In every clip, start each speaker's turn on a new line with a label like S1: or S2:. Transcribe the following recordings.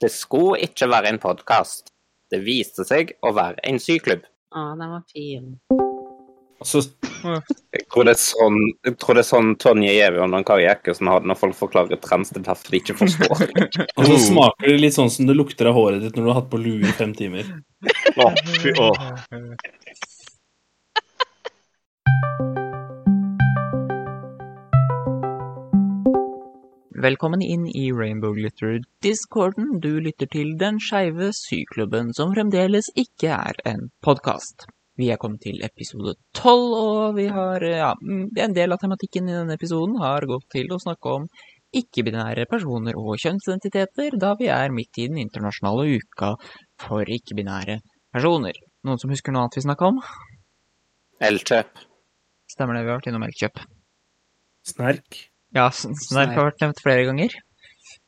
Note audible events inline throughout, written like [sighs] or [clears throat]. S1: Det skulle ikke være en podkast. Det viste seg å være en syklubb.
S2: Å, den var fin.
S1: Så,
S3: Ja.
S1: jeg, tror det er sånn, jeg tror det er sånn Tonje Gjevjørn og Kari Jakkesen har det når folk forklarer trans til derfor de ikke forstår. [laughs]
S4: Og
S1: Oh.
S4: så smaker det litt sånn som det lukter av håret ditt når du har hatt på lue i fem timer.
S5: Å, fy, å.
S3: Velkommen inn i Rainbow Glitter Discorden. Du lytter til Den skeive syklubben, som fremdeles ikke er en podkast. Vi er kommet til episode tolv, og vi har ja, mm, en del av tematikken i denne episoden har gått til å snakke om ikke-binære personer og kjønnsidentiteter, da vi er midt i den internasjonale uka for ikke-binære personer. Noen som husker noe annet vi snakka om?
S1: Elkjøp.
S3: Stemmer det, vi har vært innom Elkjøp.
S4: Snerk.
S3: Ja, Snerk har vært nevnt flere ganger.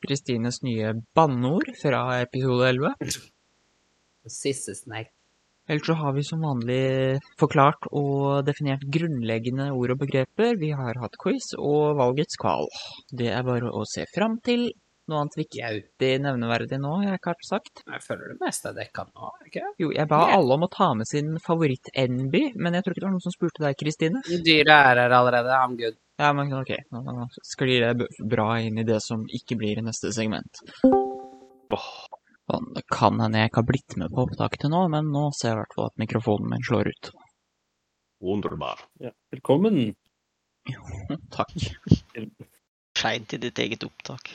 S3: Kristines nye banneord fra episode 11.
S2: Sissesnerk.
S3: Ellers så har vi som vanlig forklart og definert grunnleggende ord og begreper. Vi har hatt quiz og valgets kval. Det er bare å se fram til. Noe annet vi ikke
S2: Jau.
S3: det er nevneverdig nå, jeg har ikke helt sagt.
S2: Jeg føler det meste er dekka nå, ikke
S3: Jo, jeg ba alle om å ta med sin favoritt-Enby, men jeg tror ikke det var noen som spurte deg, Kristine.
S2: Dyret er her allerede. I'm good.
S3: Ja, men ok, nå nå sklir det b- bra inn i det som ikke blir i neste segment.
S5: Åh,
S3: Sånn, Det kan hende jeg ikke har blitt med på opptaket til nå, men nå ser jeg i hvert fall at mikrofonen min slår ut. [laughs]
S5: Wunderbar.
S4: Ja. Velkommen.
S3: Takk.
S6: Seint i ditt eget opptak.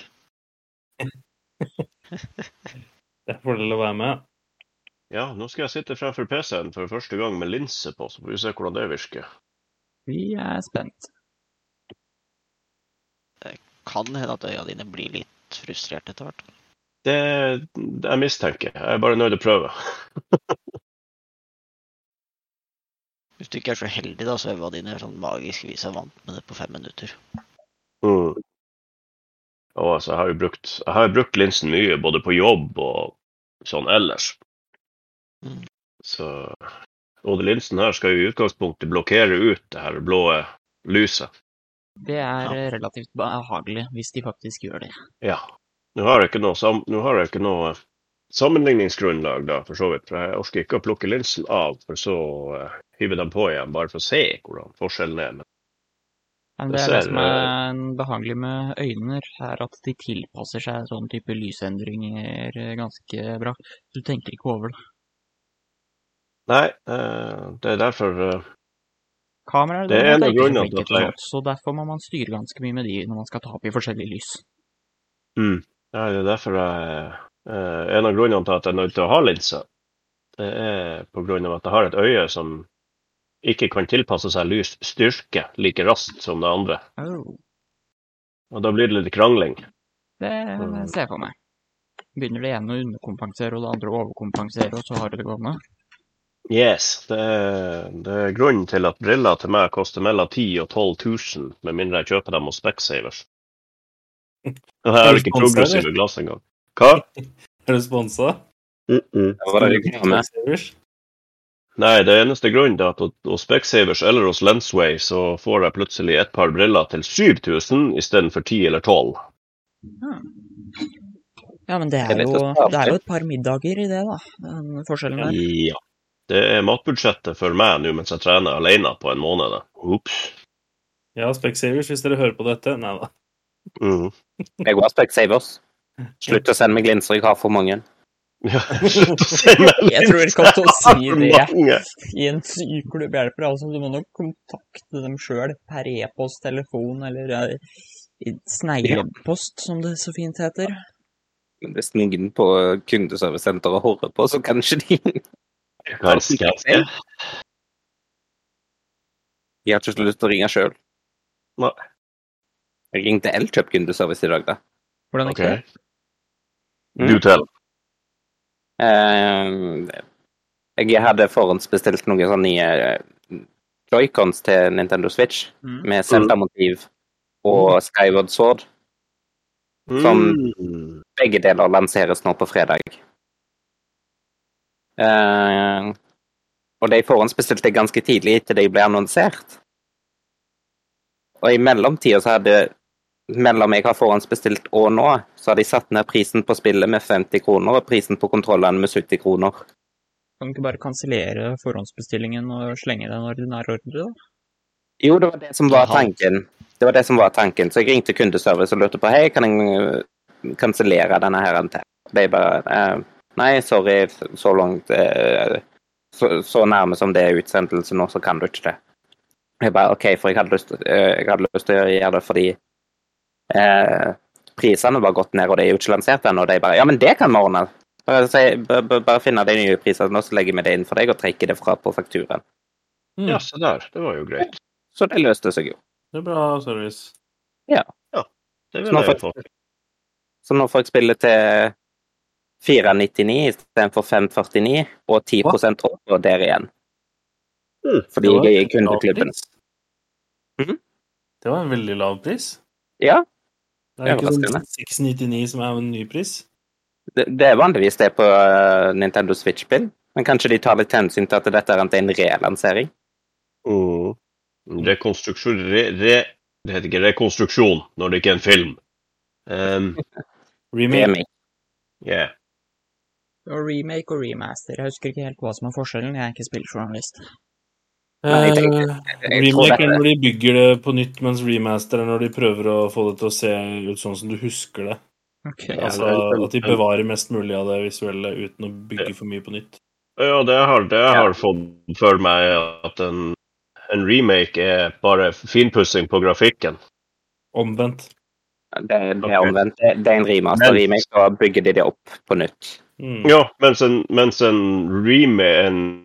S4: Det er en fordel å være med.
S5: Ja, nå skal jeg sitte fremfor PC-en for første gang med linse på, så får vi se hvordan det virker.
S3: Vi er spent.
S6: Kan hende at øya dine blir litt frustrert etter hvert.
S5: Det, det jeg mistenker. Jeg er bare nødt til å prøve. [laughs]
S6: Hvis du ikke er så heldig, da, så øya dine er sånn magisk vis er vant med det på fem minutter.
S5: Mm. Og altså, jeg har jo brukt, jeg har jo brukt linsen mye, både på jobb og sånn ellers.
S6: Mm.
S5: Så, og den linsen her skal jo i utgangspunktet blokkere ut det her blå lyset.
S3: Det er
S6: Ja.
S3: eh, relativt behagelig hvis de faktisk gjør det.
S5: Ja. Nå har jeg ikke noe, sam, nå har jeg ikke noe eh, sammenligningsgrunnlag, da, for så vidt. For jeg orker ikke å plukke linsen av, for så eh, hive dem på igjen, bare for å se hvordan forskjellen er. Men
S3: Men
S5: Det
S3: det er det
S5: ser, eh,
S3: som er behagelig med øyne, er at de tilpasser seg sånn type lysendringer eh, ganske bra. Du tenker ikke over det.
S5: nei, eh, det er derfor eh,
S3: Kameraer
S5: Det er
S3: derimot,
S5: en av
S3: ikke så
S5: grunnene
S3: flinke
S5: til at
S3: til
S5: jeg-
S3: sånt, Så derfor må man styre ganske mye med de når man skal ta opp i forskjellige lys.
S5: Nei, det er derfor jeg eh, En av grunnene til at jeg er nødt til å ha linse, det er på grunn av at jeg har et øye som ikke kan tilpasse seg lys styrke like raskt som det andre.
S3: Oh,
S5: Og da blir det litt krangling.
S3: det ser jeg for meg. Begynner det ene å underkompensere, og det andre å overkompensere, og så har du det gående.
S5: Yes, det er, det er grunnen til at briller til meg koster mellom 10 og 12 000, med mindre jeg kjøper dem hos Specsavers. Og jeg har ikke
S4: Sponset,
S5: progressive glass engang. Hva?
S4: Er du sponsa?
S1: Det var det jeg med.
S5: Nei, det eneste grunnen er at hos- hos Specsavers eller hos Lensway så får jeg plutselig et par briller til 7000 istedenfor 10 eller 12.
S3: Ja, men det
S1: Det
S3: er,
S1: er lett
S3: jo,
S1: å spare
S3: det er jo
S1: opp
S3: et par middager i det, da. Den forskjellen der.
S5: Ja. Det er matbudsjettet for meg nå mens jeg trener alene på en måned. Ops.
S4: Ja, Specsavers, hvis dere hører på dette. Nei da.
S3: [laughs]
S5: [laughs] Mhm.
S1: Jeg var Specsavers. Slutt å sende meg linser, jeg har for mange.
S5: Ja, slutt å si meg
S3: Jeg tror ikke at å
S5: [laughs]
S3: si det
S5: Mange.
S3: i en syklubb hjelper. Altså, du må nok kontakte dem sjøl per e-post, telefon eller eh, i sneglepost, som det så fint heter.
S1: Men hvis noen på kundeservicesenteret hører på, så kanskje de
S5: Ganske, ganske.
S1: De har ikke så lyst til å ringe sjøl.
S5: Nei.
S1: Jeg ringte Elkjøp kundeservice i dag, da.
S3: Hvordan gikk det?
S5: Ok.
S1: Mm.
S5: Du teller.
S1: Eh, Jeg hadde forhåndsbestilt noen sånne nye eh, Joy-Cons til Nintendo Switch
S3: Mm.
S1: med Zelda-motiv og Skyward Sword.
S5: Mm.
S1: Begge deler lanseres nå på fredag. Eh, og de forhåndsbestilte jeg ganske tidlig til de ble annonsert. Og i mellomtida så hadde mellom jeg har forhåndsbestilt og nå, så har de satt ned prisen på spillet med 50 kroner og prisen på kontrollene med 70 kroner.
S3: Kan du ikke bare kansellere forhåndsbestillingen og slenge den ordinære ordre, da?
S1: Jo, det var det som var
S6: Jaha.
S1: tanken. Det var det som var tanken. Så jeg ringte kundeservice og lurte på hei, kan jeg øh, kansellere denne her en til? De bare eh, nei, sorry, så langt eh, så, så nærme som det er utsendelse nå, så kan du ikke det. Jeg bare OK, for jeg hadde lyst, eh, jeg hadde lyst til å gjøre det fordi eh, prisene var gått ned, og det er jo ikke lansert ennå. Og de bare ja, men det kan vi ordne. Bare, si- b- b- bare finne de nye prisene, og så legger vi det inn for deg og trekker det fra på fakturaen.
S4: Mm.
S5: Ja, se der. Det var jo greit.
S1: Så det løste seg jo.
S4: Det er bra service.
S5: Det
S1: Nå
S5: ville jeg
S1: får-
S5: fått.
S1: Så nå får jeg spille til 4,99 istedenfor 5,49, og 10 opp og der igjen.
S5: Mm.
S1: Fordi
S4: Det var
S1: jeg er i
S4: en lav
S1: kundeklubben.
S4: pris.
S1: Mhm.
S4: Det var en veldig lav pris.
S1: Ja,
S4: Det er
S1: Det er
S4: ikke sånn
S1: overraskende.
S4: 699 som er en ny pris.
S1: det, det er vanligvis det på eh, Nintendo Switch-spill. Men kanskje de tar litt hensyn til at dette er en relansering?
S5: Mm. Rekonstruksjon re, re, Det heter ikke rekonstruksjon når det ikke er en film. Ehm,
S4: Remake.
S1: Remake.
S5: yeah.
S3: Og remake og remaster. Jeg husker ikke helt hva som er forskjellen, jeg er ikke spilljournalist.
S1: Nei, jeg
S4: Eh,
S1: Jeg tror
S4: Remake er
S1: dette-
S4: når de bygger det på nytt, mens remaster er når de prøver å få det til å se ut sånn som du husker det.
S3: Ok.
S5: Ja,
S4: Altså
S5: det er-
S4: at de bevarer mest mulig av det visuelle uten å bygge for mye på nytt.
S5: Ja, det har det har fått for meg at en, en remake er bare finpussing på grafikken.
S4: Omvendt.
S1: Det, det er omvendt. Det, det er en
S5: Men-
S1: remaster-remake, så bygger de det opp på nytt.
S4: Mm.
S5: Ja, mens en, mens en remake en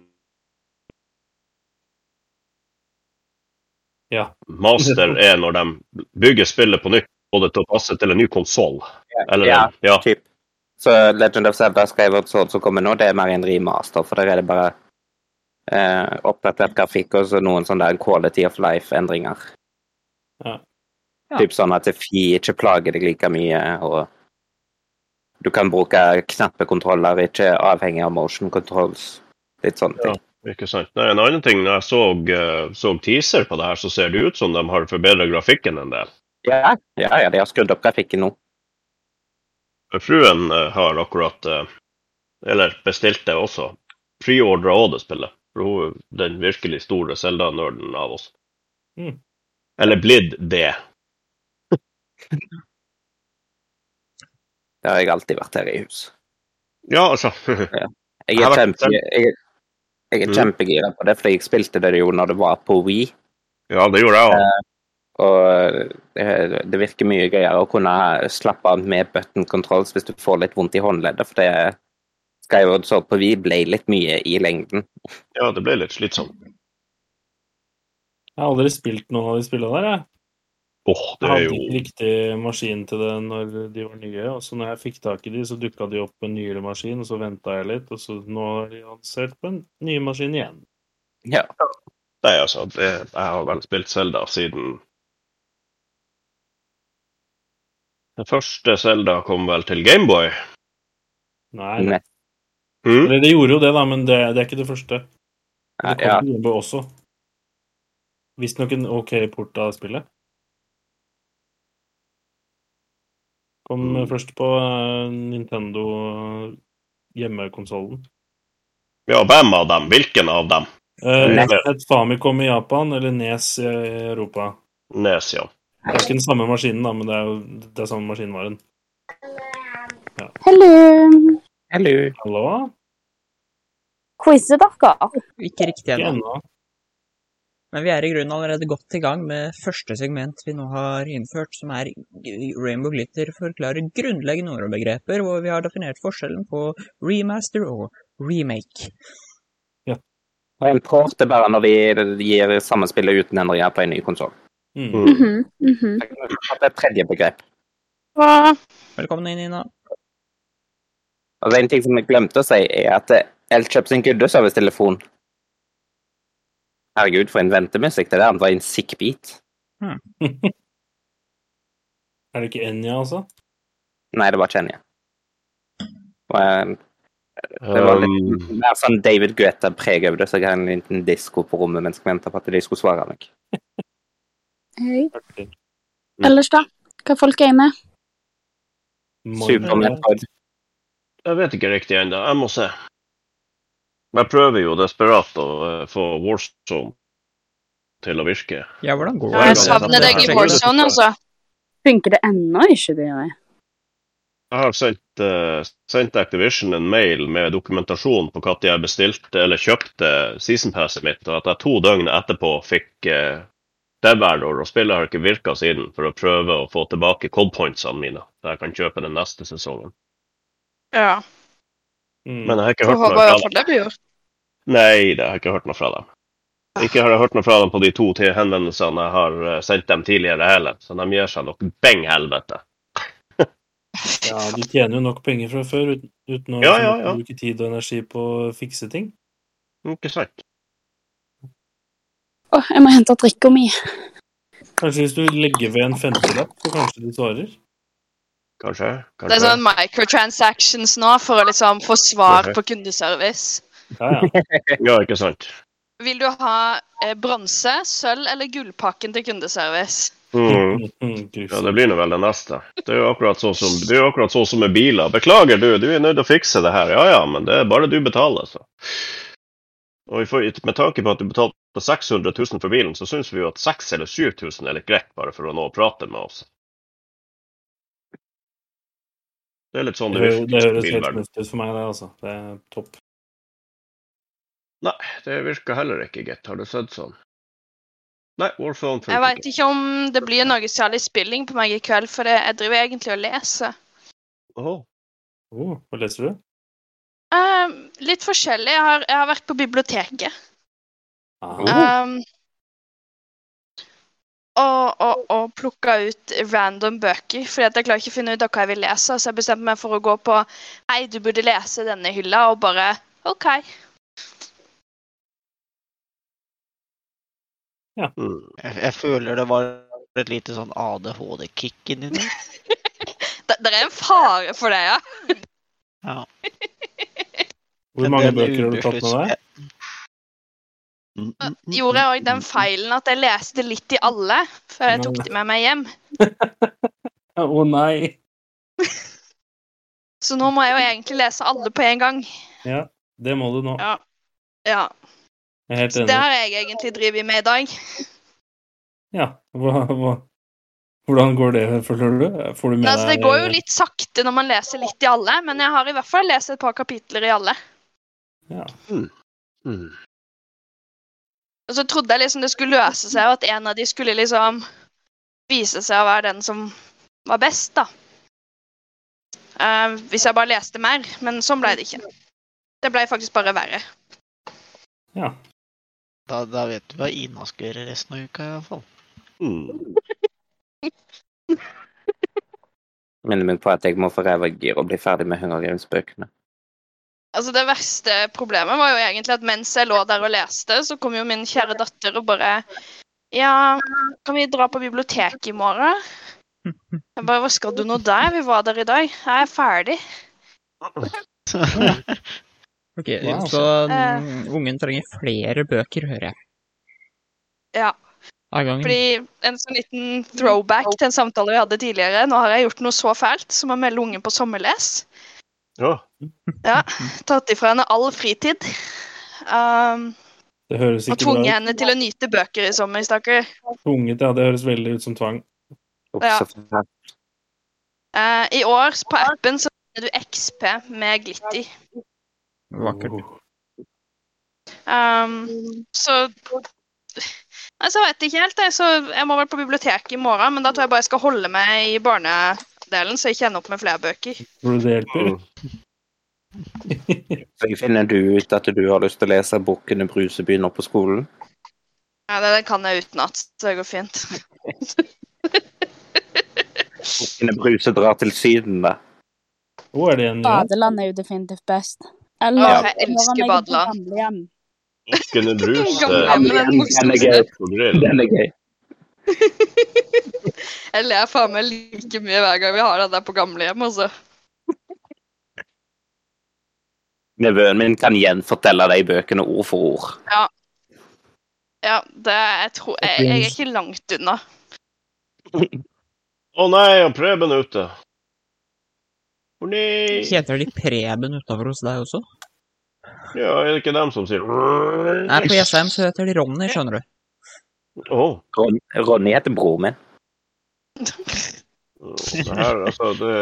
S4: Ja.
S5: Master er når de bygger spillet på nytt, både til å passe til en ny konsoll. Eller
S1: Ja,
S5: en- ja.
S1: typ. Så Legend of Zelda Skyward Sword som kommer nå, det er mer en remaster, for der er det bare eh, oppdatert grafikk og så noen sånne der quality of life-endringer.
S4: Ja.
S3: Ja.
S1: Typ sånn at Fi ikke plager deg like mye, og du kan bruke knappekontroller, ikke avhengig av motion controls. Litt sånne ting.
S5: Ikke sant. Nei, en annen ting, når jeg så, eh, så teaser på det her, så ser det ut som de har forbedra grafikken en del.
S1: Ja, ja, ja de har skrudd opp grafikken nå.
S5: Fruen eh, har akkurat eh, Eller bestilte også. Preordra òg det spillet. For hun er den virkelig store Zelda-nerden av oss.
S4: Mm.
S5: Eller blitt det.
S1: Det har jeg alltid vært her i hus.
S5: Ja, altså. [laughs]
S1: Jeg er,
S5: Jeg har vært
S1: kjempe, jeg, jeg er
S5: Mm.
S1: kjempegira på det, fordi jeg spilte det jo når det var på Wii.
S5: ja, det gjorde jeg òg.
S1: Og eh, det virker mye gøyere å kunne slappe av med button controls hvis du får litt vondt i håndleddet, for det Skyward Sword på Wii ble litt mye i lengden.
S5: Ja, det ble litt slitsomt.
S4: Jeg har aldri spilt noen av de spillene der. Jeg.
S5: Åh, det
S4: jeg
S5: er
S4: hadde ikke
S5: jo
S4: riktig maskin til det når de var nye. Og så når jeg fikk tak i de, så dukka de opp på en nyere maskin, og så venta jeg litt, og så nå er de lansert på en ny maskin igjen.
S1: Ja.
S5: Nei, altså. Det, jeg har vel spilt Zelda siden Den første Zelda kom vel til Gameboy.
S4: Nei.
S1: Nei,
S5: Mm.
S4: Eller det gjorde jo det, da, men det, det er ikke det første. Det kom
S1: ja.
S4: til Gameboy også. Visstnok en OK port av spillet. Kom
S5: Mm.
S4: først på eh, Nintendo hjemmekonsollen.
S5: Ja, hvem av dem? Hvilken av dem?
S4: Eh,
S5: Nes.
S4: et Famicom i Japan eller Nes i Europa.
S5: Nes, ja.
S4: Det er ikke den samme maskinen, da, men det er jo det er samme maskinvaren.
S7: Hello!
S1: Hello.
S4: Hallo?
S7: Quizzer dere?
S3: Ikke riktig
S4: Ikke
S3: ennå.
S4: ennå.
S3: Men vi er i grunnen allerede godt i gang med første segment vi nå har innført, som er Rainbow Glitter forklarer grunnleggende ordbegreper, hvor vi har definert forskjellen på remaster og remake.
S1: Og en port er bare når de gir sammenspillet uten endringer på en ny konsoll.
S4: Mm.
S1: [laughs]
S5: Mm.
S1: Det er et tredje begrep.
S3: Velkommen inn, Ina.
S1: Og det er en ting som jeg glemte å si, er at eh, Elkjøp sin kundeservicetelefon Herregud, for en ventemusikk. Det der var en sick beat.
S4: Er det ikke Enya, altså?
S1: Nei, det var ikke en, ja. Og, eh, Det var litt
S5: Um,
S1: mer sånn David Guetta-preg over det, så jeg hadde en liten disko på rommet mens jeg venta på at de skulle svare meg.
S8: Mm.
S7: Hei. Ellers, da? Hva folk er inne?
S1: Super Metroid.
S5: Jeg vet ikke riktig ennå. Jeg må se. Jeg prøver jo desperat å eh, få Warzone til å virke.
S3: Ja, hvordan går
S5: Ja,
S3: det?
S8: Jeg savner deg i Warzone, altså.
S7: Funker det ennå ikke, det? jeg?
S5: Jeg har sendt, eh, sendt Activision en mail med dokumentasjon på når jeg bestilte eller kjøpte season passet mitt, og at jeg to døgn etterpå fikk uh, Dev Error, og spillet har ikke virka siden, for å prøve å få tilbake code pointsene mine, så jeg kan kjøpe den neste sesongen.
S8: Ja.
S4: Mm.
S5: Men jeg har ikke
S8: Får
S5: hørt noe
S8: håpe i
S5: fra
S8: hvert
S5: dem.
S8: fall det blir gjort.
S5: Nei, det har jeg ikke hørt noe fra dem. Ikke har jeg hørt noe fra dem på de to til- henvendelsene jeg har eh, sendt dem tidligere heller, så de gir seg nok beng helvete.
S8: Fy
S4: Ja,
S8: faen.
S4: de tjener jo nok penger fra før uten, uten å
S5: Ja, ja, ja.
S4: bruke liksom. tid og energi på å fikse ting.
S5: Ikke sant?
S7: Å, jeg må hente drikka mi.
S4: Kanskje hvis du legger ved en femtelapp, så kanskje de svarer.
S5: Kanskje?
S8: Det er
S5: kanskje.
S8: sånn microtransactions nå for å liksom få svar på kundeservice.
S4: Ja, [laughs] ja.
S5: Ja, ikke sant?
S8: Vil du ha eh, bronse, sølv eller gullpakken til kundeservice?
S5: Mm.
S4: Mm, kryss.
S5: Ja, det blir nå vel det neste. Det er jo akkurat sånn som, det er jo akkurat sånn som med biler. Beklager, du, du er nødt til å fikse det her. Ja ja, men det er bare du betaler, så. Og vi får- med tanke på at du betalte 600 000 for bilen, så syns vi jo at 6000 eller 7000 er litt greit, bare for å nå å prate med oss. Det er litt sånn
S4: Det
S5: det
S4: hø- det
S5: virker. i
S4: høres helt
S5: bilverden.
S4: fornuftig ut for meg, det, altså. Det er topp.
S5: Nei, det virker heller ikke, gitt. Har du sett sånn? Nei, Warphone
S8: Jeg
S5: funker
S8: veit
S5: ikke.
S8: ikke om det blir noe særlig spilling på meg i kveld, for det- jeg driver egentlig og leser.
S5: Åh,
S4: Oh, hva leser du?
S8: Ehm, litt forskjellig. Jeg har, jeg har vært på biblioteket.
S5: Oh.
S4: Ah,
S8: Ehm, og og, og plukka ut random bøker, fordi at jeg klarer ikke å finne ut av hva jeg vil lese. Så jeg bestemte meg for å gå på Hei, du burde lese denne hylla, og bare OK.
S5: mm.
S6: Jeg, jeg føler det var et lite sånn ADHD-kick inni der.
S8: Det, det er en fare for det, ja.
S4: Hvor
S6: Men
S4: mange
S6: den
S4: bøker har du tatt med [laughs] deg?
S6: ubeslutt- Mm, mm, mm,
S8: gjorde jeg òg
S6: mm,
S8: den
S6: mm.
S8: feilen at jeg leste litt i alle før jeg tok de med meg hjem.
S4: Å nei!
S8: Så nå må jeg jo egentlig lese alle på en gang.
S4: Ja, det må du nå.
S8: Ja. Ja,
S4: Jeg er helt
S8: Så det
S4: enig.
S8: har jeg egentlig drevet med i dag.
S4: Ja, hva, hva, hvordan går det, føler du? Får du med
S8: Nei, altså, det
S4: deg-
S8: går jo litt sakte når man leser litt i alle, men jeg har i hvert fall lest et par kapitler i alle.
S5: Mm.
S8: Og så trodde jeg liksom det skulle løse seg, og at en av de skulle liksom vise seg å være den som var best, da. Eh, hvis jeg bare leste mer. Men sånn ble det ikke. Det ble faktisk bare verre.
S6: Da, da vet du hva Ina skal gjøre resten av uka, i hvert fall.
S5: Mm.
S1: Minner meg på at jeg må få ræva i gir og bli ferdig med Hunger Games-bøkene.
S8: Altså Det verste problemet var jo egentlig at mens jeg lå der og leste, så kom jo min kjære datter og bare Ja, kan vi dra på biblioteket i morgen? Jeg bare Hva skal du nå der? Vi var der i dag. Jeg er ferdig. Mm.
S3: Ok,
S4: Wow.
S3: Så mm,
S8: Eh.
S3: ungen trenger flere bøker, hører jeg.
S8: Ja.
S3: Av gangen.
S8: Fordi en sånn liten throwback til en samtale vi hadde tidligere. Nå har jeg gjort noe så fælt som å melde ungen på sommerles.
S5: Ja.
S8: Tatt ifra henne all fritid. Um,
S4: Det høres
S8: og
S4: ikke bra
S8: tvunget
S4: ut.
S8: henne til å nyte bøker i sommer, stakkar.
S4: Tvunget, ja. Det høres veldig ut som tvang.
S1: Uff,
S8: Ja.
S1: så forferdelig.
S8: Eh, I år på appen så finner du XP med glitter.
S3: Vakkert.
S8: Um, så Altså, jeg vet ikke helt. Jeg, så jeg må vel på biblioteket i morgen, men da tror jeg bare jeg skal holde meg i barnedelen, så jeg ikke ender opp med flere bøker.
S4: Tror du det hjelper?
S5: Mm.
S1: Så finner du ut at du har lyst til å lese bukken og Bruse begynner på skolen?
S8: Ja, det, det kan jeg utenat, så det går fint.
S1: Bukken og Bruse drar til Syden, da.
S4: Å, er det en ja?
S7: Badeland er jo definitivt best. Eller
S8: Ja,
S7: når
S8: Mm. jeg elsker
S7: jeg er på
S8: badeland.
S7: gamlehjem.
S8: [laughs]
S5: Kunne brus
S8: Gamle,
S5: eh,
S8: men det
S1: Den
S8: er
S1: er
S8: morsomt.
S1: gøy.
S5: på grill.
S1: Den er gøy.
S8: Jeg ler faen meg like mye hver gang vi har den der på gamlehjem, altså.
S1: Nevøen min kan gjenfortelle de bøkene ord for ord.
S8: [laughs] Ja, det jeg tror jeg, jeg er ikke langt unna.
S5: Å nei, han Preben er ute. Å nei!
S3: Heter de Preben utafor hos deg også?
S5: Ja, er det ikke dem som sier
S3: Nei, på Jessheim så heter de Ronny, skjønner du.
S5: Åh.
S1: Ron, Ronny heter bror min.
S5: Det her, altså, det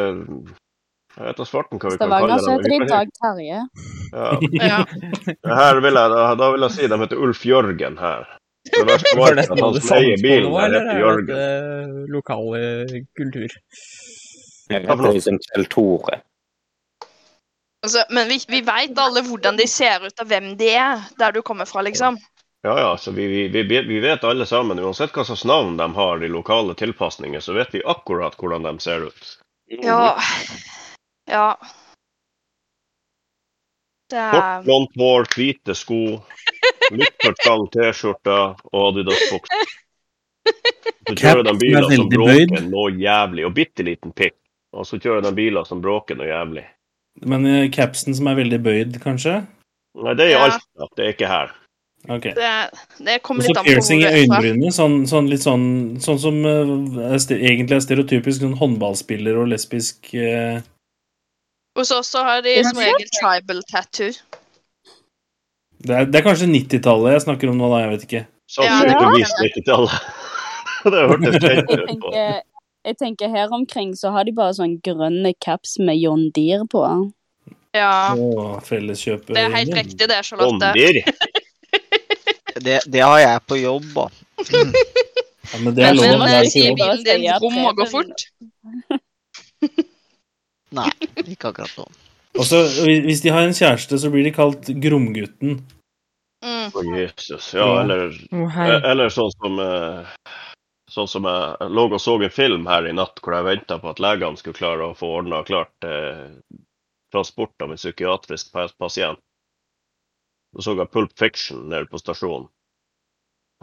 S5: Jeg vet da svarten hva vi kan kalle
S7: Stavanger
S5: dem.
S7: så heter
S5: Vi
S7: de
S5: kan-
S7: Dag
S8: [laughs]
S7: Terje.
S5: Ja,
S8: Ja.
S5: Det her vil jeg, da, da vil jeg si de heter Ulf Jørgen her. Det verste
S3: [laughs] Var
S5: var
S3: det
S5: ikke at han
S3: noe
S5: som eier
S3: samspå
S5: bilen,
S3: nå,
S5: der
S3: eller
S5: heter
S3: er
S5: Jørgen.
S3: det eh, lokale kultur?
S1: Jeg heter liksom Kjell Tore.
S8: Altså, men vi, vi veit alle hvordan de ser ut, og hvem de er, der du kommer fra, liksom.
S5: Ja, ja, så vi, vi, vi, vi vet alle sammen, uansett hva slags navn de har i lokale tilpasninger, så vet vi akkurat hvordan de ser ut.
S8: Ja. Ja. Det
S5: Kort,
S8: er
S5: blondt hår, hvite sko, litt for trang T-skjorte og Adidas-bukse. Så kjører
S9: Capsen
S5: de
S9: er
S5: biler som
S9: veldig
S5: bråker
S9: bøyd.
S5: noe jævlig, og bitte liten pikk. Og så kjører de biler som bråker noe jævlig.
S4: Men eh, capsen som er veldig bøyd, kanskje?
S5: Nei, det er i
S8: Ja.
S5: Alta, det er ikke her.
S4: Ok.
S8: Det, det
S4: Og
S8: kommer
S4: så
S8: litt an på
S4: piercing i
S8: hvor du er fra.
S4: øyenbrynene, sånn, sånn litt sånn Sånn som eh, er ste- egentlig er stereotypisk sånn håndballspiller og lesbisk eh,
S8: Hos oss så har de
S7: Ja,
S8: som regel tribal tattoo.
S4: det, er, det er kanskje 90-tallet jeg snakker om nå, da. Jeg vet ikke.
S8: Ja,
S5: Sånn
S8: det
S5: ja,
S8: var
S5: vis 90-tallet. [laughs] det hørtes kjent
S7: Jeg
S5: ut. på.
S7: tenker, jeg tenker her omkring så har de bare sånn grønne caps med John Deere på.
S8: Ja.
S4: Å, Felleskjøpet.
S8: Det er helt
S4: Ingen.
S8: riktig, det, Charlotte.
S5: Bondir.
S6: [laughs] Det, det har jeg på jobb, da.
S4: Ja, men det er
S8: Men,
S4: lov å
S7: det
S8: men
S7: er
S4: være
S7: jo
S8: eh,
S4: på
S8: gir
S4: jobb.
S7: lov.
S8: bilen din rom og
S7: Tribal.
S8: går fort?
S6: Nei, ikke akkurat nå.
S4: Og så, hvi- hvis de har en kjæreste, så blir de kalt Gromgutten.
S8: Mm.
S5: Å, Jesus. Ja,
S4: Ja.
S5: eller,
S3: Å, hei.
S5: eller sånn som eh, Sånn som jeg lå og så en film her i natt hvor jeg venta på at legene skulle klare å få ordna klart eh, transport av en psykiatrisk pa- pasient. Så så jeg Pulp Fiction nede på stasjonen.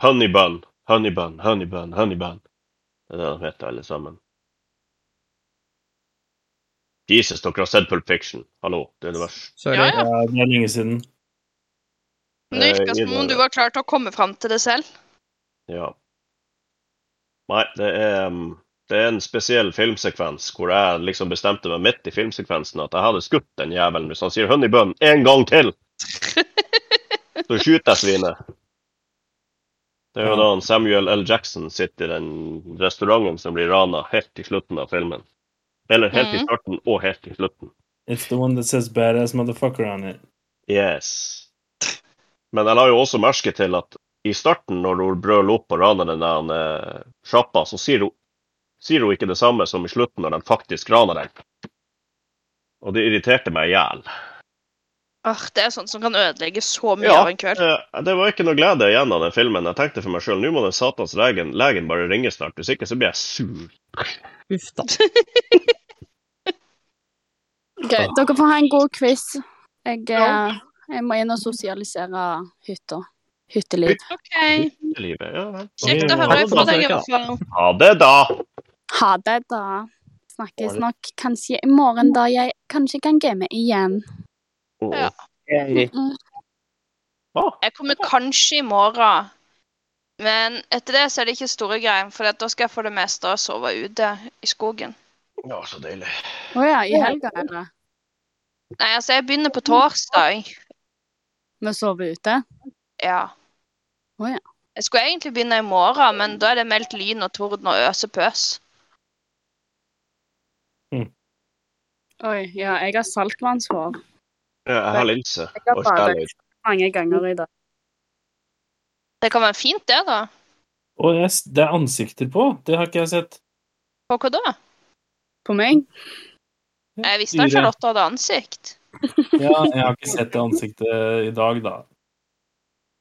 S5: Honeybun, honeybun, honeybun, honeybun. Det er det de heter, alle sammen. Jesus, dere har sett Pulp Fiction. Hallo, det er det verste.
S3: Sorry.
S8: Ja,
S4: Ja, det er lenge siden.
S8: Men det virka
S5: Eh,
S8: som om
S5: Ida-
S8: du var klar til å komme fram til det selv.
S5: Ja. Nei, det er, um, det er en spesiell filmsekvens hvor jeg liksom bestemte meg midt i filmsekvensen at jeg hadde skutt den jævelen hvis han sier 'honey bun' en gang til! Så skyter jeg svinet. Det er jo
S4: Ja.
S5: da han Samuel L. Jackson sitter i den restauranten som blir rana helt i slutten av filmen. Eller helt i
S8: Mhm.
S5: starten og helt i slutten.
S4: It's the one that says badass motherfucker on it.
S5: Yes. Men jeg la jo også merke til at i starten, når hun brøler opp og raner den der eh, sjappa, så sier hun, sier hun ikke det samme som i slutten, når de faktisk raner den. Og det irriterte meg i hjel.
S8: Åh, det er sånt som kan ødelegge så mye
S5: Ja.
S8: av en kveld.
S5: Eh, Det var ikke noe glede igjen av den filmen. Jeg tenkte for meg sjøl nå må den satans legen, legen bare ringe snart, hvis ikke så blir jeg sur.
S3: Uff da.
S8: Ah.
S7: Dere får ha en god quiz. Jeg, eh, jeg må inn og sosialisere hytta. Hytteliv.
S8: OK.
S5: Livet, ja vel.
S8: Kjekt å
S4: Ja,
S8: høre
S4: da
S8: fra deg, i
S3: tenker
S8: hvert fall.
S5: Ha det, da!
S7: Ha det, da. Snakkes nok kanskje i morgen, da jeg kanskje kan game igjen.
S5: Åh.
S8: Ja.
S1: Yay.
S7: Mm.
S5: Ah,
S8: Jeg kommer kanskje i morgen. Men etter det så er det ikke store greier, for at da skal jeg for det meste sove ute i skogen.
S5: ja, så deilig.
S7: Å ja, i helga, eller?
S8: Nei, altså, jeg begynner på torsdag.
S7: Med å sove ute?
S8: Ja.
S7: Å ja.
S8: Jeg skulle egentlig begynne i morgen, men da er det meldt lyn og torden og øsepøs.
S7: Oi, ja, jeg har saltvannshår.
S5: Ja, Jeg har linse.
S7: Jeg har
S5: Og
S7: badet
S5: stjernelyd.
S7: mange ganger i dag.
S8: Det kan være fint, det, da.
S4: Og jeg, s- det er ansikter på! Det har ikke jeg sett.
S8: På hva da?
S7: På meg?
S8: Jeg visste
S4: Dyre.
S8: at Charlotte hadde ansikt.
S4: Ja, jeg har ikke sett det ansiktet i dag, da.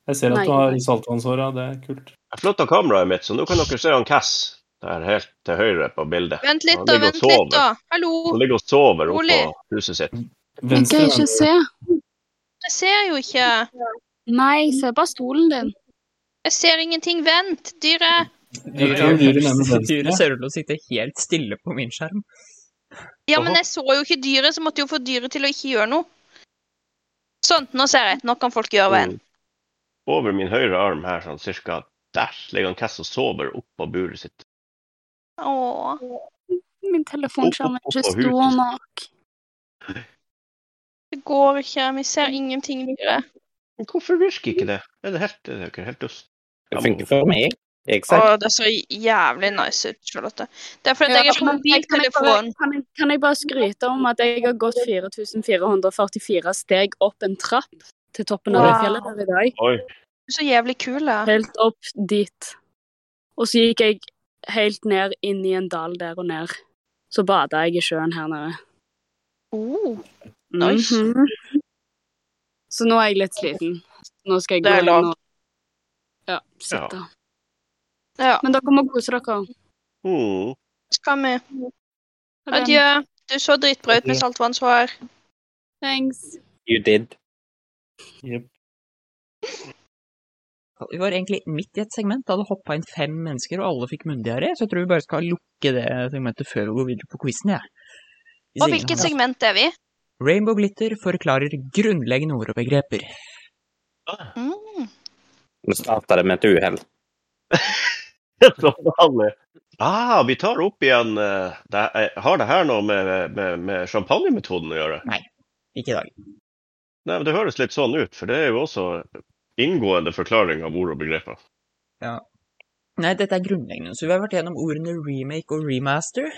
S4: Jeg ser at
S7: Nei.
S4: du har saltvannshåra, det er kult.
S5: Jeg flytta kameraet mitt, så nå kan dere se han Cass. Der helt til høyre på bildet.
S8: Vent litt,
S5: Han
S8: da.
S5: ligger og
S8: Vent litt,
S5: sover.
S8: da. Hallo.
S5: Han ligger og sover oppå
S8: Ole.
S5: huset sitt.
S7: Jeg
S4: Venstre
S7: kan ikke se.
S8: Jeg ser jo ikke.
S7: Nei, se bare stolen din.
S8: Jeg ser ingenting. Vent, dyret.
S4: Jeg tror dyret mener
S3: Dyret
S4: venstre.
S3: ser ut til å sitte helt stille på min skjerm.
S8: Ja, men jeg så jo ikke dyret, så måtte jeg jo få dyret til å ikke gjøre noe. Sånn, nå ser jeg. Nå kan folk gjøre hva enn.
S5: Mm. Over min høyre arm her,
S7: Mm.
S5: sånn cirka der, ligger han Cass og sover oppå buret sitt.
S8: Åh.
S7: min telefonskjerm er
S5: Opp, opp, opp
S7: ikke
S5: av
S7: stor
S5: huset.
S7: nok.
S8: Det går ikke. Vi ser ingenting videre.
S5: Men Hvorfor virker ikke det? Er det helt, er det ikke helt dust?
S1: Det funker for meg. Jeg ser.
S8: Å, det så jævlig nice ut, Charlotte. Det er fordi
S7: Ja,
S8: jeg er på
S7: men jeg- kan jeg bare-
S8: mobiltelefon.
S7: Kan, jeg- kan jeg bare skryte om at jeg har gått 4444 steg opp en trapp til toppen av det
S8: Wow.
S7: fjellet der i dag.
S5: Oi.
S8: Du er så jævlig kul, da.
S7: Helt opp dit. Og så gikk jeg helt ned inn i en dal der og ned. Så bada jeg i sjøen her nede.
S8: Oh, Nice.
S7: Mhm. Så nå er jeg litt sliten. Nå skal jeg
S8: Det
S7: gå
S8: er
S7: inn
S8: lov.
S7: og ja, sitte.
S8: ja.
S7: Men dere må kose dere.
S5: Mm. [laughs]
S8: Skal vi.
S7: Ha det.
S8: Adjø. Du så dritbra ut med saltvannshår.
S7: Thanks.
S1: You did.
S4: Jep.
S3: Vi var egentlig midt i et segment da det hoppa inn fem mennesker, og alle fikk munndiaré, så jeg tror vi bare skal lukke det segmentet før vi går videre på quizen, jeg. Hvis
S8: Og
S3: ingen
S8: hvilket
S3: har-
S8: segment er vi?
S3: Rainbow Glitter forklarer grunnleggende ord og begreper.
S8: Mm.
S1: Nå starta det med et uhell.
S5: Som vanlig. Ah, vi tar opp igjen eh, det, er- Har det her noe med, med, med champagnemetoden å gjøre?
S3: Ikke i dag.
S5: Nei, men Det høres litt sånn ut, for det er jo også inngående forklaring av ord og begreper.
S3: Nei, dette er grunnleggende. Så vi har vært gjennom ordene remake og remaster.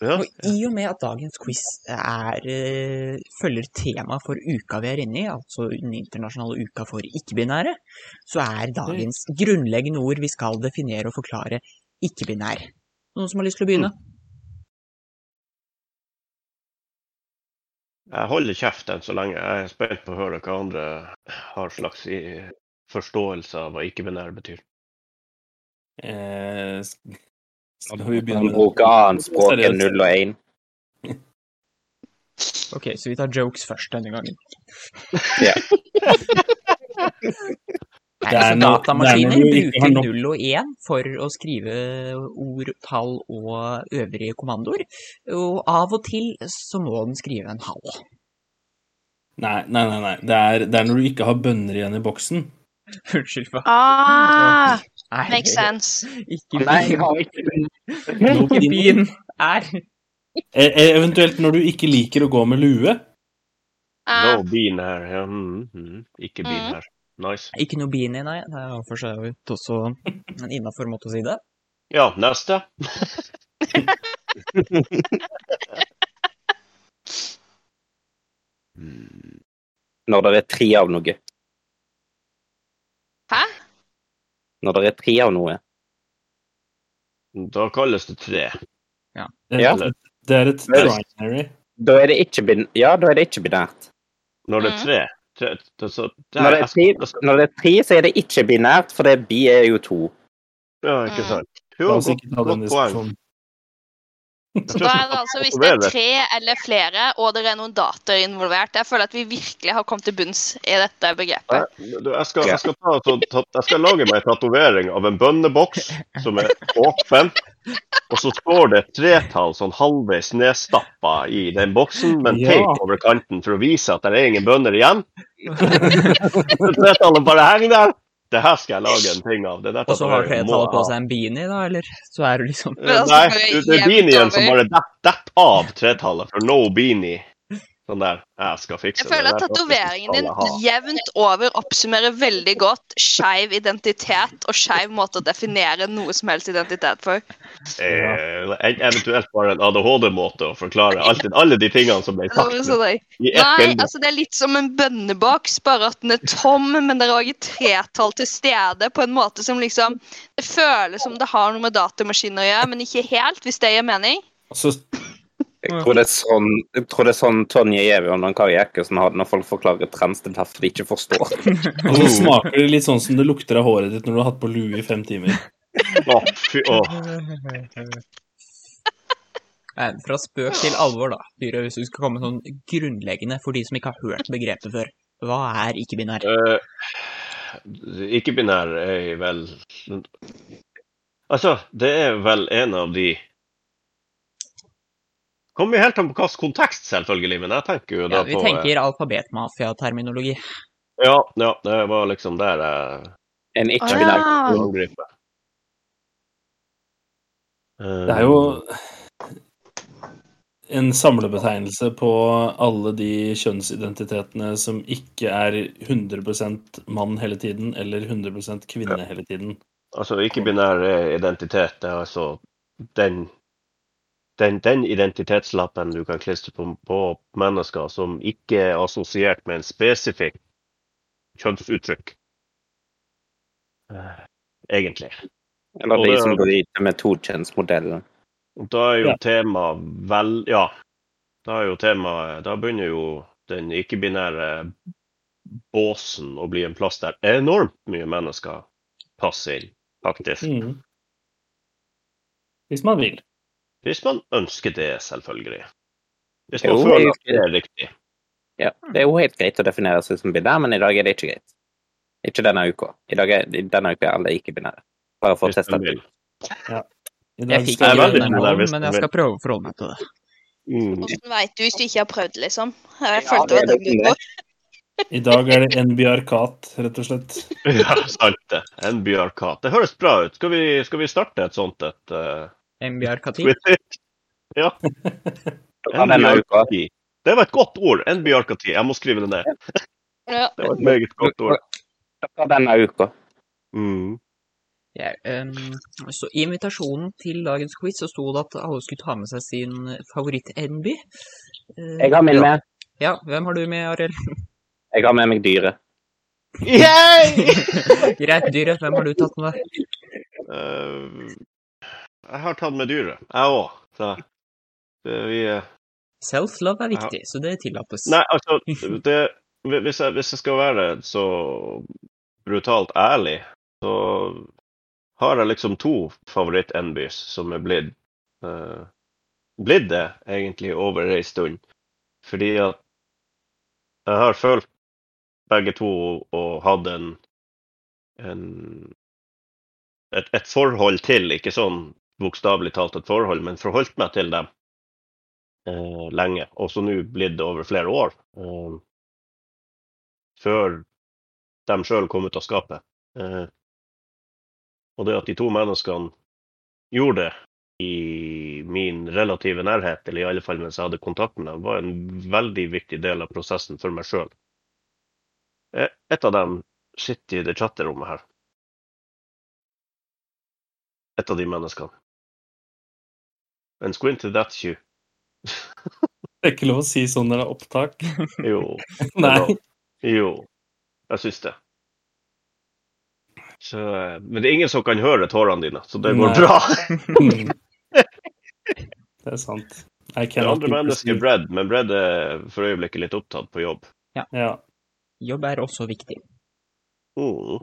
S5: Ja.
S3: Og i og med at dagens quiz er, eh, følger temaet for uka vi er inne i, altså den internasjonale uka for ikke-binære, så er dagens grunnleggende ord vi skal definere og forklare ikke-binær. Noen som har lyst til å begynne?
S5: Jeg holder kjeft enn så lenge. Jeg er spent på å høre hva andre har slags i forståelse av hva ikke-binær betyr.
S4: Eh, s- skal vi
S1: Han
S4: begynne med
S1: bruker annet språk enn
S4: Seriøst.
S1: null og én.
S3: Ok, så vi tar jokes først denne gangen.
S1: Ja.
S3: [laughs] Nei,
S4: Det er
S3: altså,
S4: noe- det er
S3: datamaskiner
S4: noe du ikke har
S3: bruker
S4: nok-
S3: null og én for å skrive ord, tall og øvrige kommandoer. Og av og til så må den skrive en halv.
S4: Nei, nei, nei. nei. Det, er, det er når du ikke har bønner igjen i boksen.
S3: Unnskyld for
S8: Ah,
S3: Nei,
S8: makes sense.
S3: Ikke
S1: Nei, jeg
S3: begynn.
S1: har ikke
S3: Ikke begynn. Er.
S4: E e- eventuelt når du ikke liker å gå med lue.
S8: Ah,
S5: No bean her. Ja, mm, mm, ikke bean
S8: Mm.
S5: her. Nice.
S3: Ikke noe beanie, nei. Det er jo for så vidt også en innafor måte å si det.
S5: Ja, neste. Mm.
S1: Når det er tre av noe.
S8: Hæ?
S1: Når det er tre av noe.
S5: Da kalles det tre.
S4: Det er,
S1: Ja.
S4: det er et trinary.
S1: Da er det ikke bin ja, da er det ikke binært.
S5: Når det er
S8: Mm.
S5: tre. tre det, så, det
S1: Når det er tre,
S5: jeg- jeg skal-
S1: når det er tre så er det ikke binært, for det bi er jo to.
S5: Ja, ikke sant. Jo,
S4: La oss
S5: godt,
S4: ikke ta den
S5: godt poeng.
S4: diskusjonen.
S5: Jeg
S8: Så
S5: tror ikke
S8: da er det
S5: man
S8: altså
S5: kan
S8: hvis det er
S5: motivere.
S8: tre eller flere, og det er noen data involvert. Jeg føler at vi virkelig har kommet til bunns i dette begrepet.
S5: Nei, du, Jeg skal, jeg skal, ta, ta, ta, jeg skal lage meg en tatovering av en bønneboks som er åpen. Og så står det et tretall sånn halvveis nedstappa i den boksen, men
S4: Ja.
S5: teip over kanten for å vise at det er ingen bønner igjen. Så Tretallet bare henger der. Det her skal jeg lage en ting av. Det der
S3: Og så har
S5: tatoveringen må
S3: tretallet på
S5: jeg ha.
S3: seg en beanie, da, eller? Så er det liksom
S8: Men
S5: Eh,
S8: altså,
S5: Nei,
S8: går jeg
S5: du, det er
S8: jevnt
S5: beanien som
S8: over.
S5: bare detter dett av tretallet, for no beanie. Sånn der. Jeg skal fikse
S8: Jeg føler at
S5: det. der
S8: tatoveringen din
S5: skal jeg ha.
S8: jevnt over oppsummerer veldig godt skeiv identitet og skeiv måte å definere noe som helst identitet for.
S5: Eh, en- eventuelt bare en ADHD-måte å forklare alt, alle de tingene som ble
S8: Det var
S5: sagt
S8: sånn der,
S5: i ett
S8: Nei,
S5: bilde.
S8: altså det er litt som en bønneboks, bare at den er tom, men det er òg et tretall til stede på en måte som liksom Det føles som det har noe med datamaskiner å gjøre, men ikke helt, hvis det gir mening.
S4: Så
S1: Jeg tror det er sånn, jeg tror det er sånn Tonje Gjevjørn og Kari Jakkesen har det når folk forklarer trans til derfor de ikke forstår.
S4: Og så smaker det litt sånn som det lukter av håret ditt når du har hatt på lue i fem timer.
S5: Å, fy, å.
S3: Nei, Fra spøk til alvor, da. Dyre, hvis du skal komme sånn grunnleggende for de som ikke har hørt begrepet før. Hva er ikke-binær?
S5: Eh, Ikke-binær er vel Altså, det er vel en av de Kommer jo helt an på hvilken kontekst, selvfølgelig, men jeg tenker jo da
S3: Ja, vi
S5: på eh,
S3: tenker alfabetmafia-terminologi.
S5: ja, ja, det var liksom der jeg
S1: En
S8: Ah.
S1: ikke-binær
S5: angriper.
S4: Det er jo en samlebetegnelse på alle de kjønnsidentitetene som ikke er 100 mann hele tiden, eller 100 kvinne hele tiden.
S5: Altså ikke-binær eh, identitet det er altså den, den, den identitetslappen du kan klistre på, på mennesker som ikke er assosiert med en spesifikk kjønnsuttrykk. Eh, Egentlig.
S1: Eller
S5: Og
S1: de
S5: det-
S1: som bryter med tokjønnsmodellen.
S5: Og Da er jo
S4: Ja.
S5: temaet vel Ja. Da er jo temaet Da begynner jo den ikke-binære båsen å bli en plass der enormt mye mennesker passer inn, faktisk.
S4: Mm. Hvis man vil.
S5: Hvis man ønsker det, selvfølgelig. Hvis
S1: Jo,
S5: man føler
S1: jeg-
S5: at det er riktig.
S1: Ja, det er jo helt greit å definere seg som binær, men i dag er det ikke greit. Ikke denne uka. I dag er, i denne uka er alle ikke-binære. Bare for å
S5: Hvis
S1: teste
S5: man
S1: det.
S5: vil.
S1: ut.
S4: I dag
S3: Jeg fikk
S5: Det er
S4: skal
S3: ikke
S5: veldig
S3: den
S5: mye der hvis
S3: rollen, men
S5: du
S3: jeg
S5: vil.
S3: skal prøve å forholde meg til det.
S5: Mm.
S8: Hvordan veit du hvis du ikke har prøvd, liksom? Jeg
S1: Ja, det
S8: følte det
S1: er det som
S8: var dum
S1: er.
S8: utgått.
S4: I dag er det NBRKAT, rett og slett.
S5: [laughs] Ja, sant det. En bjørkat. Det høres bra ut. Skal vi, skal vi starte et sånt et eh,
S3: MBRKT.
S5: quiz?
S1: Ja,
S5: [laughs] En
S1: denne uka.
S5: bjørkati. Det var et godt ord. En bjørkati. Jeg må skrive det ned.
S8: Ja.
S5: Det var et meget godt ord.
S1: Ja, Denne uka.
S5: Mm.
S3: Ja, ehm, så I invitasjonen til dagens quiz så sto det at alle skulle ta med seg sin favoritt-NB.
S1: Jeg har min med.
S3: Eh, Ja, hvem har du med, Arild?
S1: Jeg har med meg dyret.
S3: Greit, dyret. Hvem har du tatt med?
S5: Eh, jeg har tatt med dyret, jeg òg. Så det, vi eh,
S3: Self-love er viktig, så det tillates.
S5: Nei, altså det, hvis, jeg, hvis jeg skal være så brutalt ærlig, så har jeg liksom to favoritt-NBs som er blitt eh, blitt det, egentlig, over ei stund. Fordi at jeg har følt begge to og hatt en, en et, et forhold til, ikke sånn bokstavelig talt et forhold, men forholdt meg til dem eh, lenge, og så nå blitt over flere år. Eh, før de sjøl kom ut av skapet. Eh, og det at de to menneskene gjorde det i min relative nærhet, eller i alle fall mens jeg hadde kontakt med dem, var en veldig viktig del av prosessen for meg sjøl. Eh, et av dem sitter i det chatterommet her. Et av de menneskene. En squint to that you.
S4: Det er ikke lov å si sånn når det er [laughs] opptak.
S5: Jo.
S4: Nei.
S5: Jo, jeg syns det. Så, eh, men det er ingen som kan høre tårene dine, så det går
S4: Nei.
S5: bra.
S4: Mm. [laughs] Det er sant. I
S5: Det
S4: cannot
S5: andre
S4: be
S5: mennesket er
S4: perceived.
S5: Bredd, men Bredd er for øyeblikket litt opptatt på jobb.
S4: Ja.
S3: Jobb er også viktig.
S5: Mm.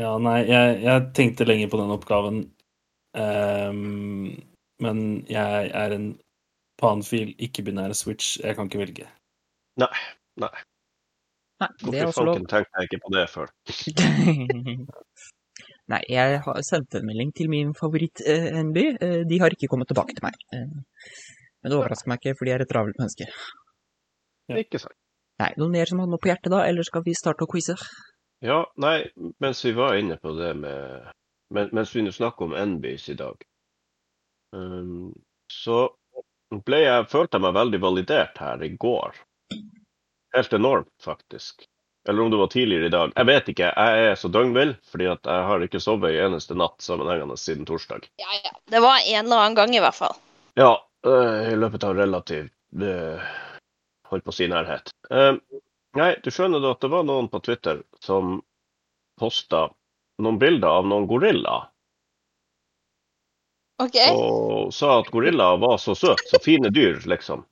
S4: ja, nei, jeg, jeg tenkte lenge på den oppgaven. Ehm, men jeg er en panfil, ikke-binær switch. Jeg kan ikke velge.
S3: Nei, det er
S5: Hvorfor
S3: også lov.
S5: fanken tenkte jeg ikke på det før?
S3: [laughs] Nei, jeg har sendt en melding til min eh, favoritt-NB. De har ikke kommet tilbake til meg. Eh, Men det overrasker meg ikke, for de er et travelt menneske.
S4: Ja.
S5: Ikke sant.
S3: Nei, noen mer som har noe på hjertet da, eller skal vi starte å quize?
S5: Ja, nei, mens vi var inne på det med men, Mens vi nå snakker om NBs i dag, um, så ble jeg, følte jeg meg veldig validert her i går. Helt enormt, faktisk. Eller om det var tidligere i dag. Jeg vet ikke. Jeg er så døgnvill, fordi at jeg har ikke sovet en eneste natt sammenhengende siden torsdag.
S8: Ja, ja. Det var en eller annen gang, i hvert fall.
S5: Ja, øh, i løpet av relativt øh, Holdt på å si nærhet. Eh, nei, du skjønner da at det var noen på Twitter som posta noen bilder av noen gorillaer,
S8: OK?
S5: og sa at gorillaer var så søte, så fine dyr, liksom.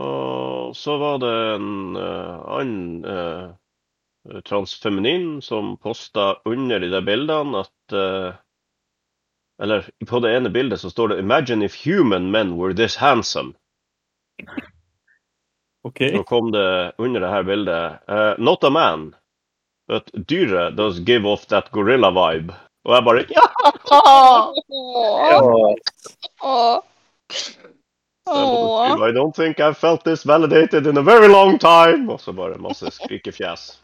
S5: Og så var det en eh, annen eh, transfeminin som posta under de der bildene at eh, Eller på det ene bildet så står det 'Imagine if human men were this handsome'.
S4: OK.
S5: Så kom det under det her bildet eh, 'Not a man, but dyret does give off that gorilla vibe'. Og jeg bare Ja!
S8: Åh,
S1: Og
S8: åh,
S5: Så jeg måtte
S8: åh.
S5: skrive, I don't think I've felt this validated in a very long time. Og så bare masse skrikefjes.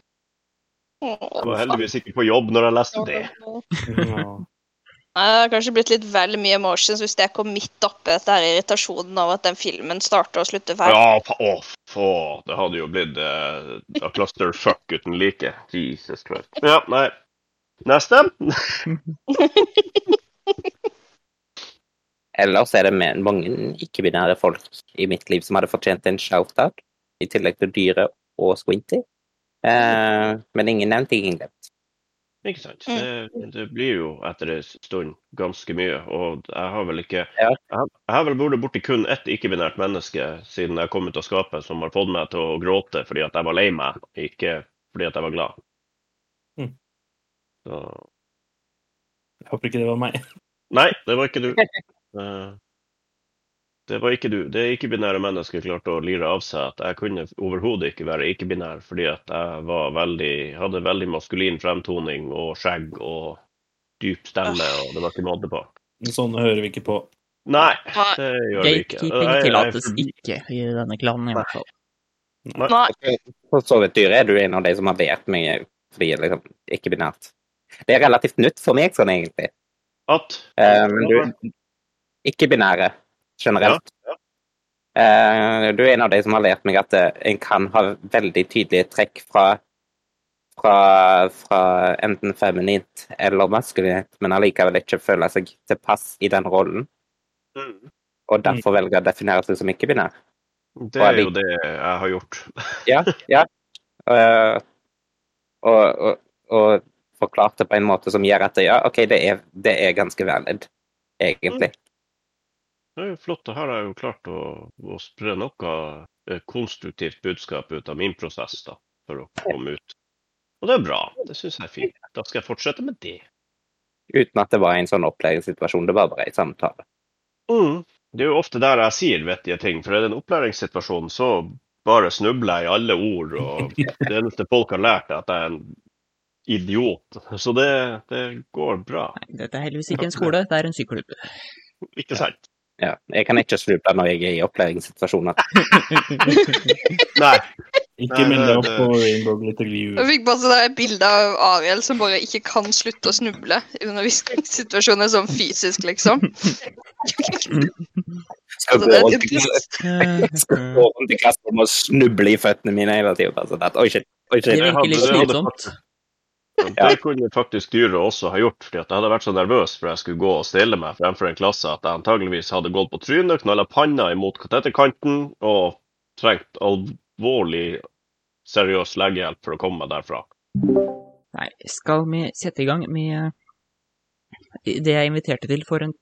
S5: Jeg var heldigvis ikke på jobb når jeg leste det.
S8: Åh.
S4: Ja.
S8: Nei, Det har kanskje blitt litt vel mye emotions hvis jeg kom midt oppi dette her irritasjonen av at den filmen starter og slutter feil.
S5: Ja, fa å, få. Det hadde jo blitt eh, a clusterfuck uten like. Jesus Christ. Ja, nei. Neste.
S1: Ellers er det men- mange ikke-binære folk i mitt liv som hadde fortjent en shout-out, i tillegg til Dyret og Squinty. Eh, men ingen nevnt, ingen glemt.
S5: Ikke sant. Det, det blir jo etter en stund ganske mye, og jeg har vel ikke
S1: Ja.
S5: Jeg, har- jeg har vel vært borti kun ett ikke-binært menneske siden jeg kom ut av skapet, som har fått meg til å gråte fordi at jeg var lei meg, ikke fordi at jeg var glad.
S4: Mm.
S5: Så
S4: Jeg håper ikke det var meg. [laughs]
S5: Nei, det var ikke du. Eh, Det var ikke du. Det ikke-binære mennesket klarte å lire av seg at jeg kunne overhodet ikke være ikke-binær, fordi at jeg var veldig, hadde veldig maskulin fremtoning og skjegg og dyp stemme, og det var ikke måte på.
S4: Sånne hører vi ikke på.
S5: Nei,
S8: Nei.
S5: det gjør vi ikke.
S3: Gatekeeping
S5: Jeg- jeg-
S3: tillates
S5: jeg-
S3: ikke i denne klanen, i hvert fall.
S8: Nei.
S1: For så vidt, Dyret, er du en av de som har vært meg fri, liksom, ikke-binært. Det er relativt nytt for meg, sånn egentlig.
S5: At
S1: Eh, men du Ikke-binære, generelt. Eh, du er en av de som har lært meg at eh, en kan ha veldig tydelige trekk fra, fra, fra enten feminint eller maskulint, men allikevel ikke føle seg tilpass i den rollen,
S5: Mm.
S1: og derfor velger å definere seg som ikke-binær.
S5: Det er jo det jeg har gjort.
S1: Ja, ja. Eh, og, og, og forklart det på en måte som gjør at det, ja, OK, det er, det er ganske valid, egentlig.
S5: Det er jo flott. Da har jeg jo klart å, å spre noe eh, konstruktivt budskap ut av min prosess da, for å komme ut. Og det er bra. Det syns jeg er fint. Da skal jeg fortsette med det.
S1: Uten at det var en sånn opplæringssituasjon, det var bare en samtale.
S5: Det er jo ofte der jeg sier vettige ting, for er det en opplæringssituasjon, så bare snubler jeg i alle ord, og det eneste folk har lært, er at jeg er en idiot. Så det, det går bra.
S3: Nei, dette er heldigvis ikke en skole, det er en
S5: [laughs]
S3: syklubb.
S5: Ikke sant?
S1: Ja, jeg kan ikke slutte når jeg er i opplæringssituasjoner.
S5: Nei.
S4: Ikke
S5: Nei,
S4: meld
S5: det-
S4: deg opp
S5: det-
S4: på Rainbow Glitter Glue.
S8: Jeg fikk bare sånn der bilde av Ariel som bare ikke kan slutte å snuble i undervisningssituasjoner sånn fysisk, liksom.
S1: Skal
S8: Altså, det
S1: gå
S8: er
S1: rundt i-
S8: typisk.
S1: [laughs] skal gå rundt i klasserommet og snuble i føttene mine hele tida. Altså, det- oi, shit. Oi,
S3: Det
S1: shit.
S5: hadde-
S3: virker litt
S5: det hadde
S3: slitsomt.
S5: Det kunne faktisk dyret også ha gjort, fordi at jeg hadde vært så nervøs for jeg skulle gå og stille meg fremfor en klasse at jeg antageligvis hadde gått på trynet, knalla panna imot kateterkanten og trengt alvorlig seriøs legehjelp for å komme meg derfra.
S3: Nei, skal vi sette i gang med eh, det jeg inviterte til for en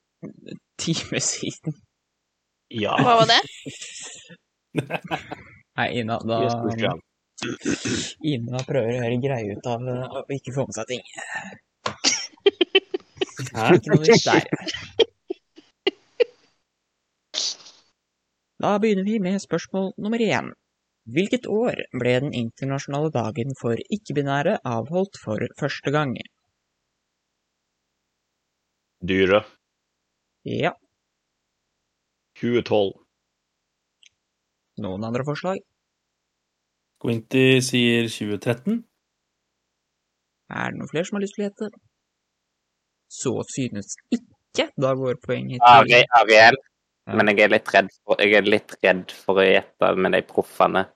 S3: time siden?
S5: Ja.
S8: Hva var det?
S3: Nei, Ina, da
S5: Jesus Christ.
S3: Ina prøver å gjøre greie ut av eh, å ikke få med seg ting.
S4: Hæ?
S3: Ikke noe vits der. Da begynner vi med spørsmål nummer én. Hvilket år ble den internasjonale dagen for ikke-binære avholdt for første gang?
S5: Dyret.
S3: Ja,
S5: 2012.
S3: noen andre forslag?
S4: Quinty sier 2013.
S3: Er det noen flere som har lyst til å gjette? Så synes ikke da går poenget til
S1: Ari- Ariel. Men jeg er litt redd for, jeg er litt redd for å gjette med de proffene.
S3: [laughs]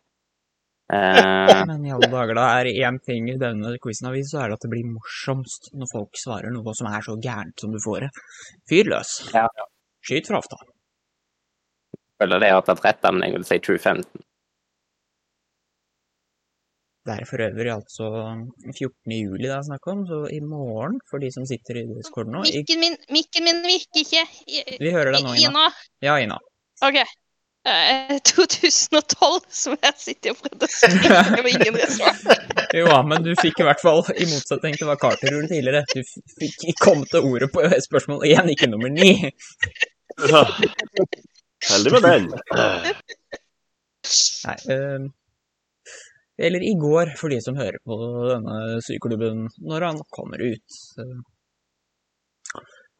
S1: Eh,
S3: Men i alle dager, da er det én ting i denne quizen av så er det at det blir morsomst når folk svarer noe som er så gærent som du får det. Fyr løs.
S1: Ja.
S3: Skyt fra hofta.
S1: jeg føler det jeg har tatt rett, men jeg vil si 2015.
S3: Det er for øvrig altså 14. juli det er snakk om, så i morgen, for de som sitter i discord nå i...
S8: Mikken min, mikken min virker ikke. I-
S3: Vi hører deg nå, Ina.
S8: Ina.
S3: Ja, Ina.
S8: OK. Eh, [laughs] 2012, som jeg sitter og prøvde å skrive. Det var ingen respons.
S3: Jo, ja, men du fikk i hvert fall, i motsetning til hva Carter gjorde tidligere, du f- fikk kom til ordet på spørsmål én, ikke nummer ni.
S5: Ja. [laughs] Heldig med den.
S3: Nei. eh, eller i går, for de som hører på denne syklubben når han kommer ut.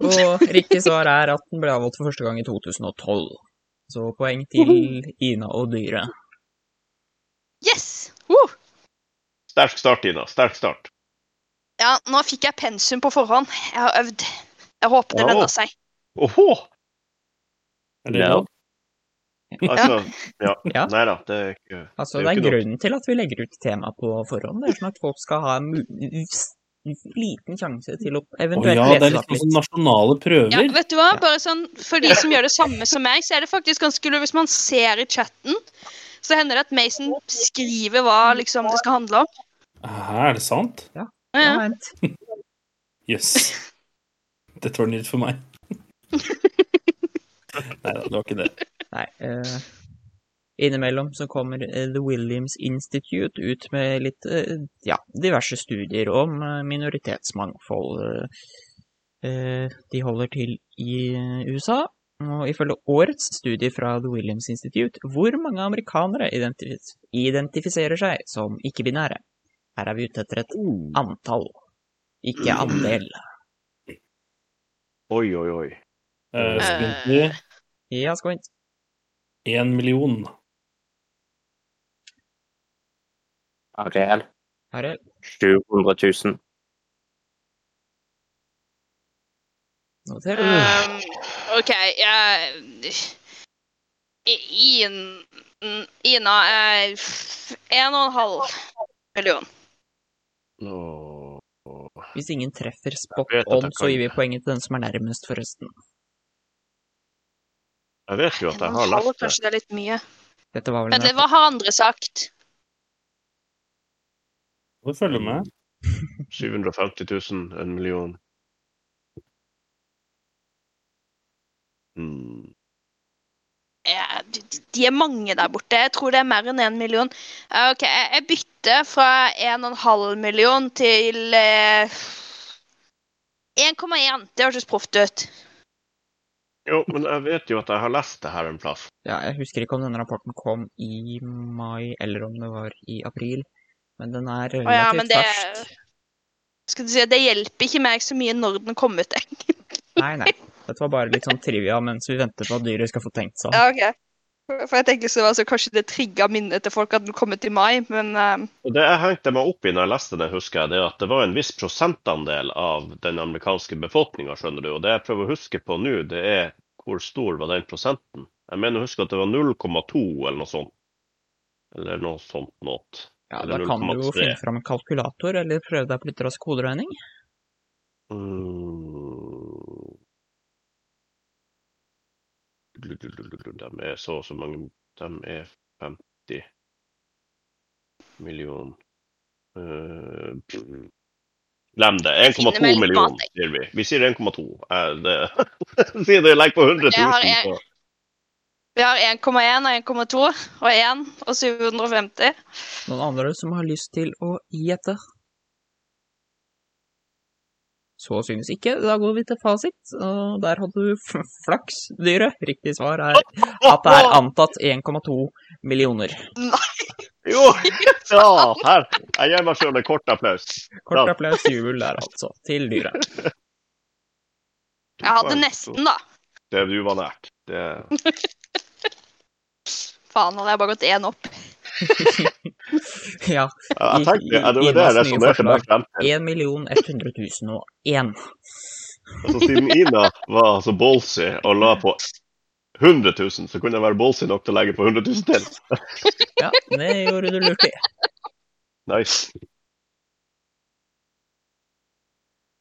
S3: Eh, Og riktig svar er at den ble avholdt for første gang i 2012. Så poeng til Ina og dyret.
S8: Yes! Woo!
S5: Sterk start, Ida. Sterk start.
S8: Ja, nå fikk jeg pensum på forhånd. Jeg har øvd. Jeg håper det
S5: Wow.
S8: lønna seg.
S5: Åhå!
S4: Er det
S1: Ja.
S4: lov?
S5: Altså, ja.
S3: Ja.
S5: Nei da, det er ikke
S3: Altså, det
S5: Det er
S3: er
S5: jo ikke noe-
S3: grunnen til at vi legger ut tema på forhånd. Det er sånn at folk skal ha en mu- s- liten sjanse til å
S4: Å
S3: eventuelt
S4: ja, det
S3: lese
S4: er
S3: det
S4: litt
S3: opp
S4: sånn som
S3: litt.
S4: nasjonale
S8: Ja,
S4: prøver.
S8: vet du hva? Bare sånn, For de som gjør det samme som meg, så er det faktisk ganske lurt hvis man ser i chatten. Så hender det at Mason skriver hva liksom, det skal handle om.
S4: Hæ, er det sant?
S8: Ja, ja.
S3: Ja, vent.
S4: Jøss. Yes.
S8: [laughs]
S4: Dette var nytt for meg. Nei da, det var ikke det.
S3: Nei. eh, innimellom så kommer eh, The Williams Institute ut med litt eh, ja, diverse studier om eh, minoritetsmangfold. Eh, eh, de holder til i eh, USA. Og ifølge årets studie fra The Williams Institute, hvor mange amerikanere identifis identifiserer seg som ikke-binære? Her er vi ute etter et antall, ikke andel.
S5: Oi, oi, oi.
S4: Eh, Spindler,
S3: Ja, skal vi
S4: én million.
S1: Ariel.
S3: Her er
S1: 700 000.
S3: noter.
S8: Um, [sighs] OK, jeg I- In, Ina er f- en og en halv million.
S5: Nå-
S3: Hvis ingen treffer spot
S5: Jeg vet at
S3: on,
S5: jeg
S3: så
S5: kan.
S3: gir vi poenget til den som er nærmest, forreøsten.
S5: Jeg vet jo at jeg
S8: En og
S5: har
S8: en halv,
S5: lest det.
S8: kanskje det er litt mye.
S3: Dette var vel
S8: Vent
S3: den
S8: litt, hva har andre sagt?
S4: Må du følge med?
S5: 750 000, en million. Mm.
S8: Ja, de- de- de er mange der borte. Jeg tror det er mer enn én million. Eh, OK, jeg jeg bytter fra en og en halv million til eh, 1,1. Det hørtes proft ut.
S5: Jo, men jeg vet jo at jeg har lest det her en plass.
S3: ja, Jeg husker ikke om denne rapporten kom i mai, eller om det var i april. Men den er relativt
S8: ja, men det-
S3: fersk.
S8: Skal du si, Det hjelper ikke meg så mye når den kom ut. Jeg.
S3: Nei, nei. Dette var bare litt sånn trivia mens vi venter på at dyret skal få tenkt seg om.
S8: Ja, ok. For jeg tenkte så, altså, Kanskje det trigga minnet til folk at den kom ut i mai, men eh,
S5: Og Det jeg hengte meg opp i når jeg leste det, husker jeg, det er at det var en viss prosentandel av den amerikanske befolkninga, skjønner du. Og det jeg prøver å huske på nå, det er hvor stor var den prosenten? Jeg mener å huske at det var 0,2 eller noe sånt. Eller noe sånt noe.
S3: Ja, Da
S5: eller
S3: kan du jo
S5: 0,3.
S3: finne fram en kalkulator, eller prøve deg på litt rask koderegning.
S5: Mm. De er så og så mange De er 50 millioner Eh, Glem det.
S8: Finner
S5: 1,2
S8: meg litt
S5: millioner,
S8: mat,
S5: sier vi. Vi sier 1,2. Eh, det- [laughs] Sier det legger på 100
S8: Jeg har
S5: 000 på
S8: vi har 1,1 og 1,2 og 1 og 750.
S3: Noen andre som har lyst til å gjette? Så synes ikke. Da går vi til fasit, og der hadde du f- flaks, dyret. Riktig svar er at det er antatt 1,2 millioner.
S5: Jo! Ja, her. Jeg gir meg sjøl en kort applaus.
S3: Kort
S5: Ja.
S3: applaus, jubel der altså, til dyret.
S8: Jeg hadde nesten, da.
S5: Det du var nært. Det,
S8: Faen, hadde jeg bare gått én opp.
S3: [laughs] Ja,
S5: jeg tenkte,
S3: I- i-
S5: det var det jeg
S3: Inas nye
S5: resonnerte
S3: forslag.
S5: meg frem til.
S3: 1 101.
S5: Altså, siden Ina var så ballsy og la på 100 000, så kunne jeg være ballsy nok til å legge på 100 000 til.
S3: Ja, det gjorde du lurt i.
S5: Nice.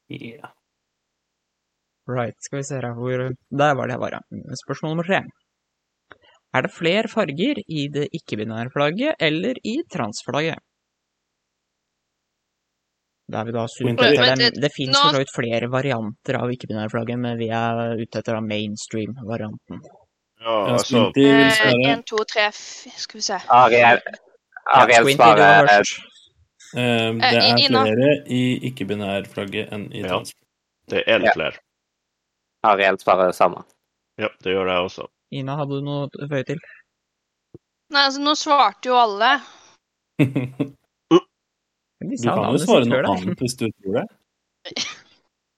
S4: Ja.
S3: Right, skal vi se her hvor Der var det jeg var, ja. Spørsmål nummer tre. Er det flere farger i det ikke-binære flagget eller i transflagget? Der vi da
S4: Vent
S3: supper
S4: litt.
S3: Det,
S8: Vent litt.
S3: er- det fins
S8: Nå-
S3: for så vidt flere varianter av ikke-binære flagget, men vi er ute etter da mainstream-varianten.
S5: Ja,
S4: Ja,
S5: altså,
S4: Splinter vil svare.
S8: Én, Eh, to, tre, f- skal vi se.
S1: Ariel,
S3: Ja,
S1: Ariel
S3: Squinty, du var
S1: svarer eh,
S3: først.
S4: Eh, Det
S8: Eh,
S4: er
S8: I- Ina.
S4: flere i ikke-binærflagget enn i
S5: Ja.
S4: trans.
S5: det er en
S1: Ja.
S5: flere.
S1: Ariel svarer samme.
S5: Ja, det gjør jeg også.
S3: Ina, hadde du noe å føye til?
S8: Nei, altså, nå svarte jo alle.
S4: [laughs] Du
S3: Men de sa
S4: kan jo svare
S3: navnet sitt
S4: noe
S3: før deg.
S4: annet hvis du tror det.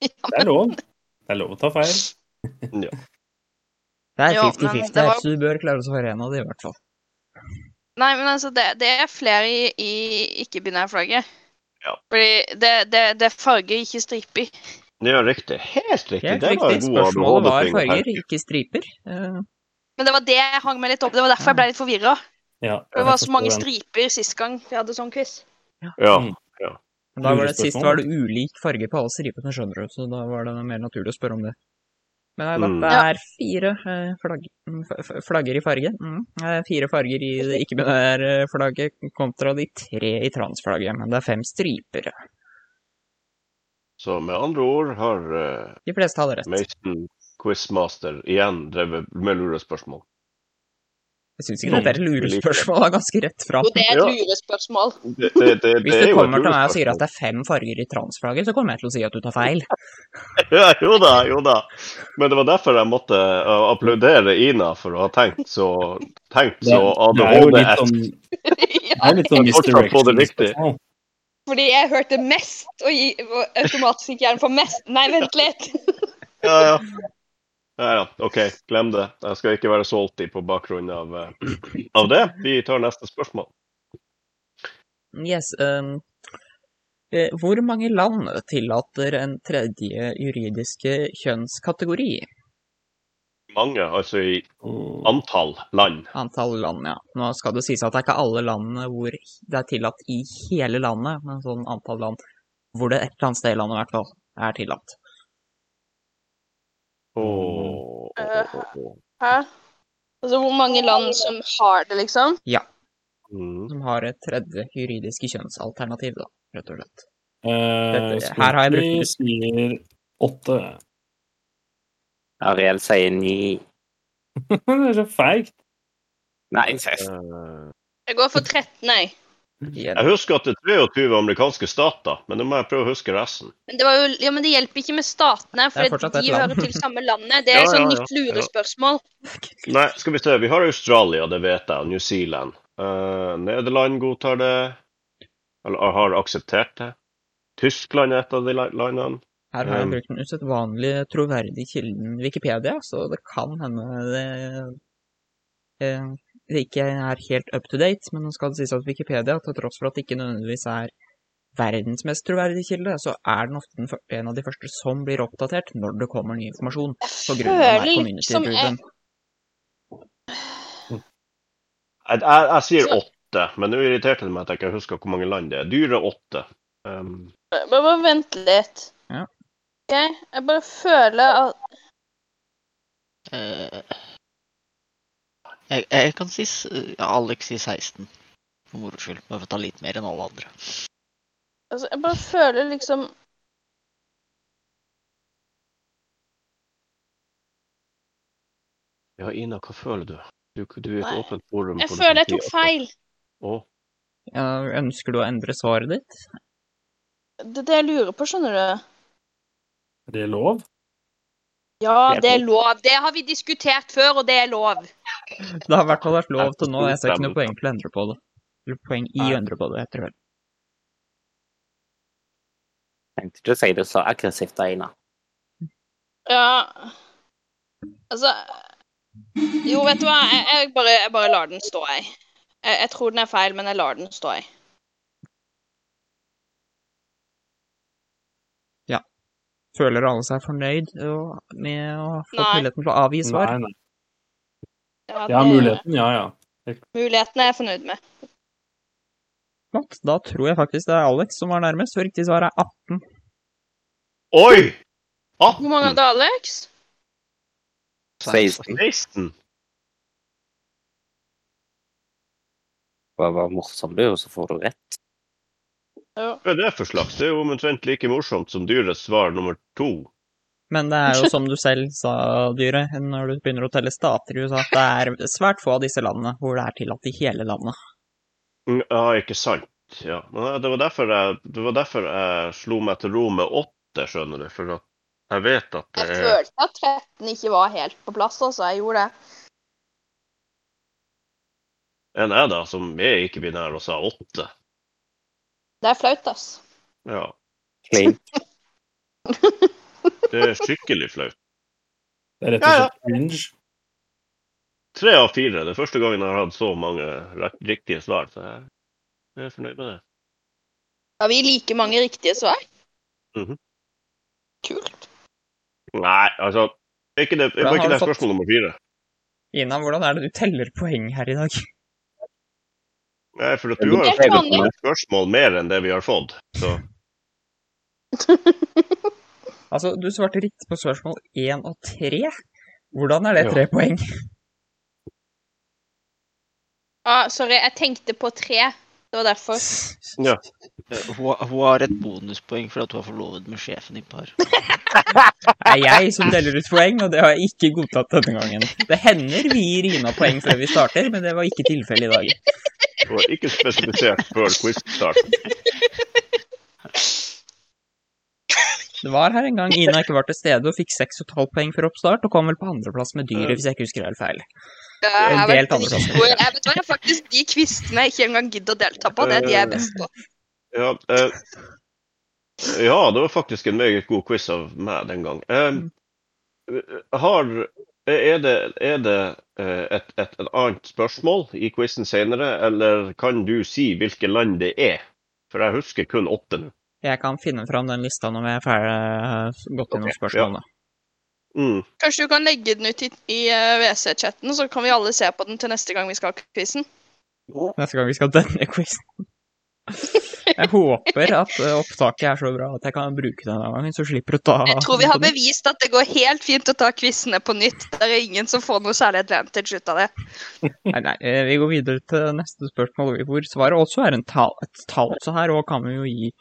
S8: Ja,
S4: Det er lov. Det er lov å ta feil.
S3: Det er
S8: Jo, men
S3: 50-50
S8: det
S3: her,
S8: var-
S3: så du bør klare å svare en av de i hvert fall.
S8: Nei, men altså, det, det er flere i, i ikke-binære flagget.
S5: Ja.
S8: Fordi det, det, det er farger, ikke striper.
S5: Ja, riktig. Helt riktig.
S3: Helt
S5: Det var
S3: riktig.
S5: en god
S3: Spørsmålet var
S5: ADHD-ting.
S3: farger, ikke striper. Eh,
S8: Men det var det jeg hang meg litt opp Det var derfor jeg ble litt forvirra.
S4: Ja,
S8: Det var så mange
S4: jeg forstår den.
S8: striper sist gang vi hadde sånn quiz.
S5: Ja.
S3: Mm. men da var
S4: Lurespørsmål.
S3: det Sist var det ulik farge på alle stripene, skjønner du, så da var det mer naturlig å spørre om det. Men nei,
S5: Mm.
S3: dette er fire eh, flagg, mm, f- f- flagger i farge. Mm. eh, Fire farger i det ikke-binære flagget kontra de tre i transflagget, men det er fem striper.
S5: Så med andre ord har eh,
S3: De fleste hadde rett.
S5: Mason Quizmaster igjen drevet med lurespørsmål.
S3: Jeg syns ikke dette er et
S5: Veldig
S3: lurespørsmål, det er ganske rett fram.
S8: Og det er
S5: Ja.
S8: et lurespørsmål. [laughs]
S5: Det, det, det, det
S3: Hvis
S5: er
S3: du
S5: jo et
S3: kommer til meg og sier at
S5: lurespørsmål.
S3: det er fem farger i transflagget, så kommer jeg til å si at du tar feil.
S5: Ja, jo da, jo da. Men det var derfor jeg måtte eh, applaudere Ina for å ha tenkt så tenkt
S4: Det,
S5: så
S4: det er jo litt
S5: ADHD-esk.
S4: sånn, det
S8: ja,
S4: er litt sånn liksom.
S5: Jeg fortsatt på det riktig.
S4: misdirection-spørsmål.
S8: fordi jeg hørte mest, og gi- og automatisk gikk hjernen for mest. Nei, vent litt.
S5: Ja, ja. Ja, ja. OK, glem det. Jeg skal ikke være salty på bakgrunn av, eh, av det. Vi tar neste spørsmål.
S3: [laughs] Yes. ehm, eh, hvor mange land tillater en tredje juridiske kjønnskategori?
S5: Mange, altså i
S4: Og-
S5: antall land.
S3: Antall land, ja. Nå skal det sies at det er ikke alle landene hvor det er tillatt i hele landet, men sånn antall land hvor det et eller annet sted i landet i hvert fall er tillatt.
S5: Åh, åh, åh, åh.
S8: Hæ? Altså, hvor mange land som har det, liksom?
S5: Mm.
S3: Som har et tredje juridiske kjønnsalternativ, da, rett og slett.
S4: Eh,
S3: Dette- her har jeg brukt-
S4: Spooky sier åtte. [laughs]
S1: Ariel sier ni.
S4: det er så feigt.
S1: Nei, seks.
S5: Eh,
S8: Jeg går for 13, jeg.
S3: Igjen.
S5: Jeg husker at det er 23 amerikanske stater, men nå må jeg prøve å huske resten.
S8: Men det, var jo, ja, men det hjelper ikke med statene,
S3: Det
S8: for
S3: er
S8: de
S3: fortsatt et land.
S8: hører til samme landet. Det
S3: [laughs]
S5: Ja,
S8: er
S5: ja,
S8: sånn
S5: ja.
S8: nytt lurespørsmål.
S5: Nei, skal vi se. Vi har Australia, det vet jeg, og New Zealand. Eh, Nederland godtar det, eller har akseptert det. Tyskland er et av de la- landene.
S3: Her har jeg brukt den usedvanlig troverdige kilden Wikipedia, så det kan hende det, eh, det ikke er helt up to date, men nå skal det sies at Wikipedia, til tross for at det ikke nødvendigvis er verdens mest troverdige kilde, så er den ofte den, fyr- en av de første som blir oppdatert når det kommer ny informasjon. På grunn av
S8: Føler
S3: den her
S8: liksom jeg
S3: community-gruppen.
S5: Jeg, jeg, jeg sier åtte, men nå irriterte det meg at jeg ikke husker hvor mange land det er. Dyre åtte. Um,
S8: Bare, bare vent litt.
S3: Ja.
S8: Ok, Jeg bare føler at
S6: Eh, jeg, jeg kan si s- ja, Alex sier 16, for moro skyld. Bare for å ta litt mer enn alle andre.
S8: altså, Jeg bare føler liksom
S5: ja, Ina, hva føler du? Du, du er i et
S8: Nei,
S5: åpent forum.
S8: Jeg
S3: sånn
S5: hvor du
S8: føler
S5: kan
S8: jeg tok
S5: si at-
S8: feil.
S5: Å,
S3: Ja, ønsker du å endre svaret ditt?
S8: Det er det jeg lurer på, skjønner du.
S4: Er det lov?
S8: Ja, det er lov. Det har vi diskutert før, og det er lov.
S3: Det har i hvert fall vært lov til nå, jeg ser ikke noe poeng til å endre på det. Eller poeng i å endre på det, heter det vel.
S1: Tenkte ikke å si det så aggressivt, Aina.
S8: Ja Altså Jo, vet du hva? Jeg, jeg, bare, jeg bare lar den stå, jeg. jeg. Jeg tror den er feil, men jeg lar den stå, jeg.
S3: Føler alle seg fornøyd og- med å ha fått
S8: Nei.
S3: muligheten til å avgi svar?
S4: Nei, nei.
S8: Ja,
S4: Ja,
S8: det-
S4: muligheten, ja ja.
S8: Muligheten er jeg fornøyd med.
S3: Flott. Da tror jeg faktisk det er Alex som var nærmest, for riktig svar er 18.
S5: Oi! Ah!
S8: Hvor mange
S5: 18!
S8: hadde Alex?
S1: 16.
S5: 16.
S1: Bare var morsom du, og så får du rett.
S8: Eh.
S5: Hva er det for slags? Det er jo omtrent like morsomt som dyrets svar nummer to.
S3: Men det er jo som du selv sa, Dyre, når du begynner å telle stater i USA, at det er svært få av disse landene hvor det er tillatt i hele landet.
S5: Mm, Ja, ikke sant. Ja. Men det var derfor jeg, det var derfor jeg slo meg til ro med åtte, skjønner du. For at jeg vet at
S8: Jeg
S5: det er
S8: følte at 13 ikke var helt på plass, altså. Jeg gjorde det.
S5: en jeg da, som er ikke-binær og sa åtte.
S8: Det er flaut, ass.
S5: Ja.
S8: [laughs]
S1: Clean.
S5: Det er skikkelig flaut.
S4: Det er rett og
S5: Ja, ja.
S4: slett cringe.
S5: Tre av fire. Det er første gangen jeg har hatt så mange rett- riktige svar. Så jeg jeg er fornøyd med det.
S8: Mhm. Har vi like mange riktige svar? Kult.
S5: Nei, altså er ikke det,
S3: Hvordan
S5: var
S3: har
S5: ikke det
S3: du fått-
S5: spørsmål nummer fire?
S3: Ina, hvordan er det du teller poeng her i dag?
S5: Nei, for at du har jo
S8: Jeg kan
S5: fått et spørsmål mer enn det vi har fått. Så
S3: Altså, du svarte riktig på spørsmål én og tre. Hvordan er det
S5: Ja.
S3: tre poeng?
S8: Ah, sorry, jeg tenkte på tre. Det var derfor.
S5: Ja.
S6: eh, Hun, har- hun har et bonuspoeng for at hun er forlovet med sjefen i par.
S3: Det er jeg som deler ut poeng, og det har jeg ikke godtatt denne gangen. Det hender vi gir Ina poeng før vi starter, men det var ikke tilfellet i dag.
S5: det var ikke spesifisert før quiz-start.
S3: Det var her en gang Ina ikke var til stede og fikk 6,5 poeng for oppstart, og kom vel på andreplass med dyret, hvis jeg ikke husker helt feil.
S8: Jeg,
S3: en
S8: har vært
S3: delt andre plass.
S8: dritgod. jeg vet hva, jeg faktisk De kvistene jeg ikke engang gidder å delta på, det er de jeg er best på.
S5: Ja, eh, ja, det var faktisk en meget god quiz av meg den gang. Eh, har, eh, er det, er det eh, et, et, et annet spørsmål i quizen senere, eller kan du si hvilke land det er? For jeg husker kun åtte nå.
S3: Jeg kan finne fram den lista når vi er ferdig eh, gått gjennom
S5: Ok,
S3: spørsmålene.
S5: Mm.
S8: Kanskje du kan legge den ut i, i WC-chatten, så kan vi alle se på den til neste gang vi skal ha quizen.
S3: Neste gang vi skal ha denne quizen. Jeg håper at eh, opptaket er så bra at jeg kan bruke den denne gangen, så slipper du å ta
S8: Jeg tror vi har bevist at det går helt fint å ta quizene på nytt. Det er ingen som får noe særlig advantage ut av det.
S3: Nei, nei, eh, vi går videre til neste spørsmål, hvor svaret også er en tall, et tall. Så her òg kan vi jo gi,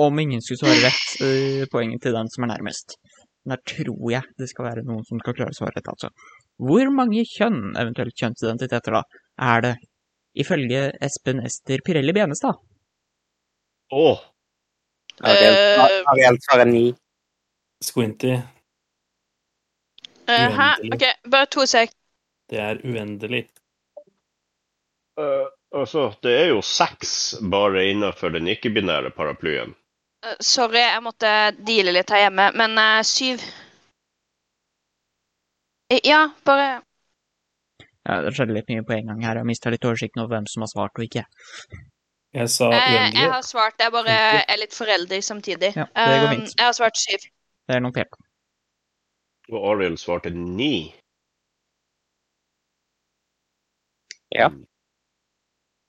S3: om ingen skulle svare rett, eh, poenget til den som er nærmest. Men der tror jeg det skal være noen som skal klare å svare rett, altså. Hvor mange kjønn, eventuelt kjønnsidentiteter, da, er det ifølge Espen Ester Pirelli Benestad?
S5: Åh,
S1: Ariel- Ariel svarer ni.
S4: Squinty,
S8: Eh, hæ? OK, bare to sek.
S4: det er uendelig.
S5: eh, altså, det er jo seks bare innenfor den ikke-binære paraplyen.
S8: Eh, sorry, jeg måtte deale litt her hjemme, men eh, syv Eh, Ja, bare
S3: Ja, det skjedde litt mye på en gang her, jeg mista litt oversikten over hvem som har svart og ikke.
S4: Jeg sa
S8: Eh, jeg, jeg
S4: uendelig.
S8: har svart. Jeg bare er litt forelder samtidig.
S3: Ja, det går
S8: Eh,
S3: fint.
S8: jeg har svart syv.
S3: Det er notert.
S5: Og Ariel svarte ni.
S1: Ja.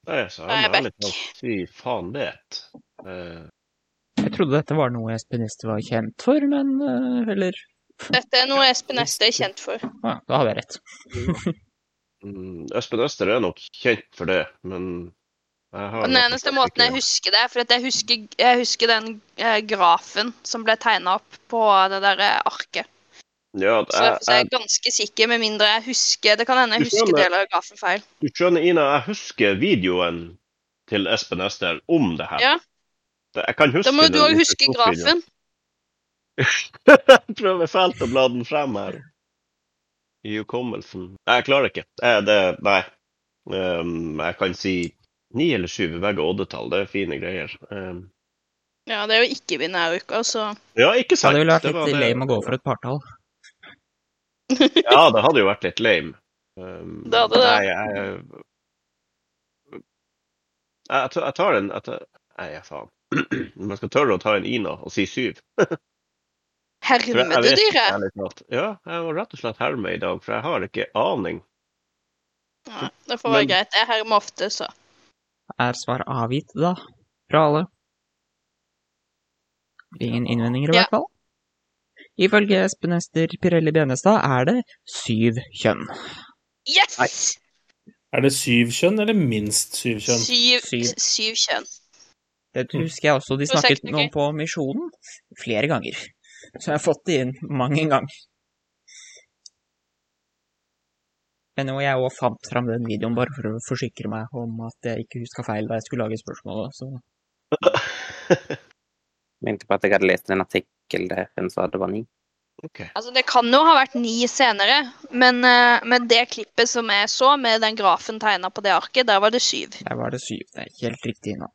S5: Nei, så
S8: Da er
S5: jeg
S8: jeg
S5: må ærlig
S8: back.
S5: talt si faen det. Eh,
S3: Jeg trodde dette var noe Espen Ester var kjent for, men eh, Eller
S8: Dette er noe Espen Este er kjent for.
S3: ja, da hadde jeg rett.
S5: mm, Espen Øster er nok kjent for det, men jeg har
S8: Og den eneste måten jeg husker det, er for at jeg husker, jeg husker den eh, grafen som ble tegna opp på det der eh, arket.
S5: ja,
S8: Så
S5: jeg,
S8: derfor så er jeg ganske sikker, med mindre jeg husker Det kan hende jeg
S5: Du
S8: husker
S5: skjønner.
S8: deler av grafen feil.
S5: Du skjønner, Ina, jeg husker videoen til Espen Ester om det her.
S8: Ja.
S5: Det- Jeg kan huske
S8: Da må jo du
S5: den
S8: òg huske
S5: Facebook-videoen.
S8: grafen.
S5: [laughs] Jeg prøver fælt å bla den frem her. I hukommelsen. Nei, jeg klarer ikke. Eh, det, nei. Um, jeg kan si ni eller syv. Begge oddetall. Det er fine greier. Um,
S8: Ja, det er jo ikke binære uker, så
S5: ja, ikke
S3: Ja,
S5: sant.
S3: det ville vært
S5: var
S3: litt lame å gå for et partall.
S5: Ja, det hadde jo vært litt lame. Um,
S8: Det hadde det.
S5: Nei, jeg, jeg, jeg, jeg tar en jeg tar, Nei, ja, faen. [clears throat] Man skal tørre å ta en Ina og si syv. For jeg, jeg vet ikke,
S8: hermededyret.
S5: ærlig talt. Ja, jeg må rett og slett herme i dag, for jeg har ikke aning.
S8: Ja, det får være
S5: Men-
S8: greit. Jeg hermer ofte, så.
S3: Er svar avgitt, da? Fra alle? Ingen innvendinger, i
S8: Ja.
S3: hvert fall. Ifølge Espen Ester Pirelli Benestad er det syv kjønn.
S8: Yes!
S4: Er det syv kjønn, eller minst syv kjønn?
S8: Syv,
S3: Syv.
S8: syv kjønn.
S3: Det
S8: Mm.
S3: husker jeg også de
S8: Prosjekt,
S3: snakket
S8: ok.
S3: om på Misjonen flere ganger. Så jeg har fått det inn mang en gang. Men jo, jeg òg fant fram den videoen bare for å forsikre meg om at jeg ikke huska feil da jeg skulle lage spørsmålet. Så
S1: Mente på at jeg hadde lest en artikkel der en sa det var ni.
S8: Altså, det kan jo ha vært ni senere, men eh, med det klippet som jeg så, med den grafen tegna på det arket, der var det syv.
S3: der var det syv. Det er helt riktig nå.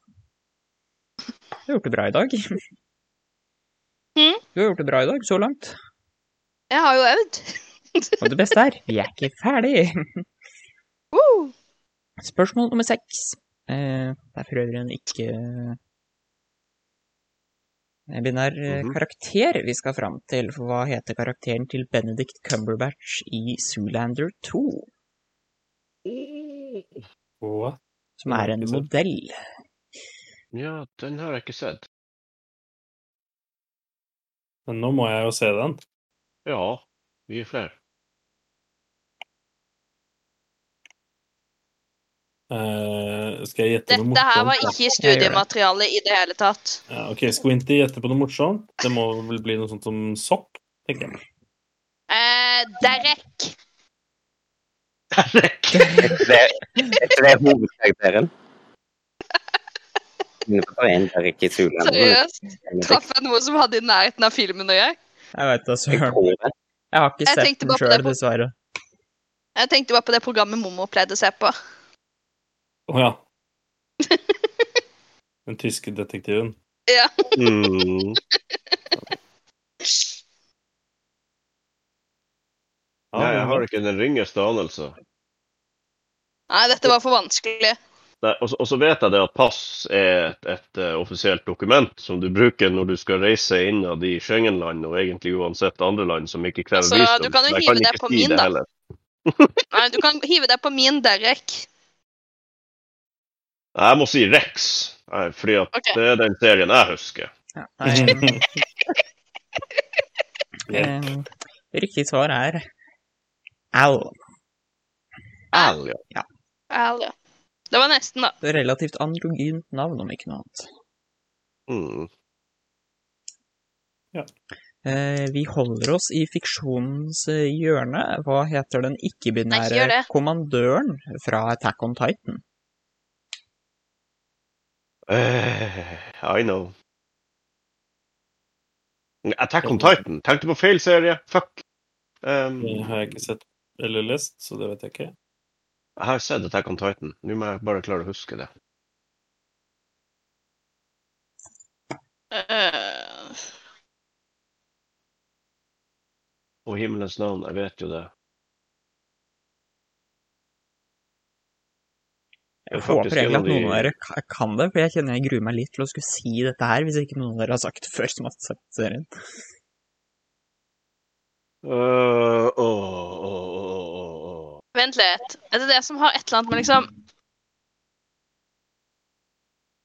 S3: Du har gjort det bra i dag.
S8: Mm.
S3: Du har gjort det bra i dag så langt.
S8: Jeg har jo øvd.
S3: Og det beste er, vi er ikke ferdig.
S8: Woo!
S3: Spørsmål nummer seks. Eh, det er for øvrig en ikke Binær eh,
S5: Mhm.
S3: karakter vi skal fram til, for hva heter karakteren til Benedict Cumberbatch i Zoolander 2?
S4: What?
S3: Som er en
S4: Ikke sant?
S3: modell.
S5: Ja, den har jeg ikke sett.
S4: Men nå må jeg jo se den.
S5: Ja, vi er
S8: [laughs]
S5: flere.
S4: Eh, skal jeg gjette noe morsomt?
S8: Dette her var ikke i
S3: Jeg gjør det.
S8: studiematerialet i det hele tatt.
S4: ja, OK, Squinty gjetter på noe morsomt. Det må vel bli noe sånt som sopp, tenker jeg.
S8: Eh, Derek.
S1: Er ikke det, er ikke det
S8: [laughs]
S1: hovedkarakteren? Innenfor en der ikke Zoolander,
S8: Seriøst.
S1: men det er
S8: Traff jeg noe som hadde i nærheten av filmen å gjøre?
S3: Jeg veit da
S1: ikke
S3: søren.
S1: koret.
S3: Jeg har ikke
S8: Jeg
S3: sett
S8: tenkte
S3: den
S8: bare på
S3: sjøl,
S8: det på-
S3: dessverre.
S8: Jeg tenkte bare på det programmet mormor pleide å se på.
S4: Å
S8: [laughs]
S4: ja. Den tyske detektiven.
S5: Mm.
S4: Ja,
S5: Nei, jeg har ikke den ringeste anelse.
S8: Nei, dette var for vanskelig.
S5: Nei, og, så- og så vet jeg det at pass er et, et eh, offisielt dokument som du bruker når du skal reise innad i Schengen-land, og egentlig uansett andre land som ikke krever
S8: Altså,
S5: visum.
S8: du kan jo
S5: Men jeg
S8: hive
S5: ikke
S8: deg på
S5: si
S8: min,
S5: det
S8: da.
S5: heller.
S8: Nei, du kan hive deg på min Derek.
S5: Nei, Jeg må si Rex, Nei, fordi at
S8: Ok.
S5: det er den serien jeg husker.
S3: Ja, nei, [laughs] eh, riktig svar er Al.
S5: Al, ja.
S8: Ærlig. Det var nesten, da.
S3: Det er Relativt androgynt navn, om ikke noe annet.
S5: Mm.
S3: Eh, vi holder oss i fiksjonens eh, hjørne. Hva heter den
S8: Nei, ikke gjør
S3: ikke-binære
S8: det.
S3: kommandøren fra Attack on Titan?
S5: Eh, I know. Attack on Titan. Tenkte på feil serie. Fuck. Um,
S4: Det
S5: jeg
S4: har jeg ikke sett eller lest, så det vet jeg ikke.
S5: har sett Attack on Titan. Nå må jeg bare klare å huske det.
S8: Eh,
S5: Og himmelens navn, jeg vet jo det. Det er
S3: Jeg håper
S5: faktisk en
S3: egentlig
S5: av
S3: at noen av
S5: de-
S3: dere ka- kan det, for jeg kjenner jeg gruer meg litt til å skulle si dette her, hvis ikke noen av dere har sagt det før som har sett serien.
S5: Øh, åh, åh, åh, åh, åh.
S8: vent litt. Er det det som har et eller annet med liksom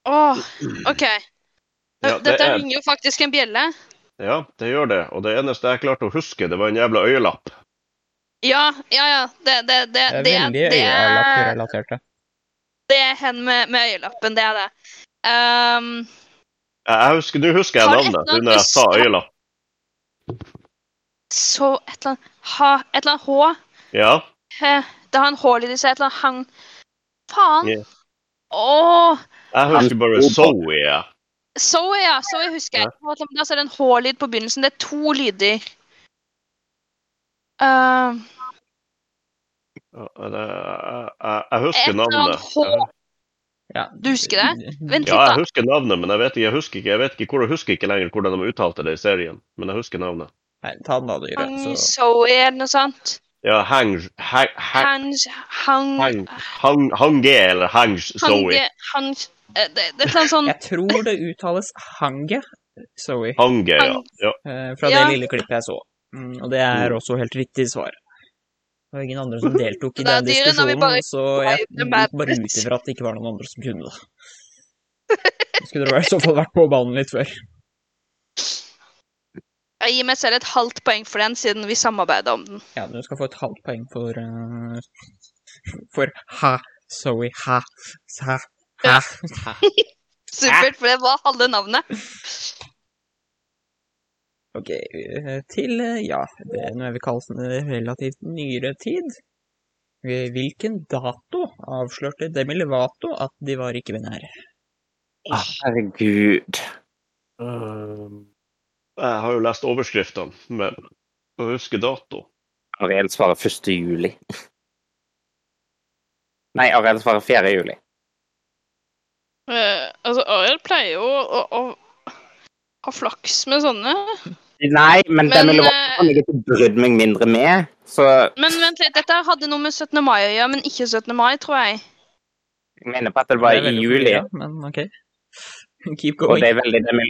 S8: Åh, OK.
S5: Ja, det
S8: Dette
S5: er-
S8: ringer jo faktisk en bjelle.
S5: Ja, det gjør det. Og det eneste jeg klarte å huske, det var en jævla øyelapp.
S8: Ja, ja, ja. Det, det, det,
S3: Det er
S8: Eh, det,
S3: veldig
S8: det er
S3: øyelapp-relatert.
S8: Det er hen med, med øyelappen, det er det. Ehm,
S5: Jeg- Jeg husker, Nå husker jeg
S8: Har det et
S5: navnet,
S8: eller annet
S5: når jeg sa
S8: med smak?
S5: øyelapp.
S8: så et eller annet ha, Et eller annet H.
S5: Ja,
S8: Eh, Det har en H-lyd i seg. Et eller annet hang... Faen!
S5: Ja.
S8: Åh!
S5: jeg husker bare Zoe. jeg.
S8: Zoe, ja. Zoe husker jeg. Da er det en H-lyd på begynnelsen. Det er to lyder. Ehm,
S5: Ja, det- Jeg, jeg, jeg
S8: et
S5: husker
S8: eller
S5: navnet.
S8: annet H.
S3: Ja.
S8: Du husker det? Vent
S5: Ja, jeg
S8: litt, da.
S5: husker navnet, men jeg vet, ikke- jeg husker ikke, jeg vet ikke, hvor, jeg husker ikke lenger hvordan de uttalte det i serien. Men jeg husker navnet.
S3: Nei, ta den da, dere.
S8: Hang
S3: Så
S8: Zoe, eller noe sånt.
S5: Ja, Hang... Hang... Hang...
S8: Hang Hang
S5: Hang... Hang... Hange, eller Hang Zoe.
S8: Hange Hang eh, Det det er et eller annet sånn
S5: [laughs]
S3: jeg tror det uttales Hange, Zoe,
S5: Hange, ja.
S8: Hang-
S5: ja.
S3: eh, fra
S8: Ja.
S3: det lille klippet jeg så. Mm, Og det er også helt riktig svar. Det var ingen andre
S8: [laughs]
S3: som deltok i
S8: Det er
S3: den
S8: dyre når vi
S3: diskusjonen,
S8: bare-
S3: så jeg
S8: Det er
S3: gikk
S8: bad
S3: bare ut ifra at det ikke var noen andre som
S8: [laughs]
S3: kunne det. Nå Skulle dere i så fall vært på banen litt før.
S8: Jeg gir meg selv et halvt poeng for den, siden vi samarbeider om den.
S3: Ja, du skal få et halvt poeng for eh, For ha, Zoe, ha, ha, ha.
S8: Supert, for det var halve navnet.
S3: Ok, eh, til, eh, ja, det nå er vi kalt eh, relativt nyere tid. Eh, Hvilken dato avslørte Demi Levato at de var ikke-binære?
S1: Ah, Herregud.
S4: Ehm,
S5: Jeg har jo lest overskriftene, men jeg husker dato.
S1: Ariel svarer 1. juli. [laughs] Nei, Ariel svarer 4. juli.
S8: altså, Ariel pleier jo å, ha flaks med sånne.
S1: Nei, men,
S8: Men,
S1: den ville
S8: eh,
S1: vært kan jeg ikke brydd meg mindre med. Så
S8: Men vent litt, dette hadde noe med 17. mai å gjøre, men ikke 17. mai, tror jeg.
S1: jeg mener på at det var
S3: Det er
S1: i
S3: veldig
S1: juli,
S3: forvirra, Men ok, keep
S1: og
S3: going.
S1: det er veldig Demi,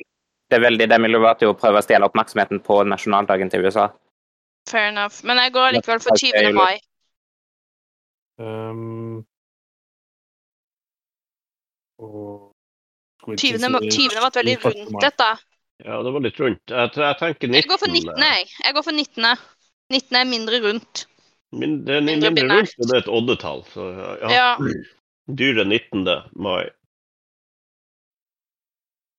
S1: Det er veldig det ville vært jo å prøve å stjele oppmerksomheten på nasjonaldagen til USA.
S8: Fair enough. Men jeg går likevel for
S1: Ok,
S8: 20. mai.
S4: Um, og
S8: 20. ma- 20. var et veldig rundt dette.
S5: Ja, det var litt rundt. Jeg, jeg tenker 19.
S8: Jeg går for 19. jeg. Jeg går for 19. 19 er mindre rundt.
S5: Min, det er
S8: Mindre
S5: mindre,
S8: binært.
S5: rundt, og det er et oddetall. Så ja.
S8: Ja.
S5: [clears throat] Dyret 19. mai.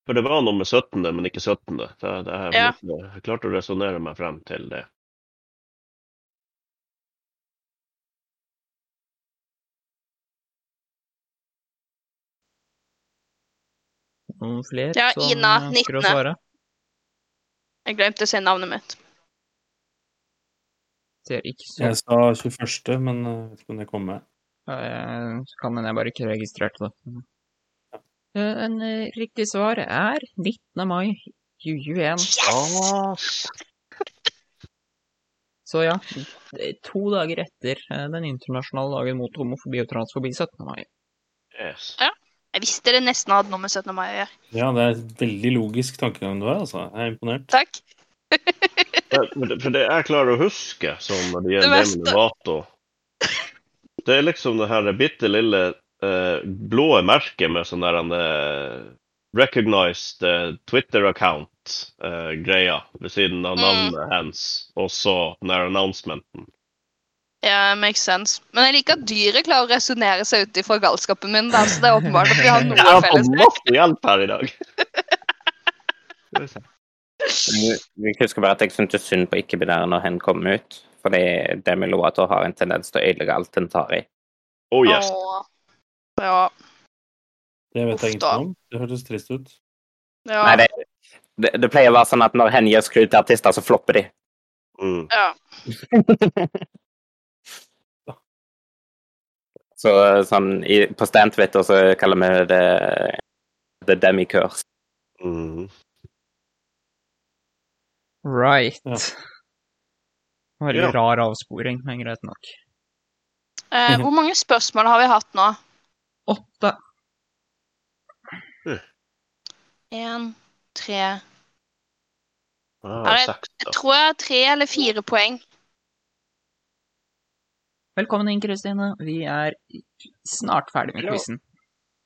S5: For det var noe med 17., men ikke 17. Så det er,
S8: Ja.
S5: jeg klarte å resonnere meg frem til det.
S3: Noen flere
S8: Ja,
S3: som
S8: Ina,
S3: eh, ønsker å
S8: 19.
S3: svare?
S8: Jeg glemte å si navnet mitt.
S3: Ser ikke så
S4: Jeg sa 21., men jeg vet ikke om det kom med.
S3: Eh, Så kan hende jeg bare ikke registrerte det. Eh, En eh, riktig svar er 19. mai 2021. Så ja, eh, to dager etter eh, den internasjonale dagen mot homofobi og transfobi 17. mai.
S5: Yes.
S8: Jeg visste det nesten hadde noe med 17. mai å gjøre.
S4: Ja, det er veldig logisk tankegang du har, altså. Jeg er imponert.
S8: Takk.
S5: Men- men det- For det jeg klarer å huske som når det
S8: Det
S5: gjelder det
S8: verste-
S5: med Novato, det er liksom det her bitte lille eh, blå merket med sånn der en eh, recognized eh, Twitter account-greia ved siden av
S8: Mm.
S5: navnet hans, og så den her announcementen.
S8: Ja, makes sense. Men jeg liker at dyret klarer å resonnere seg ut ifra galskapen min. Da, så det er åpenbart at
S1: [laughs]
S8: vi har
S5: Jeg
S8: noe
S5: har
S8: felles.
S5: fått masse hjelp her i dag! Skal vi se.
S1: Vi husker bare at jeg syntes synd på ikke-binære når hen kom ut. Fordi Demi Lovato har en tendens til å ødelegge alt hun tar i.
S5: Oh yes.
S8: Åh. Ja,
S4: Det vet jeg
S8: Uff da.
S4: ingenting om. Det hørtes trist ut.
S8: ja.
S1: Nei, det, det, det pleier å være sånn at når hen gir skryt til artister, så flopper de.
S5: Mm.
S1: Så sånn, i, På Stantwitter så kaller vi det The Demi Curse.
S5: Mm.
S3: Right.
S4: Ja.
S3: Veldig
S5: Ja.
S3: rar avsporing, men greit nok.
S8: Eh, hvor mange spørsmål har vi hatt nå?
S3: Åtte.
S8: Én, tre
S5: Ah,
S8: Er det-
S5: seks, da.
S8: Jeg tror jeg har tre eller fire poeng.
S3: Velkommen inn, Kristine. Vi er snart ferdig med
S2: Hallo.
S3: quizen.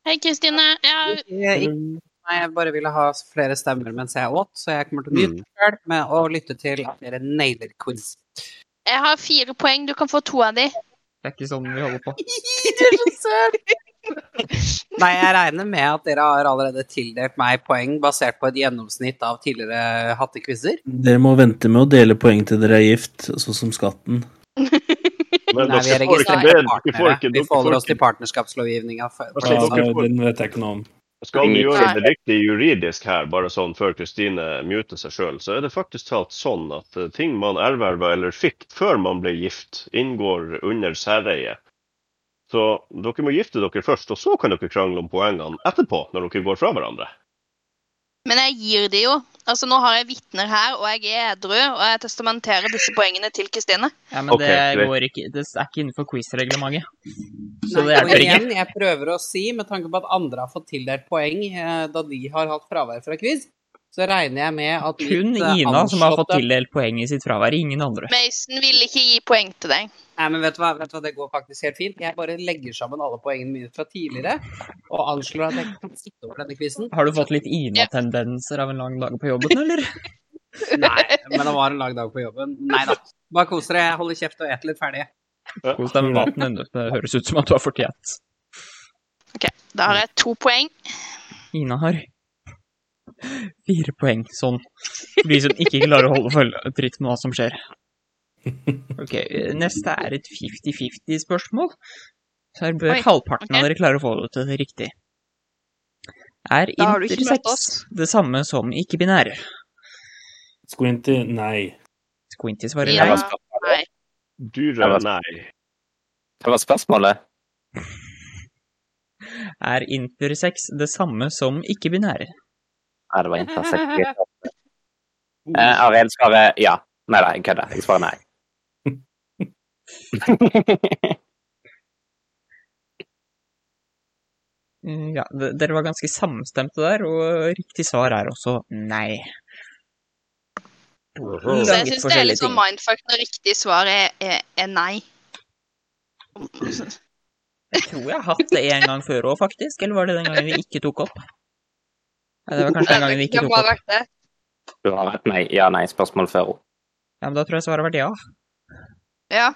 S8: Hei, Kristine. Jeg,
S2: Ikke, ikke, nei, jeg bare ville ha flere stemmer mens jeg åt, så jeg kommer til å nyte
S5: Mm.
S2: meg selv med å lytte til at dere nailer [laughs] quiz.
S8: jeg har fire poeng. Du kan få to av de.
S3: Det er ikke sånn vi holder på.
S2: Du er så søt! Nei, jeg regner med at dere har allerede tildelt meg poeng basert på et gjennomsnitt av tidligere hattekvisser.
S4: Dere må vente med å dele poeng til dere er gift, sånn som skatten.
S5: Men
S2: Nei, vi er
S5: dere får ikke
S2: registrert
S5: del- dere får
S2: partnere.
S5: ikke-
S2: Vi
S5: dere får
S2: forholder oss til
S5: ikke-
S2: partnerskapslovgivninga. for- for
S5: Ja,
S2: det sånn.
S5: dere får-
S4: den vet jeg ikke noe om.
S5: Skal du
S1: Ingen
S5: gjøre
S8: tvil.
S5: det riktig juridisk her, bare sånn før Kristine muter seg sjøl, så er det faktisk talt sånn at eh, ting man erverva eller fikk før man ble gift, inngår under særeie. Så dere må gifte dere først, og så kan dere krangle om poengene etterpå, når dere går fra hverandre.
S8: Men jeg gir de jo. Altså, Nå har jeg vitner her, og jeg er edru, og jeg testamenterer disse poengene til Kristine.
S3: Ja, men
S5: Ok,
S3: det
S5: greit.
S3: går ikke Det er ikke innenfor quiz-reglementet. Så det
S2: Nei, og
S3: hjelper ikke.
S2: igjen, jeg prøver å si, med tanke på at andre har fått tildelt poeng eh, da de har hatt fravær fra quiz, så regner jeg med at
S3: Kun
S2: mitt, eh,
S3: Ina som har fått
S2: anslåtte-
S3: tildelt poeng i sitt fravær, ingen andre.
S8: Mason ville ikke gi poeng til deg.
S2: Nei, men vet du, hva, vet du hva, det går faktisk helt fint. Jeg bare legger sammen alle poengene mine fra tidligere, og anslår at jeg ikke kan sitte over denne quizen.
S3: Har du fått litt Ina-tendenser av en lang dag på jobben,
S2: [laughs]
S3: eller?
S2: Nei, men det var en lang dag på jobben. Nei da. Bare kos dere, jeg holder kjeft og eter litt ferdig.
S3: Kos deg med maten ennå. Det høres ut som at du har fortjent.
S8: Da har jeg to poeng.
S3: Ina har fire poeng, sånn. For de som ikke klarer å holde følge tritt med hva som skjer. Ok, neste er et 50-50-spørsmål. Så her bør
S8: Oi,
S3: halvparten
S8: ok.
S3: av dere klare å få det til det riktig. Er
S8: Da har du ikke møtt
S3: intersex
S8: oss.
S3: det samme som ikke-binære?
S4: Squinty, nei.
S3: Squinty svarer
S1: Det
S8: Ja.
S1: var
S3: nei.
S1: spørsmålet.
S8: Nei.
S5: Dyret, nei.
S1: Det var spørsmålet.
S3: Er intersex det samme som ikke-binære?
S1: Nei, det var intersekt. Eh, Arild svarer ja. Nei da, jeg kødder. Jeg svarer nei.
S3: Mm, Ja, d- dere var ganske samstemte der, og riktig svar er også nei.
S8: Så jeg
S3: Litt
S8: syns det er
S3: forskjellige
S8: litt sånn
S3: ting.
S8: mindfuck når riktig svar er, er, er nei.
S3: Jeg tror jeg har hatt det en gang før òg, faktisk. Eller var det den gangen vi ikke tok opp? Ja, det var kanskje den gangen vi ikke
S8: Det
S3: tok
S8: må ha
S3: opp.
S8: vært det.
S1: Du har hatt nei- ja-nei-spørsmål før.
S3: Ja, men Da tror jeg svaret har vært ja.
S8: Ja.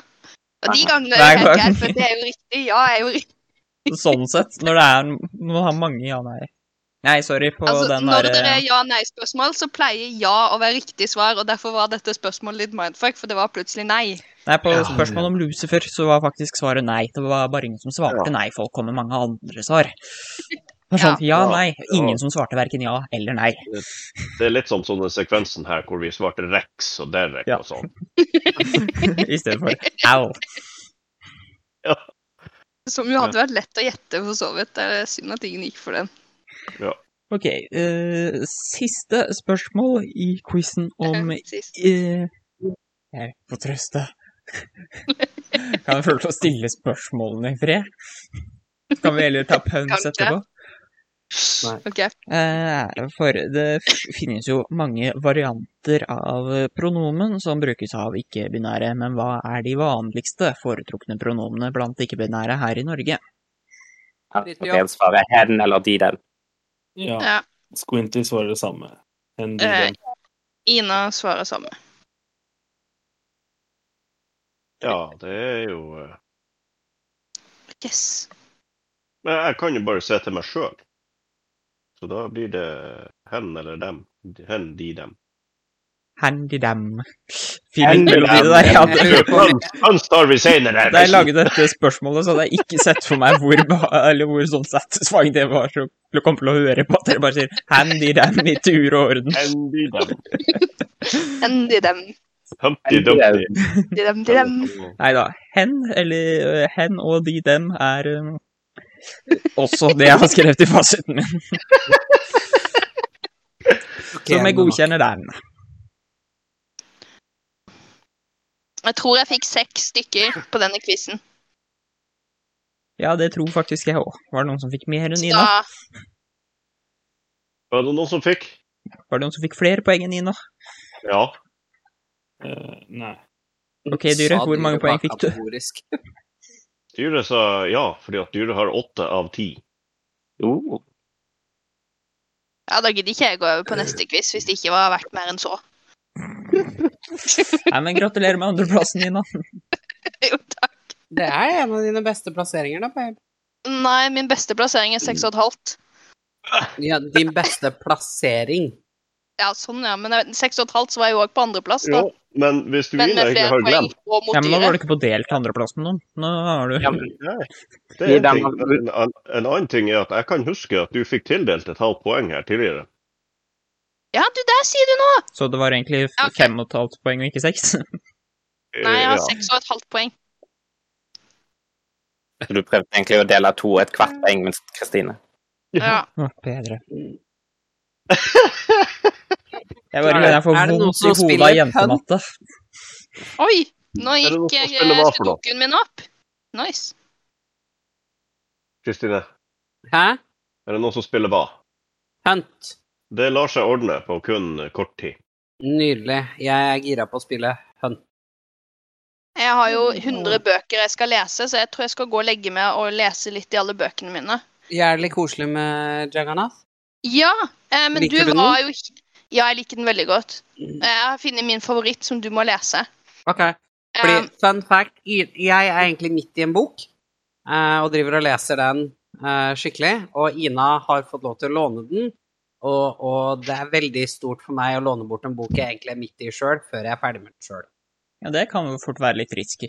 S8: Og de gangene
S3: Hver
S8: er det helt
S3: gang.
S8: greit, for det er jo riktig. Ja, er jo riktig.
S3: Sånn sett. Når det er når man har mange ja-nei. Nei, sorry på
S8: Altså,
S3: den
S8: når
S3: der eh,
S8: det er ja-nei-spørsmål, så pleier ja å være riktig svar, og derfor var dette spørsmålet litt mindfuck, for det var plutselig nei.
S3: Nei, på
S4: Ja.
S3: spørsmålet om Lucifer så var faktisk svaret nei. Det var bare ingen som svarte nei. Folk kom med mange andre svar. Det var sånn, ja,
S5: Ja.
S3: nei.
S5: Ja.
S3: Ingen som svarte verken ja eller nei.
S5: Det er litt sånn som den sekvensen her hvor vi svarte Rex og Derek
S3: Ja.
S5: og sånn.
S3: [laughs] I stedet for au.
S8: Som jo hadde vært lett å gjette, for så vidt. Det er synd at ingen gikk for den.
S3: Ok, eh, siste spørsmål i quizen
S8: [laughs]
S3: om
S8: Sist.
S3: eh, Jeg får trøste. Kan jeg få lov til å stille spørsmålene i fred? Så kan vi heller ta pøns
S8: Kanskje.
S3: etterpå.
S8: OK.
S3: Eh, For det f- finnes jo mange varianter av pronomen som brukes av ikke-binære, men hva er de vanligste foretrukne pronomene blant ikke-binære her i Norge?
S2: Litt,
S1: Enten
S2: ja.
S1: delsvaret hen eller de den.
S4: Ja.
S8: Ja.
S4: Squinty svarer det samme. Hen, de,
S8: Eh,
S4: den.
S8: Ina svarer samme.
S5: Ja, det er jo eh,
S8: Yes.
S5: Men jeg kan jo bare se til meg sjøl. Så da blir det hen eller dem. Hen, de, dem.
S3: Handy dam. Fin
S1: Handy
S3: melodi det
S1: dam.
S3: der. Jeg hadde lurt på [laughs] om-
S5: Hans tar vi senere.
S3: Da jeg lagde dette spørsmålet, så hadde jeg ikke sett for meg hvor, beha- eller hvor sånn satisfying det var så å komme til å høre på at dere bare sier 'handy dam' i tur og orden.
S5: Hen, de, dem.
S8: Enn de dem,
S5: Humpty Dumpty.
S8: de dem, de dem.
S3: Nei da. Hen, eller eh, hen og de dem, er eh, også det jeg har skrevet i fasiten min, som jeg godkjenner den.
S8: Jeg tror jeg fikk seks stykker på denne quizen.
S3: Ja, det tror faktisk jeg òg. Var det noen som fikk mer enn
S8: Så
S3: Nina?
S8: da
S5: Var det noen som fikk?
S3: Var det noen som fikk flere poeng enn Nina?
S5: Ja.
S4: Eh, nei.
S3: Ok, Dyre, hvor mange poeng fikk du?
S5: Dyret sa ja, fordi at dyret har åtte av ti.
S1: Jo,
S8: Ja, da gidder ikke jeg gå over på neste quiz hvis det ikke var verdt mer enn så. [laughs]
S3: Nei, men gratulerer med andreplassen, Nina.
S8: Jo, takk.
S2: Det er en av dine beste plasseringer, da. Peb.
S8: Nei, min beste plassering er seks og et halvt.
S2: Ja, din beste plassering.
S8: Ja, sånn, ja. Men jeg- seks og et halvt så var jeg jo òg på andreplass, da.
S5: Jo, men hvis du
S8: Men
S5: Ina
S8: med
S5: egentlig
S8: flere
S5: har
S8: poeng
S5: glemt
S8: og mot
S3: Ja, men nå var
S8: dyret.
S3: du ikke på delt andreplass med noen. Nå har du
S1: ja, men
S5: Nei, det er
S1: Gi
S5: en,
S1: dem-
S5: ting. En, en, en annen ting er at jeg kan huske at du fikk tildelt et halvt poeng her tidligere.
S8: Ja, du, der sier du noe!
S3: Så det var egentlig f-
S8: Ja, ok.
S3: fem og et halvt poeng, og ikke seks?
S8: Nei, jeg
S5: Eh, ja.
S8: har seks og et halvt poeng.
S1: så du prøvde egentlig å dele to og et kvart poeng med Kristine.
S8: Ja.
S3: Å, bedre. Jeg bare
S2: Er det-
S3: kjenner jeg får
S2: er det noen
S3: vondt i
S2: som
S3: hodet av
S2: spiller
S3: jentematte.
S8: Oi! Nå
S5: Er det noe
S8: gikk
S5: som
S8: eh,
S5: spiller hva for noe?
S8: sudokuen min opp. Nice.
S5: Kristine,
S2: Hæ?
S5: er det noen som spiller hva?
S2: Hunt.
S5: Det lar seg ordne på kun kort tid.
S2: Nydelig. Jeg er gira på å spille Hunt.
S8: Jeg har jo 100 bøker jeg skal lese, så jeg tror jeg skal gå og legge meg og lese litt i alle bøkene mine.
S2: Jævlig koselig med Jagannath.
S8: Ja, eh, men
S2: Liker
S8: du
S2: du den?
S8: var jo Ja, jeg liker den veldig godt.
S5: Mm.
S8: Eh, Jeg har funnet min favoritt, som du må lese. Eh,
S2: Ok. Fordi, fun fact, y- jeg er egentlig midt i en bok, eh, og driver og leser den eh, skikkelig. Og Ina har fått lov til å låne den, og, og det er veldig stort for meg å låne bort en bok jeg egentlig er midt i sjøl, før jeg er ferdig med den sjøl.
S3: Ja, det kan jo fort være litt risky.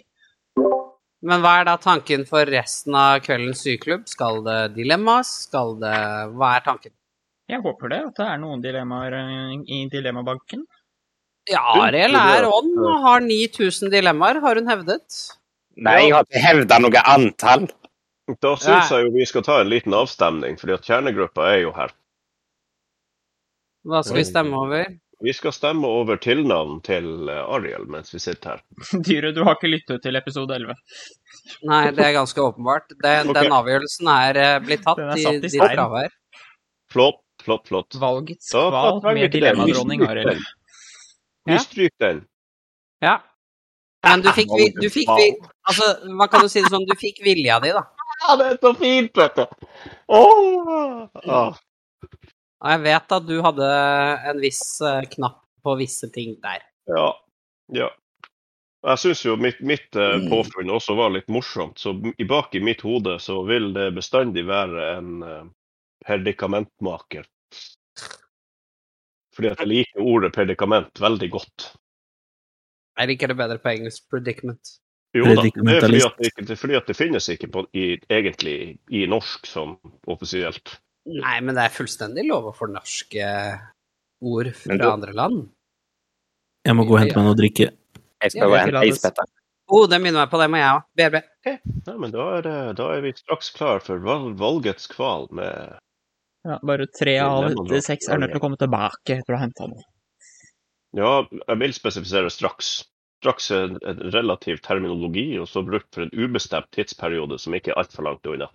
S2: Men hva er da tanken for resten av kveldens syklubb? Skal det dilemmas? Skal det Hva er tanken?
S3: Jeg håper det, at det er noen dilemmaer eh, i [laughs] dilemmabanken.
S2: Ja, Ariel er ånd og har 9000 dilemmaer, har hun hevdet.
S1: Nei, jeg har ikke hevda noe antall.
S5: Da syns
S2: Nei.
S5: jeg jo vi skal ta en liten avstemning, fordi at kjernegruppa er jo her.
S2: Hva skal vi stemme over?
S5: Vi skal stemme over tilnavn til eh, Ariel mens vi sitter her.
S3: Dyre, du har ikke lyttet til episode 11.
S2: Nei, det er ganske åpenbart. Det,
S5: Ok.
S2: Den avgjørelsen er eh, blitt tatt
S3: Den er
S2: i
S3: satt i
S2: ditt
S3: stein.
S2: fravær.
S5: Flott, flott, flott.
S3: Valgets
S5: Da
S3: kval
S5: tar vi
S3: med
S5: ikke det.
S3: dilemmadronning Arild.
S5: Vi
S2: Ja.
S5: stryker den.
S2: Ja. Men du fikk, vi- du fikk vi- Altså, hva kan du si det sånn? Du fikk vilja di, da.
S5: Ja, det er så fint, vet du! Åh! Ah.
S2: Og jeg vet at du hadde en viss eh, knapp på visse ting der.
S5: Ja. ja. Jeg syns jo mitt, mitt eh, påfunn også var litt morsomt, så i bak i mitt hode så vil det bestandig være en eh, predikamentmaker. Fordi at jeg liker ordet predikament veldig godt.
S2: Jeg liker det bedre på engelsk predicament.
S5: Jo da, det er fordi
S4: Predikamentalist.
S5: at det, ikke, det, er fordi at det finnes ikke på, i, egentlig i norsk sånn offisielt.
S2: Nei, men det er fullstendig lov å fornorske ord fra
S1: Men du-
S2: andre land.
S4: Jeg må gå og hente meg noe å drikke.
S1: Jeg
S2: Ja,
S1: skal gå og
S3: vi
S1: hente
S3: lar oss-
S1: isbiter.
S2: Oh, det minner meg på det med jeg òg. BB.
S5: Nei, men da er, det, da er vi straks klar for val, valgets kval med
S3: Ja, bare tre av
S5: Dilemmadronning
S3: de seks er nødt til å komme tilbake etter å ha henta noe.
S5: Ja, jeg vil spesifisere straks. Straks er en, en relativ terminologi, og så brukt for en ubestemt tidsperiode som ikke er altfor langt unna.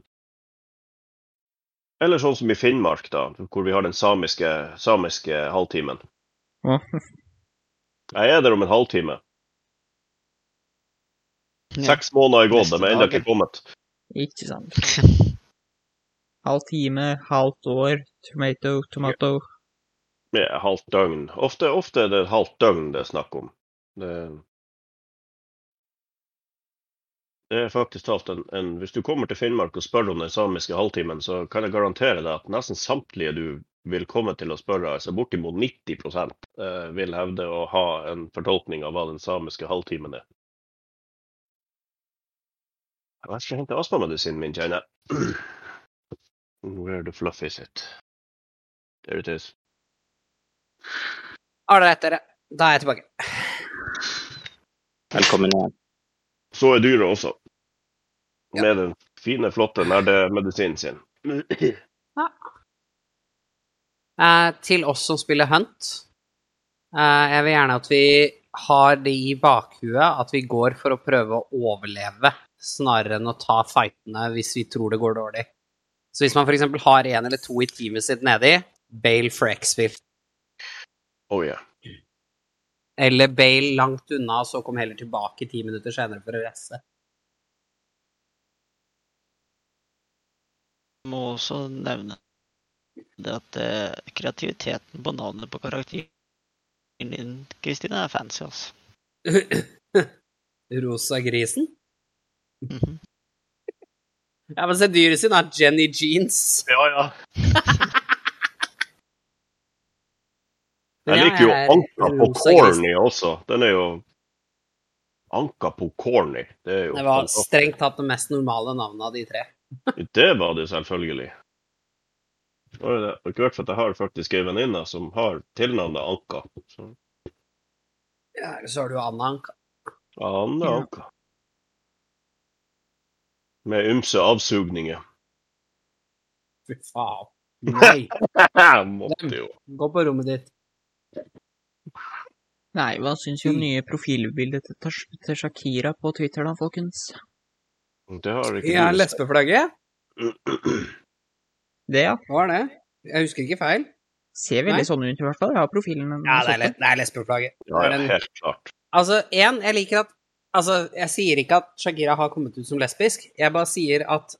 S5: Eller sånn som i Finnmark, da, hvor vi har den samiske, samiske halvtimen.
S3: Ja.
S5: Jeg er der om en halvtime.
S6: Ja.
S5: Seks måneder er gått,
S6: Neste
S5: de er ennå ikke
S6: dagen.
S5: kommet.
S3: Ikke
S2: [laughs]
S3: sant. Halv time, halvt år, tomato, tomato.
S5: Med halvt døgn. Ofte, ofte er det et halvt døgn det er snakk om. Det, det er faktisk talt en, en Hvis du kommer til Finnmark og spør om den samiske halvtimen, så kan jeg garantere deg at nesten samtlige du vil komme til å spørre, altså bortimot 90 eh, vil hevde å ha en fortolkning av hva den samiske halvtimen er. Jeg skal hente astmamedisinen min, kjenner jeg. [clears throat] Where the fluff is it? There it is.
S2: Ålreit, dere. E Da er jeg tilbake.
S1: Velkommen igjen.
S5: Så er dyret også.
S2: Ja.
S5: Med den fine, flotte nerdemedisinen sin.
S2: Eh, til oss som spiller Hunt. Eh, jeg vil gjerne at vi har det i bakhuet at vi går for å prøve å overleve, snarere enn å ta fightene hvis vi tror det går dårlig. Så hvis man f.eks. har én eller to i teamet sitt nedi, Bale for Exfil.
S5: Oh yeah.
S2: Eller Bale langt unna, og så kom heller tilbake ti minutter senere for å resse. [laughs]
S6: Må også nevne det at eh, kreativiteten på navnet på karakteren din, Kristine, er fancy, altså.
S2: Rosa grisen?
S6: Mhm.
S2: Ja, men se dyret sitt, da. Jenny Jeans.
S5: Ja, ja. Jeg
S2: Ja,
S5: liker jo
S2: er
S5: Anka på
S2: rosa grisen.
S5: corny også. Den er jo Anka på corny. Det, er jo
S2: Det var strengt tatt det mest normale navnet av de tre.
S5: Det var det selvfølgelig. Og det har ikke vært for at jeg har faktisk ei venninne som har tilnavnet Anka. Så,
S2: Ja, så har du Anna Anka.
S5: Anne
S3: Ja.
S5: Anka. Med ymse avsugninger.
S2: Fy [laughs] faen. Nei,
S5: Jeg måtte jo.
S2: gå på rommet ditt.
S3: Nei, hva syns vi om nye profilbildet til, Tash- til Shakira på Twitter da, folkens?
S5: Det har ikke
S2: Ja,
S5: du-
S2: lesbeflagget.
S3: Det, ja.
S2: Hva var det? Jeg husker ikke feil.
S3: Ser veldig
S2: Nei.
S3: sånn ut i hvert fall. Jeg har profilen. men-
S2: Ja, det er, le- det er lesbeflagget.
S5: [clears throat] Ja, ja, helt klart.
S2: Altså, én, jeg liker at Altså, jeg sier ikke at Shakira har kommet ut som lesbisk. Jeg bare sier at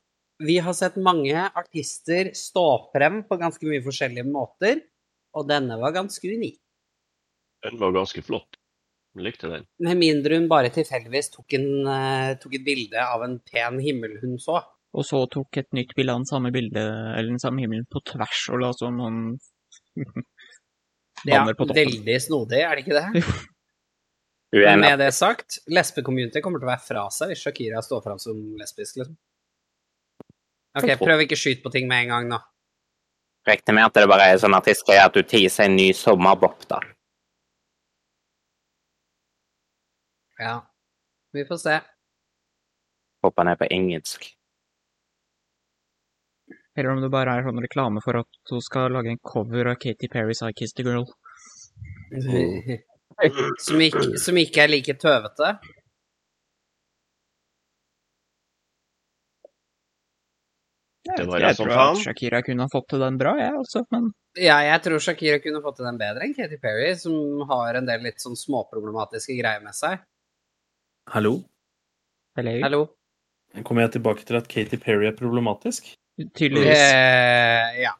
S2: vi har sett mange artister stå frem på ganske mye forskjellige måter, og denne var ganske unik.
S5: Den var ganske flott. Jeg likte den.
S2: Med mindre hun bare tilfeldigvis tok, en, eh, tok et bilde av en pen himmel hun så.
S3: Og så tok et nytt bilde av den samme bilde, eller den samme himmelen på tvers, og la sånn noen
S2: Det er
S3: banner på toppen.
S2: veldig snodig, er det ikke det? Men
S1: Uenig.
S2: med det sagt, lesbecommunity kommer til å være fra seg hvis Shakira står fram som lesbisk, liksom. OK, prøv ikke å skyte på ting med en gang nå.
S1: Regner med at det bare er sånn artistgreie at du teaser en ny sommerbop, da.
S2: Ja. Vi får se.
S1: Håper han er på engelsk.
S3: Eller om det bare er sånn reklame for at hun skal lage en cover av Katy Perry's I Kissed a Girl.
S2: Som ikke, som ikke er like tøvete.
S3: Jeg,
S5: Det
S3: vet
S5: var
S3: ikke,
S5: det
S3: jeg
S5: som
S3: tror
S5: faen.
S3: at Shakira kunne ha fått til den bra, jeg også, men
S2: Ja, jeg tror Shakira kunne fått til den bedre enn Katy Perry, som har en del litt sånn småproblematiske greier med seg.
S4: Hallo?
S3: eller,
S2: Hallo?
S4: Kommer jeg tilbake til at Katy Perry er problematisk?
S3: tydeligvis.
S2: Eh, ja.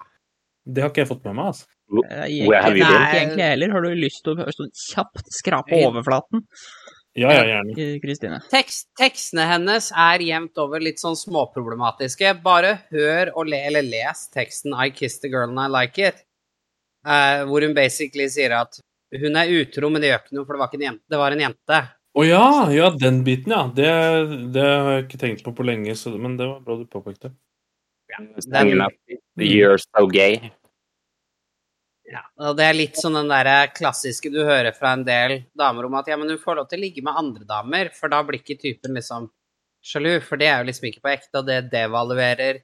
S4: Det har ikke jeg fått med meg, altså.
S3: Eh,
S1: Where have
S3: Egentlig
S1: you
S2: been?
S3: ikke egentlig heller. Har du lyst til å bare sånn kjapt skrape
S2: Jeg-
S3: overflaten,
S4: Ja, ja, gjerne.
S3: eh, Kristine?
S2: Tekst, tekstene hennes er jevnt over litt sånn småproblematiske. Bare hør og le, eller les teksten 'I kissed the girl and I like it', eh, hvor hun basically sier at hun er utro, men det gjør ikke noe, for det var, ikke en jente, det var en jente.
S4: Å ja, ja, den biten, ja. Det, det har jeg ikke tenkt på på lenge, så, men det var bra du påpekte.
S1: Sangen at You're so gay.
S2: Ja, og det er litt sånn den der klassiske du hører fra en del damer om at ja, men hun får lov til å ligge med andre damer, for da blir ikke typen liksom sjalu, for det er jo liksom ikke på ekte, og det devaluerer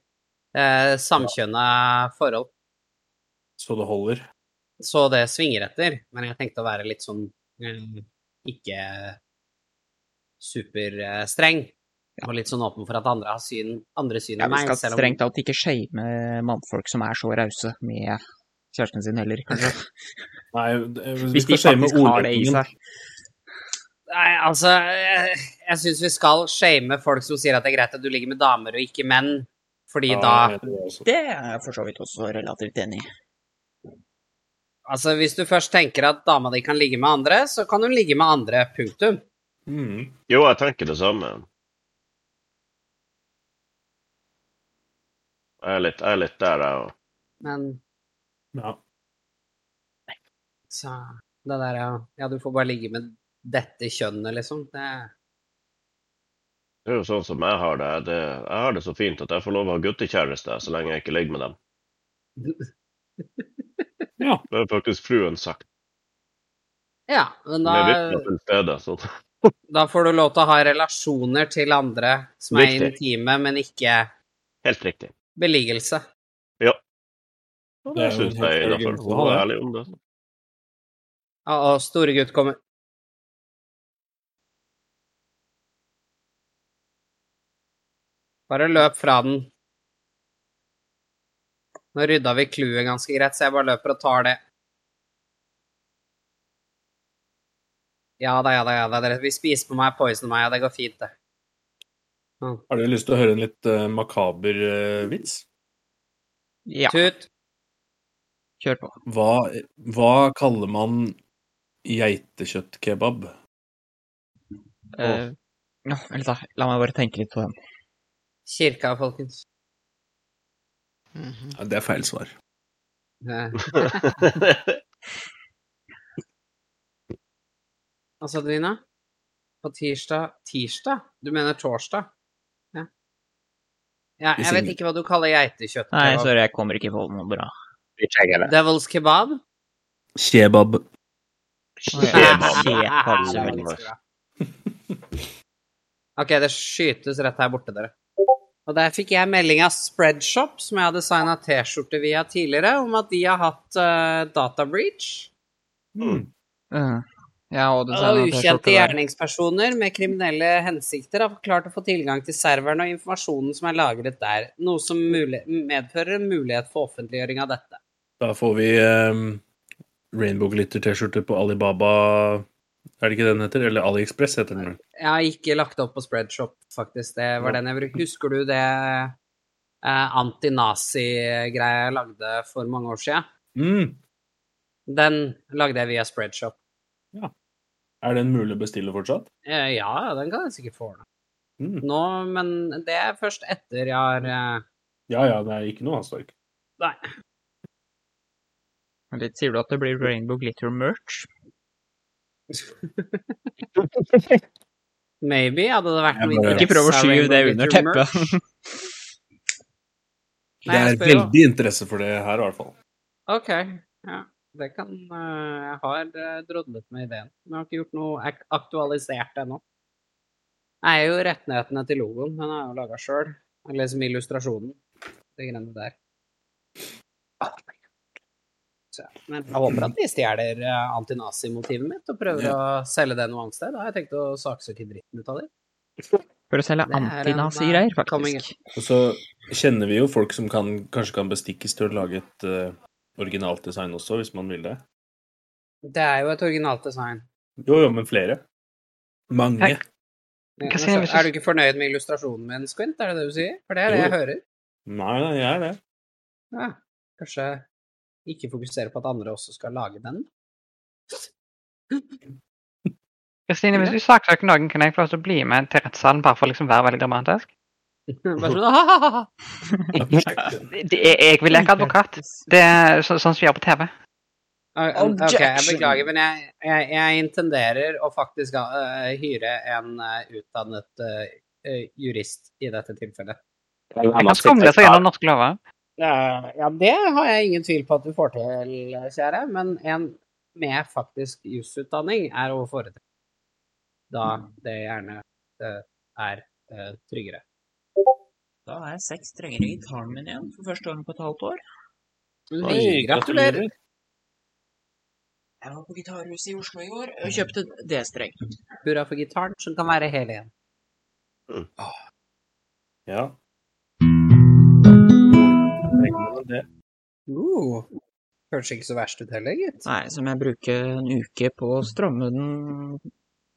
S2: eh, samkjønna forhold.
S4: Så det holder.
S2: Så det svinger etter, men jeg tenkte å være litt sånn eh, ikke superstreng, og litt sånn åpen for at andre har syn, andre syn
S3: Ja,
S2: enn
S3: vi
S2: meg,
S3: skal
S2: selv om
S3: strengt tatt ikke shame mannfolk som er så rause med kjæresten sin heller, [laughs] kanskje.
S4: Nei, det- vi
S3: Hvis
S4: skal
S3: de
S4: shame
S3: faktisk har det i
S4: ordbruken.
S3: seg.
S2: Nei, altså Jeg, jeg syns vi skal shame folk som sier at det er greit at du ligger med damer og ikke menn, fordi
S4: Ja,
S2: da
S4: jeg tror også.
S3: Det er jeg for så vidt også relativt enig i.
S2: Altså, hvis du først tenker at dama di kan ligge med andre, så kan hun ligge med andre. Punktum.
S4: Mm.
S5: Jo, jeg tenker det samme. Jeg er litt, jeg er litt der, jeg òg.
S2: Men
S4: Ja.
S2: så Det der ja. Ja, du får bare ligge med dette kjønnet, liksom. Det
S5: Det er jo sånn som jeg har det. det. Jeg har det så fint at jeg får lov å ha guttekjæreste så lenge jeg ikke ligger med dem.
S4: [laughs] ja.
S5: Det har faktisk fruen sagt.
S2: Ja, men
S5: Med
S2: da,
S5: vitner til stede. Så. [laughs]
S2: da får du lov til å ha relasjoner til andre som er
S5: Riktig.
S2: intime, men ikke
S5: Helt riktig.
S2: beliggelse.
S5: Og
S4: Det
S5: det
S4: er jo
S5: syns
S4: en helt
S5: jeg er innafor.
S4: egen
S5: Så
S4: rolle,
S5: var
S4: det.
S5: jeg ærlig om det.
S2: Og, og store gutt kommer Bare løp fra den. Nå rydda vi clouet ganske greit, så jeg bare løper og tar det. Ja da, ja da, ja da. Dere vil spise på meg, poisone meg, og det går fint, det.
S4: Har dere lyst til å høre en litt eh, makaber eh, vits?
S3: Ja,
S2: Tut.
S3: kjør på.
S4: Hva, hva kaller man geitekjøttkebab?
S3: Eh, ja, eller da, la meg bare tenke litt på den.
S2: Kirka, folkens.
S6: Mhm.
S4: Ja, det er feil svar.
S2: Eh, [laughs] Hva sa du, Nina? På tirsdag Tirsdag? Du mener torsdag? Ja. ja jeg vet ikke hva du kaller geitekjøtt.
S3: Nei,
S2: kebab.
S3: sorry, jeg kommer ikke på noe bra.
S1: Ikke jeg heller.
S2: Devil's
S3: [laughs]
S2: kebab?
S4: Kebab.
S2: [laughs]
S5: Kebab.
S3: Kebab,
S2: Det var
S3: selvfølgelig.
S2: litt bra. OK, det skytes rett her borte, dere. Og der fikk jeg melding av Spreadshop, som jeg hadde signa T-skjorte via tidligere, om at de har hatt eh, data breach.
S3: Eh, ja, og
S2: Og
S3: det sender at jeg skjorte
S2: ukjente
S3: der.
S2: gjerningspersoner med kriminelle hensikter har klart å få tilgang til serveren og informasjonen som er lagret der, noe som muli- medfører en mulighet for offentliggjøring av dette.
S4: Da får vi eh, Rainbow Glitter-T-skjorte på Alibaba Er det ikke den heter? Eller AliExpress heter den. vel?
S2: Jeg har ikke lagt det opp på Spreadshop, faktisk. Det var den jeg brukte. Husker du det eh, antinazi-greia jeg lagde for mange år siden?
S4: Mm.
S2: Den lagde jeg via Spreadshop.
S4: Er den mulig å bestille fortsatt?
S2: Eh, Ja, den kan jeg sikkert få ordna
S4: Mm.
S2: nå, men det er først etter jeg har eh,
S4: Ja ja, det er ikke noe hastverk.
S3: Litt sier du at det blir Rainbow Glitter Merch?
S2: Maybe hadde det vært
S4: Jeg
S2: noe
S4: bare-
S3: Ikke prøv å
S2: interesse av
S3: skyve det
S2: Rainbow
S3: under
S2: Glitter Merch.
S3: [laughs] teppet.
S2: Nei,
S4: Det
S2: jeg
S4: er
S2: spør jo.
S4: veldig interesse for det her, i hvert fall.
S2: Ok, ja. Det kan eh, Jeg har eh, drodlet med ideen, men jeg har ikke gjort noe ak aktualisert ennå. Jeg er jo rettighetene til logoen, men jeg har jo laga sjøl. liksom Eller som illustrasjonen. De greiene der. Så, men jeg håper at de stjeler eh, antinazimotivet mitt og prøver å selge det noe annet sted. Da har jeg tenkt å saksøke dritten ut av dem.
S3: For å selge
S2: Det er en,
S3: antinazigreier,
S2: eh, coming
S3: faktisk.
S4: Og så kjenner vi jo folk som kan, kanskje kan bestikkes til å lage et eh, originalt design også, hvis man vil det.
S2: Det er jo et originalt design.
S4: Jo, jo, men flere. Mange.
S9: Hei.
S2: Men
S9: Hva sier
S2: så-
S9: jeg hvis du-
S2: Er du ikke fornøyd med illustrasjonen min, Squint? Er det det du sier? For det er det
S4: Jo.
S2: jeg hører.
S4: Nei, nei, jeg er det.
S2: Ja, kanskje ikke fokusere på at andre også skal lage den.
S9: Kristine, hvis du saksøker noen, kan jeg få lov til å bli med til rettssalen bare for å liksom være veldig dramatisk?
S2: Bare sånn,
S9: [laughs]
S2: «Ahahaha».
S9: Det, det- jeg, jeg vil leke advokat. Det er så, sånn som vi gjør på TV.
S2: Ok, jeg beklager, men jeg, jeg, jeg intenderer å faktisk eh, hyre en eh, utdannet eh, eh, jurist i dette tilfellet.
S9: Jeg kan skumle seg gjennom norske lover.
S2: Ja, ja, det har jeg ingen tvil på at du får til, kjære, men en med faktisk jusutdanning er å foretrekke. Da det gjerne eh, er eh, tryggere.
S3: Da er seks strengere i gitaren min igjen for første gang på et halvt år.
S2: Oi, gratulerer!
S3: Jeg var på gitarhuset i Oslo i år og kjøpte D-streng.
S2: Hurra for gitaren, som kan være hel igjen.
S4: Ja. Det.
S2: Uh, Kanskje ikke så verst ut heller, gitt.
S3: Nei, som jeg bruker en uke på å stramme den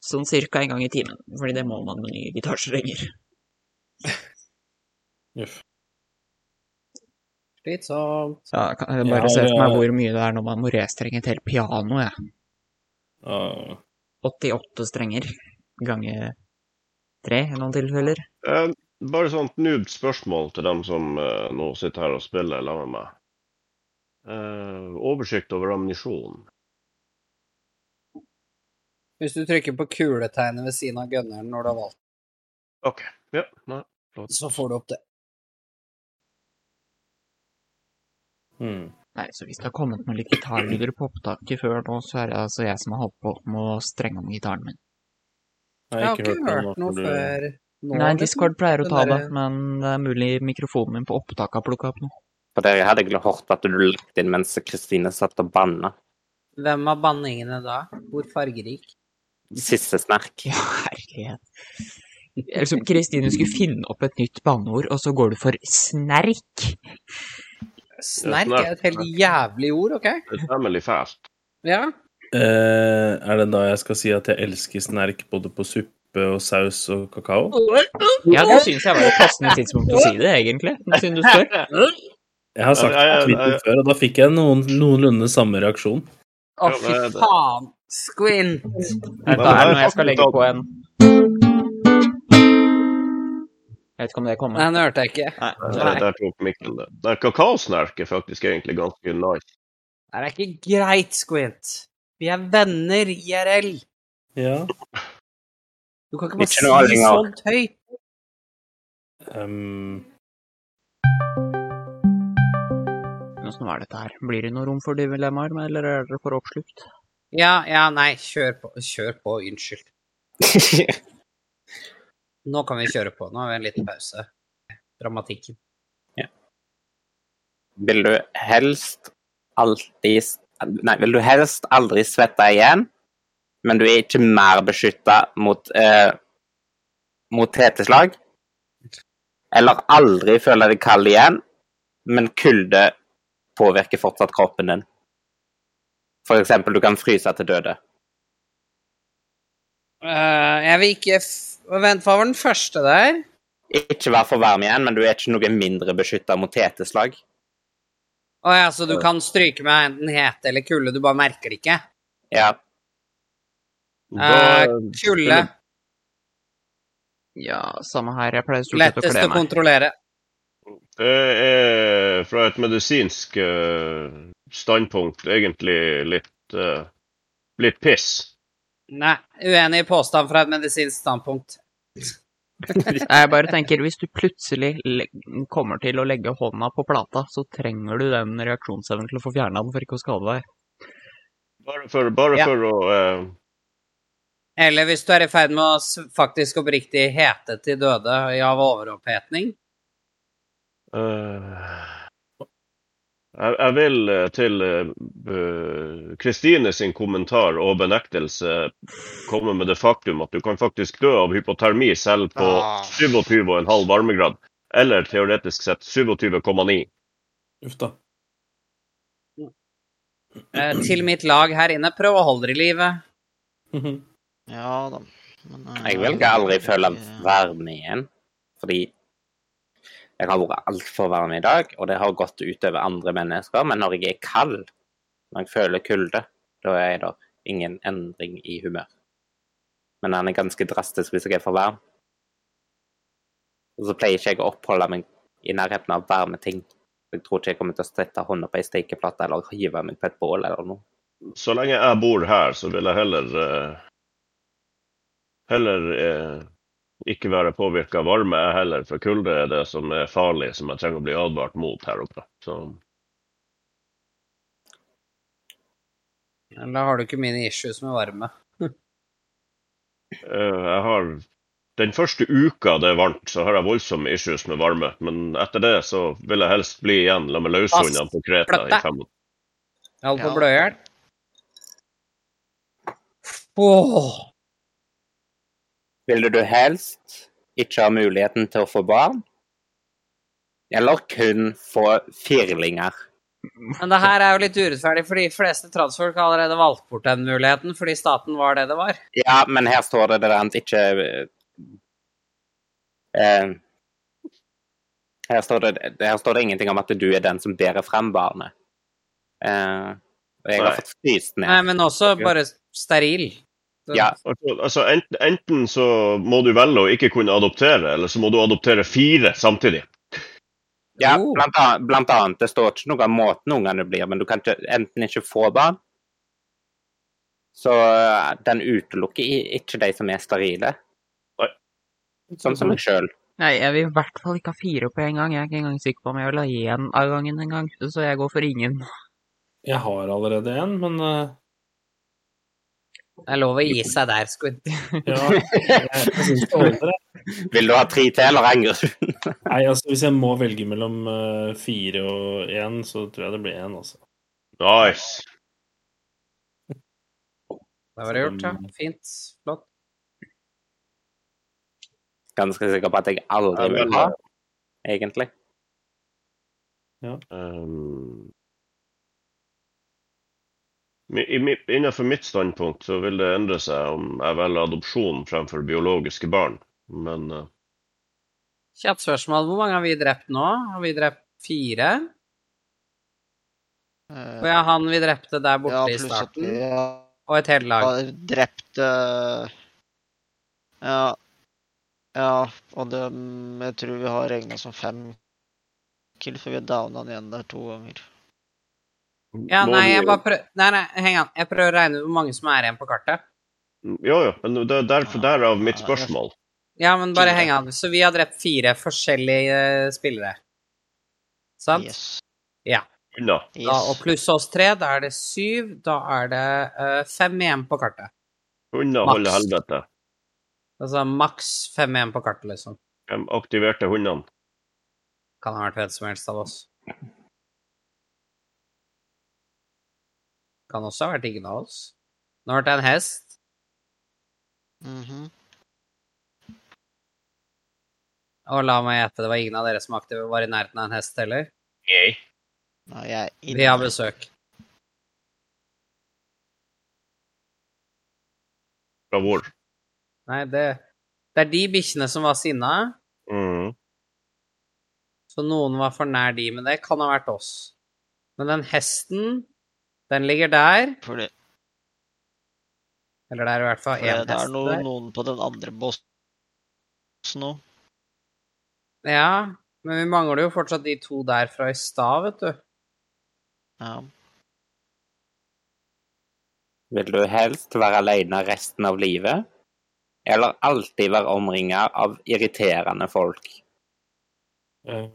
S3: sånn cirka en gang i timen. Fordi det må man med nye gitarstrenger.
S4: Uff.
S2: Slitsomt.
S3: Så jeg kan jeg
S4: Jeg
S3: bare
S4: har,
S3: se for
S4: eh,
S3: meg hvor mye det er når man må restrenge et helt piano, jeg.
S4: Åh.
S3: 88 strenger ganger tre i noen tilfeller.
S5: Eh, bare sånt nude spørsmål til dem som eh, nå sitter her og spiller sammen med meg. Eh, oversikt over ammunisjon.
S2: Hvis du trykker på kuletegnet ved siden av gunneren når du har valgt,
S5: OK. Ja, nei.
S2: så får du opp det.
S4: Hmm.
S3: Nei, så hvis det har kommet noen litt gitarlyder på opptaket før nå, så er det altså jeg som har holdt på med å strenge om gitaren min.
S4: Jeg
S2: Jeg
S4: har
S2: har
S4: ikke hørt noe
S2: noe før nå.
S3: Nei, Discord pleier å
S2: Den
S3: ta det,
S2: derre-
S3: men det er mulig mikrofonen min på opptaket har plukka opp noe. [laughs]
S1: For dere hadde ikke hørt at du lagt inn mens Kristine satt og banna.
S2: Hvem av banningene da? Hvor fargerik?
S1: Siste snerk.
S3: Ja, herlighet. Liksom, Kristine skulle finne opp et nytt banneord, og så går du for snerk.
S2: Snerk er et helt jævlig ord, OK?
S5: Det er temmelig fælt.
S2: Ja.
S4: Eh, er det da jeg skal si at jeg elsker snerk både på suppe og saus og kakao?
S3: Ja, det syns jeg var et passende tidspunkt å si det, egentlig. nå Siden du spør.
S4: Jeg har sagt det på Twitter før, og da fikk jeg noen, noenlunde samme reaksjon.
S2: Å,
S5: Ja,
S2: fy
S5: det er det.
S2: faen! Squint!
S3: Er det der når jeg skal legge på en Jeg vet ikke om det
S2: Nei,
S3: kommer.
S2: den hørte jeg ikke.
S3: Nei.
S5: Der,
S2: Nei.
S5: der tok Mikkel det. Det er kakaosnerk er faktisk egentlig ganske nice.
S2: Det er ikke greit, Squint. Vi er venner, IRL.
S4: Ja.
S2: Du kan ikke
S1: Ikke noe
S2: bare si
S1: lenger.
S2: sånt høyt.
S4: ehm,
S3: Men Åssen var dette her? Blir det noe rom for dilemmaer, eller er dere for oppslukt?
S2: Ja, ja, nei, kjør på. Kjør på, unnskyld. Nå kan vi kjøre på. Nå har vi en liten pause. Dramatikken.
S1: Vil du helst alltid Nei, vil du helst aldri svette igjen, men du er ikke mer beskytta mot, eh, mot heteslag? Eller aldri føle deg kald igjen, men kulde påvirker fortsatt kroppen din? For eksempel, du kan fryse til døde.
S2: Eh, jeg vil ikke f Vent, hva var den første der?
S1: Ikke være for varm igjen, men du er ikke noe mindre beskytta mot heteslag.
S2: Å ja, så du kan stryke med enten hete eller kulde, du bare merker det ikke?
S1: Ja.
S2: Eh, kulde.
S3: Ja, samme her. Jeg pleier stort sett å
S2: Lettest
S3: kle
S2: å
S3: meg.
S2: kontrollere.
S5: Det er fra et medisinsk eh, standpunkt egentlig litt eh, litt piss.
S2: Nei, uenig i påstand fra et medisinsk standpunkt.
S3: [laughs] Jeg bare tenker, hvis du plutselig le- kommer til å legge hånda på plata, så trenger du den reaksjonsevnen til å få fjerna den for ikke å skade deg.
S5: Bare for, bare
S2: Ja.
S5: for å eh,
S2: Eller hvis du er i ferd med å s- faktisk oppriktig hete til døde av overopphetning.
S5: eh, Jeg, jeg vil eh, til eh, Kristine sin kommentar og benektelse komme med det faktum at du kan faktisk dø av hypotermi selv på
S10: Ah.
S5: 27,5 varmegrad. Eller teoretisk sett 27,9.
S4: Uff da. [laughs]
S2: Eh, til mitt lag her inne, prøv å holde dere i live.
S6: Ja da. Men, eh,
S1: Jeg velger aldri føle varme igjen, fordi jeg har vært altfor varm i dag, og det har gått utover andre mennesker. Men når jeg er kald, når jeg føler kulde, da er det ingen endring i humør. Men den er ganske drastisk hvis jeg er for varm. Og så pleier ikke jeg å oppholde meg i nærheten av varme ting. Jeg tror ikke jeg kommer til å strette hånda på ei stekeplate eller hive meg på et bål eller noe.
S5: Så lenge jeg bor her, så vil jeg heller eh, Heller eh, ikke være påvirka av varme, jeg heller, for kulde er det som er farlig, som jeg trenger å bli advart mot her oppe. Så
S2: Da har du ikke mine issues med varme.
S5: eh, jeg har Den første uka det er varmt, så har jeg voldsomme issues med varme, men etter det så vil jeg helst bli igjen la med løshundene på Kreta i fem måneder.
S2: Jeg holdt på å
S6: Ja.
S2: blø i hjel. Åh.
S1: Ville du helst ikke ha muligheten til å få barn? Eller kun få firlinger?
S2: Men det her er jo litt urettferdig, for de fleste transfolk har allerede valgt bort den muligheten fordi staten var det det var.
S1: Ja, men her står det det der at ikke eh, her, står det, her står det ingenting om at du er den som bærer frem barnet. Eh, og jeg
S5: Nei.
S1: har fått fryst
S2: Nei,
S1: ned.
S2: men også bare steril. Så-
S1: Ja,
S5: Altså, altså enten, enten så må du velge å ikke kunne adoptere, eller så må du adoptere fire samtidig.
S1: ja
S2: Oh.
S1: blant, annet, blant annet. Det står ikke noe om måten ungene blir, men du kan ikke, enten ikke få barn Så eh, den utelukker i- ikke de som er sterile.
S5: Nei.
S1: Sånn som meg sjøl.
S3: Nei, jeg vil i hvert fall ikke ha fire på en gang. Jeg er ikke engang sikker på om jeg vil ha én av gangen en gang, så jeg går for ingen.
S4: Jeg har allerede en, men eh,
S2: Det er lov å gi seg der,
S6: [laughs]
S2: Squid.
S4: [laughs] ja. Jeg, jeg synes det holder, jeg.
S1: Vil du ha tre til, eller angrer du?
S4: Nei, altså, hvis jeg må velge mellom eh, fire og én, så tror jeg det blir én, altså.
S5: Nice.
S2: Det var det gjort, ja. Fint. Flott.
S1: [laughs] Ganske sikker på at jeg aldri
S5: Ja,
S1: vil
S5: men,
S1: ha, egentlig.
S5: Um, mi- i mi- innenfor mitt standpunkt så vil det endre seg om jeg velger adopsjon fremfor biologiske barn. Men eh,
S2: Kjapt spørsmål. Hvor mange har vi drept nå? Har vi drept fire?
S6: eh,
S2: Og ja, han vi drepte der borte
S6: ja,
S2: i
S6: pluss at
S2: starten.
S6: vi har
S2: Og et helt lag.
S6: drept eh, Ja. Ja, og det, jeg tror vi har regna som fem kill, for vi downa han igjen der to ganger.
S2: Ja,
S5: må
S2: nei,
S5: vi-
S2: jeg bare prøver Nei, nei, heng an. Jeg prøver å regne ut hvor mange som er igjen på kartet.
S5: Jo, jo, men det er derfor derav mitt spørsmål.
S2: Ja, men bare
S6: Fire.
S2: heng an. Så vi har drept fire forskjellige eh, spillere. Sant?
S6: Yes.
S5: Unna.
S6: yes.
S2: Da, og pluss oss tre, da er det syv. Da er det eh, fem igjen på kartet.
S5: Unna
S2: Maks.
S5: holde helvete.
S2: Altså maks fem igjen på kartet, liksom.
S5: De aktiverte hundene.
S2: Kan ha vært hvem som helst av oss. Kan også ha vært ingen av oss. Nå ble det en hest.
S6: Mhm.
S2: Og la meg gjette, det var ingen av dere som aktive var i nærheten av en hest heller.
S6: Nei, jeg er inne.
S2: Vi har besøk.
S5: Fra hvor?
S2: Nei, det, det er de bikkjene som var sinna,
S5: Mhm.
S2: så noen var for nær de, men det kan ha vært oss. Men den hesten, den ligger der,
S6: Fordi,
S2: eller det er i hvert fall
S6: fordi
S2: én
S6: Eh, det er
S2: hest
S6: noe,
S2: der.
S6: noen på den andre bossen nå.
S2: Ja, men vi mangler jo fortsatt de to der fra i stad, vet du.
S6: Ja.
S1: Vil du helst være alene resten av livet? Eller alltid være omringa av irriterende folk?
S4: Eh,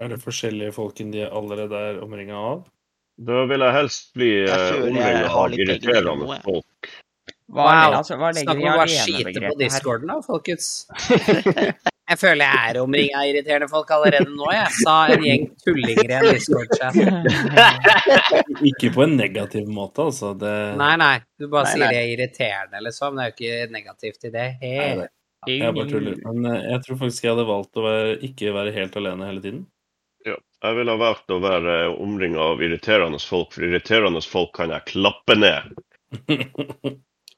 S4: er det forskjellige folken de allerede er omringa av?
S5: Da vil jeg helst bli
S6: Jeg føler jeg
S5: omringa
S6: har
S5: av
S6: litt begge deler nå,
S5: irriterende
S6: jeg.
S5: folk.
S3: Hva,
S2: Wow.
S3: altså, hva legger
S2: Snakk
S3: vi i
S2: om å bare skite på
S3: [laughs] alenebegrepet her?
S2: discorden da, folkens. Jeg føler jeg er omringa av irriterende folk allerede nå, jeg, sa en gjeng tullinger i en Discord-chat.
S4: Ikke på en negativ måte, altså. Det,
S2: Nei, nei, du bare
S1: Nei,
S2: sier
S1: nei.
S2: jeg er irriterende, liksom. Det er jo ikke negativt i det.
S4: Nei,
S2: Hey.
S4: det- Jeg bare tuller. Men eh, jeg tror faktisk jeg hadde valgt å være, ikke være helt alene hele tiden.
S5: Ja. Jeg ville ha valgt å være omringa av irriterende folk, for irriterende folk kan jeg klappe ned.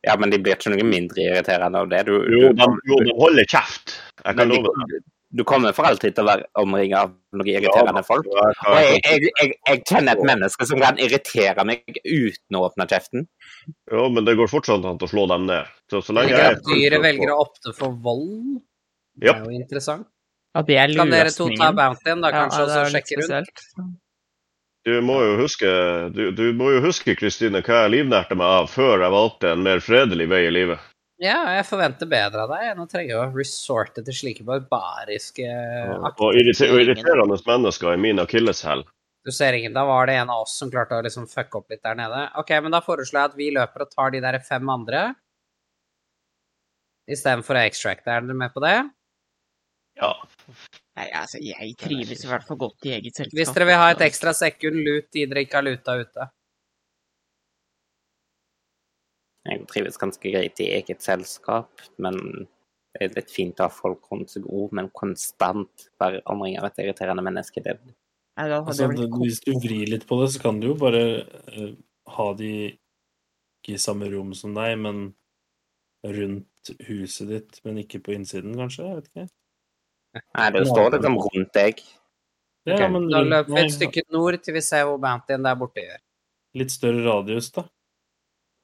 S1: Ja, men de blir ikke noe mindre irriterende av det. Du,
S5: Jo,
S1: du,
S5: de, jo, de holder kjeft. Jeg
S1: men
S5: kan love
S1: de, du kommer for alltid til å være omringa av noen
S5: Ja,
S1: irriterende folk.
S5: jeg kan-
S1: Og jeg, jeg, jeg, jeg kjenner et menneske som kan irritere meg uten å åpne kjeften.
S5: Ja, men det går fortsatt an til å slå dem ned. Så, så lenge
S2: Tenker
S5: jeg
S2: at dyret velger å opte for vold. Det er
S5: Japp.
S2: jo interessant.
S3: Ja, det er
S2: Kan dere to ta
S3: løsningen.
S2: Bountyen, da, kanskje,
S3: ja, det er
S2: og så
S3: litt
S2: sjekke rundt?
S3: spesielt.
S5: Du må jo huske, du, du må jo huske, Kristine, hva jeg livnærte meg av før jeg valgte en mer fredelig vei i livet.
S2: Ja, jeg forventer bedre av deg enn å trenge å resorte til slike barbariske
S5: Og,
S2: akter.
S5: og irriter, og irriterende mennesker er min akilleshæl.
S2: Du ser ingen. Da var det en av oss som klarte å liksom fucke opp litt der nede. Ok, men da foreslår jeg at vi løper og tar de der fem andre. Istedenfor å extracte. Er dere med på det?
S5: Ja.
S10: Nei, altså, jeg trives i hvert fall godt i eget selskap.
S2: Hvis dere vil ha et ekstra sekund, lut de dere ikke har luta ute.
S1: Jeg trives ganske greit i eget selskap, men det er litt fint å ha folk rundt seg òg, men konstant være omringa av et irriterende menneske. Det,
S10: Nei, da hadde
S4: Altså,
S10: jeg blitt
S4: det-
S10: kok-
S4: hvis du vrir litt på det, så kan du jo bare eh, ha de ikke i samme rom som deg, men rundt huset ditt, men ikke på innsiden, kanskje? Jeg vet ikke.
S1: nei, det står liksom rundt deg.
S4: Ja,
S1: Ok.
S4: men
S2: Da
S4: rundt-
S2: løper vi
S4: nei,
S2: et stykke nord til vi ser hvor Bountyen der borte gjør.
S4: Litt større radius, da.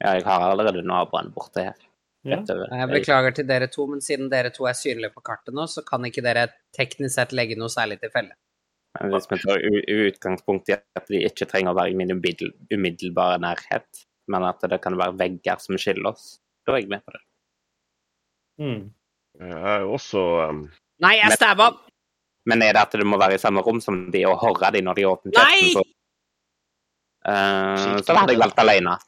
S1: Ja, jeg har allerede naboen borte her.
S4: Ja.
S1: Rett over.
S2: Jeg beklager til dere to, men siden dere to er synlige på kartet nå, så kan ikke dere teknisk sett legge noe særlig til felle.
S1: Men Hvis vi tar u- utgangspunkt i at de ikke trenger å være i min umiddel- umiddelbare nærhet, men at det kan være vegger som skiller oss, da er jeg med på det.
S4: Mm.
S5: Jeg er jo også um,
S2: Nei, jeg
S1: Men-
S2: stabba!
S1: Men er det at du må være i samme rom som de og høre de når de åpner
S2: Nei!
S1: kjeften, så, Eh, så hadde jeg valgt alene.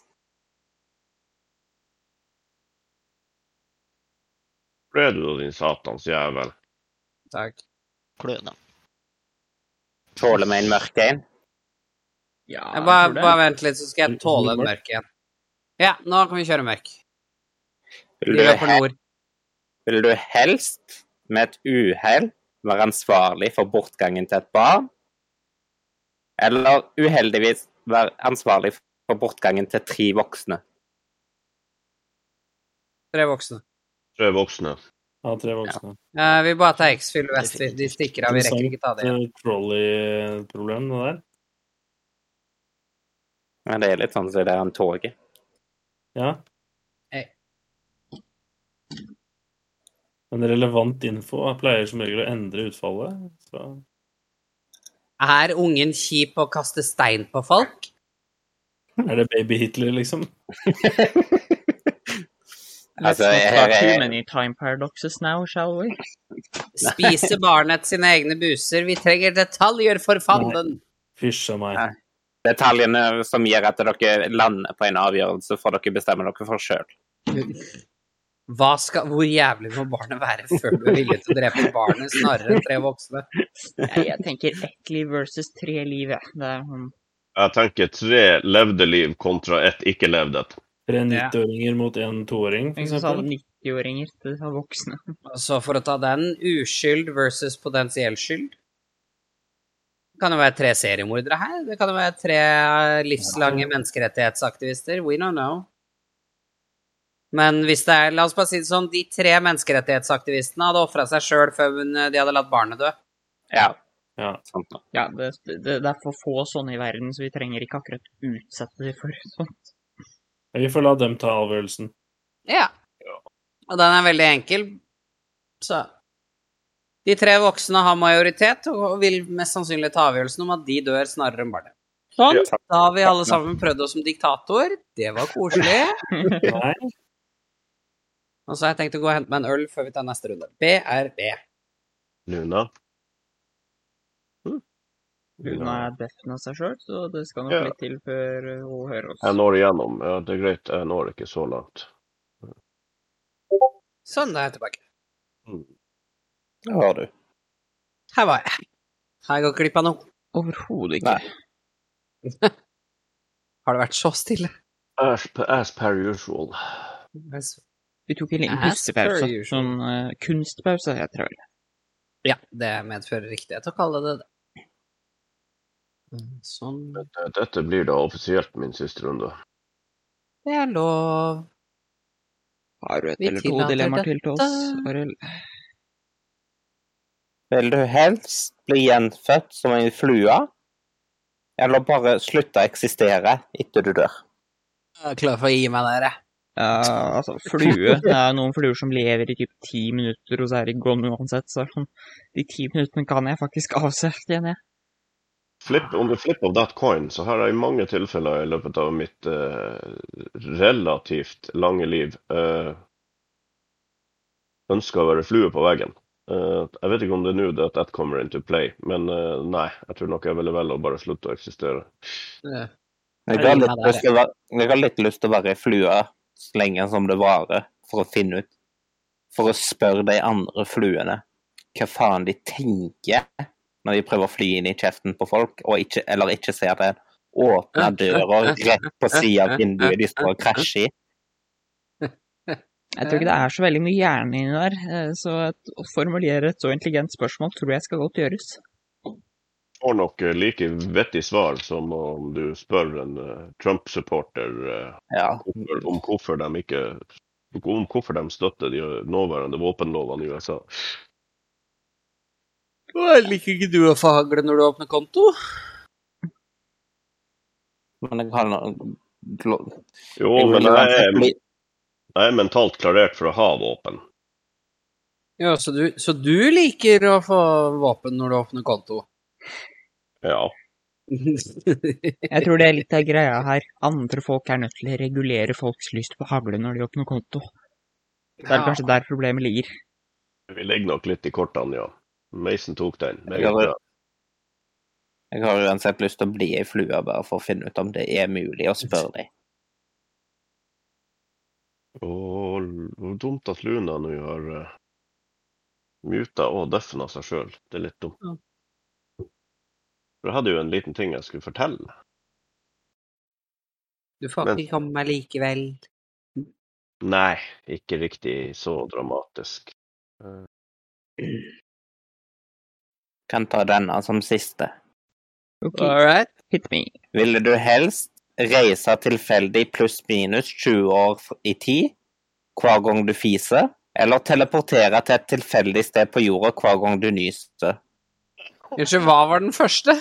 S5: Ble du da, din satans jævel?
S2: Takk.
S6: Kløne.
S1: Tåler meg en mørk en.
S10: Ja,
S2: Jeg bare,
S10: tror det.
S2: bare vent litt, så skal jeg tåle en mørk igjen. Ja, nå kan vi kjøre mørk.
S1: Vil
S2: Vi
S1: du,
S2: løper
S1: he-
S2: nord.
S1: vil du helst med et uhell være ansvarlig for bortgangen til et barn? Eller uheldigvis være ansvarlig for bortgangen til tre voksne?
S2: Tre voksne.
S5: Tre voksne.
S4: Ja, tre voksne.
S2: Eh, vi bare tar X-Fill vest. vi- De stikker av, vi rekker ikke ta det igjen.
S4: Eh, Trolley-problem, det der.
S1: Ja, det er litt sånn som det er en toget.
S4: Ja.
S2: Hey.
S4: Men relevant info pleier som regel å endre utfallet. Så.
S2: Er ungen kjip og kaster stein på folk?
S4: Er det baby Hitler, liksom?
S10: Let's
S1: [laughs] Altså,
S10: not
S1: her
S10: talk too
S1: er-
S10: many time paradoxes now, shall we?
S2: Spiser barnet sine egne buser? Vi trenger detaljer, for fanden!
S4: Fysj a meg.
S1: Nei. Detaljene som gjør at dere lander på en avgjørelse, får dere bestemme dere for sjøl.
S2: Hva skal, hvor jævlig må barnet være før du er villig til å drepe barnet snarere enn tre voksne?
S10: Jeg, jeg tenker ett liv versus tre liv, jeg. Det er sånn
S5: Jeg tenker tre levde liv kontra ett ikke-levd et.
S4: Tre 90-åringer mot en toåring, for
S10: Ikke sånn
S4: eksempel.
S10: 90-åringer til sånn voksne.
S2: Så for å ta den, uskyld versus potensiell skyld. Det kan jo være tre seriemordere her. Det kan jo være tre livslange menneskerettighetsaktivister. We don't know. Men hvis det er, la oss bare si det sånn, de tre menneskerettighetsaktivistene hadde ofra seg sjøl før hun- de hadde latt barnet dø.
S1: Ja. Sånn.
S4: Ja.
S1: Sant nå.
S10: Ja, det, det, det er for få sånne i verden, så vi trenger ikke akkurat utsette dem for
S5: [laughs]
S10: sånt.
S4: Ja, Vi får la dem ta avgjørelsen.
S2: Ja. Og den er veldig enkel. Så De tre voksne har majoritet og vil mest sannsynlig ta avgjørelsen om at de dør snarere enn barnet. Sånn.
S1: Ja.
S2: Da har vi alle sammen prøvd oss som diktator. Det var koselig.
S4: Nei.
S2: Og så har jeg tenkt å gå og hente meg en øl før vi tar neste runde. BRB.
S5: Luna. Hm?
S10: Hun
S5: Luna.
S10: er deffen av seg sjøl, så det skal nok
S5: Ja.
S10: litt til før uh, hun hører oss.
S5: Jeg når igjennom. Ja, det er greit, jeg når ikke så langt.
S2: Sånn, da er jeg tilbake.
S5: Mm.
S1: Det har du.
S2: Her var jeg. Har jeg gått glipp av noe?
S3: Overhodet ikke.
S2: Har det vært så stille?
S5: As, as per usual.
S3: Vi tok en liten
S2: As per
S3: pustepause.
S2: usual.
S3: Sånn eh, kunstpause, heter det vel.
S2: Ja, det medfører riktighet å kalle det det. Mm, Sånn.
S5: Dette- Dette blir da offisielt min siste runde.
S2: Det er lov.
S3: Har du et
S2: Vi
S3: eller to
S2: tillater
S3: dilemmaer til til oss,
S2: dette.
S3: Arild?
S1: Vil du helst bli gjenfødt som en flue, eller bare slutte å eksistere etter du dør?
S2: Jeg er klar for å gi meg der, jeg.
S3: Ja, altså,
S2: [laughs]
S3: flue. Det er noen fluer som lever i typ ti minutter, og så er de gone uansett. Så er det sånn, de ti minuttene kan jeg faktisk [laughs] avsette igjen, jeg.
S5: Flip, on the flip of that coin, så har jeg i mange tilfeller i løpet av mitt eh, relativt lange liv uh, ønska å være flue på veggen. Eh, jeg vet ikke om det er nå det at that kommer into play, men eh, nei, jeg tror nok jeg ville velge å bare slutte å eksistere.
S2: Ja.
S1: Jeg
S2: Jeg
S1: har
S2: gir
S1: litt lyst
S2: meg der,
S1: til å være, jeg har litt lyst til å være ei flue så lenge som det varer, for å finne ut For å spørre de andre fluene hva faen de tenker når de prøver å fly inn i kjeften på folk, og ikke, eller ikke ser den åpne døra rett på sida av vinduet de står og krasjer i.
S3: Jeg tror ikke det er så veldig mye hjerne inni der, eh, så et- å formulere et så intelligent spørsmål tror jeg skal godt gjøres.
S5: Får nok eh, like vettig svar som om du spør en eh, Trump-supporter eh,
S1: Ja.
S5: hvorfor- om hvorfor de ikke om hvorfor de støtter de nåværende våpenlovene i USA.
S2: Å, Liker ikke du å fagle når du åpner konto?
S1: Men jeg har noe glo-
S5: Jo,
S1: jeg
S5: men eh,
S1: vil
S5: jeg er,
S1: uansett bli
S5: jeg er mentalt klarert for å ha våpen.
S2: Ja, så du, så du liker å få våpen når du åpner konto? [laughs]
S5: Ja.
S3: Jeg tror det er litt av greia her. Andre folk er nødt til å regulere folks lyst på hagle når de åpner konto. Det er kanskje der problemet ligger.
S5: Vi ligger nok litt i kortene, ja. Mason tok den.
S1: Ja,
S5: Meget
S1: det-
S5: bra.
S1: Jeg har uansett lyst til å bli ei flue, bare for å finne ut om det er mulig å spørre dem.
S5: Å, hvor dumt at Luna nå har uh, muta og deafna seg sjøl. Det er litt dumt.
S2: Ja.
S5: For jeg hadde jo en liten ting jeg skulle fortelle.
S2: Du får
S5: Men-
S2: ikke komme meg likevel.
S5: Nei, ikke riktig så dramatisk.
S1: Kan ta denne som siste.
S3: Ok,
S2: All right.
S3: hit me.
S1: Ville du helst reise tilfeldig pluss-minus 20 år i tid hver gang du fiser, eller teleportere til et tilfeldig sted på jorda hver gang du nyser?
S2: Unnskyld, hva var den første?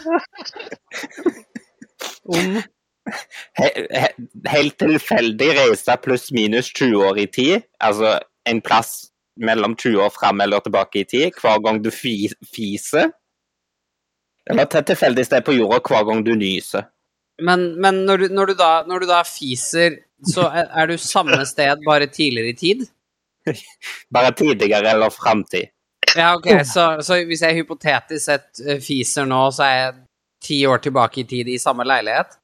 S2: Om
S1: He- he- Helt tilfeldig reise pluss-minus 20 år i tid, altså en plass mellom 20 år fram eller tilbake i tid, hver gang du fi- fiser, eller til et tilfeldig sted på jorda hver gang du nyser?
S2: Men, men når, du, når, du da, når du da fiser, så er, er du samme sted, bare tidligere i tid?
S1: Bare tidligere eller framtid?
S2: Ja, ok, så, så hvis jeg hypotetisk sett eh, fiser nå, så er jeg ti år tilbake i tid i samme leilighet?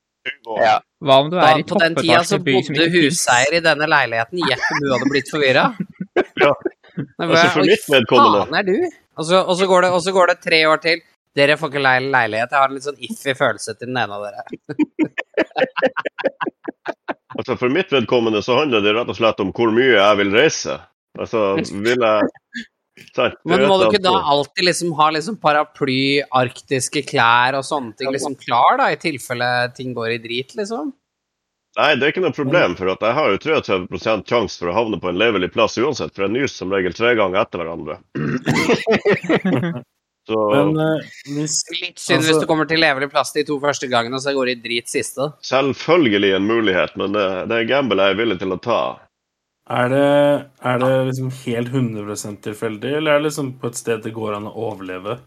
S1: Ja.
S3: Hva om du
S2: Da,
S3: er i
S2: på den tida så
S3: toppetasjen i by som
S2: bodde
S3: ikke finnes?
S2: huseier i denne leiligheten. Gjett om hun hadde blitt forvirra.
S5: Ja. Altså, for mitt vedkommende-
S2: Faen er du? Og så, og, så går det, og så går det tre år til. Dere får ikke leie leilighet. Jeg har en litt sånn iffy følelse til den ene av dere.
S5: Altså, for mitt vedkommende så handler det rett og slett om hvor mye jeg vil reise. Altså, vil
S2: [laughs]
S5: jeg Sant, du
S2: Men må du
S5: vet
S2: ikke
S5: at,
S2: da
S5: eh,
S2: alltid liksom ha liksom paraply, arktiske klær og sånne ting liksom klar, da, i tilfelle ting går i drit, liksom?
S5: Nei, det er ikke noe problem, for at jeg har jo 33 sjanse for å havne på en levelig plass uansett, for jeg nyser som regel tre ganger etter
S3: [laughs]
S5: hverandre. Så
S4: Men eh, hvis
S2: Litt synd
S4: Altså-
S2: hvis du kommer til levelig plass de to første gangene, og så går det i drit siste.
S5: selvfølgelig en mulighet, men det, det er gamble jeg er villig til å ta.
S4: er det, er det liksom helt 100 tilfeldig, eller er det liksom på et sted det går an å overleve?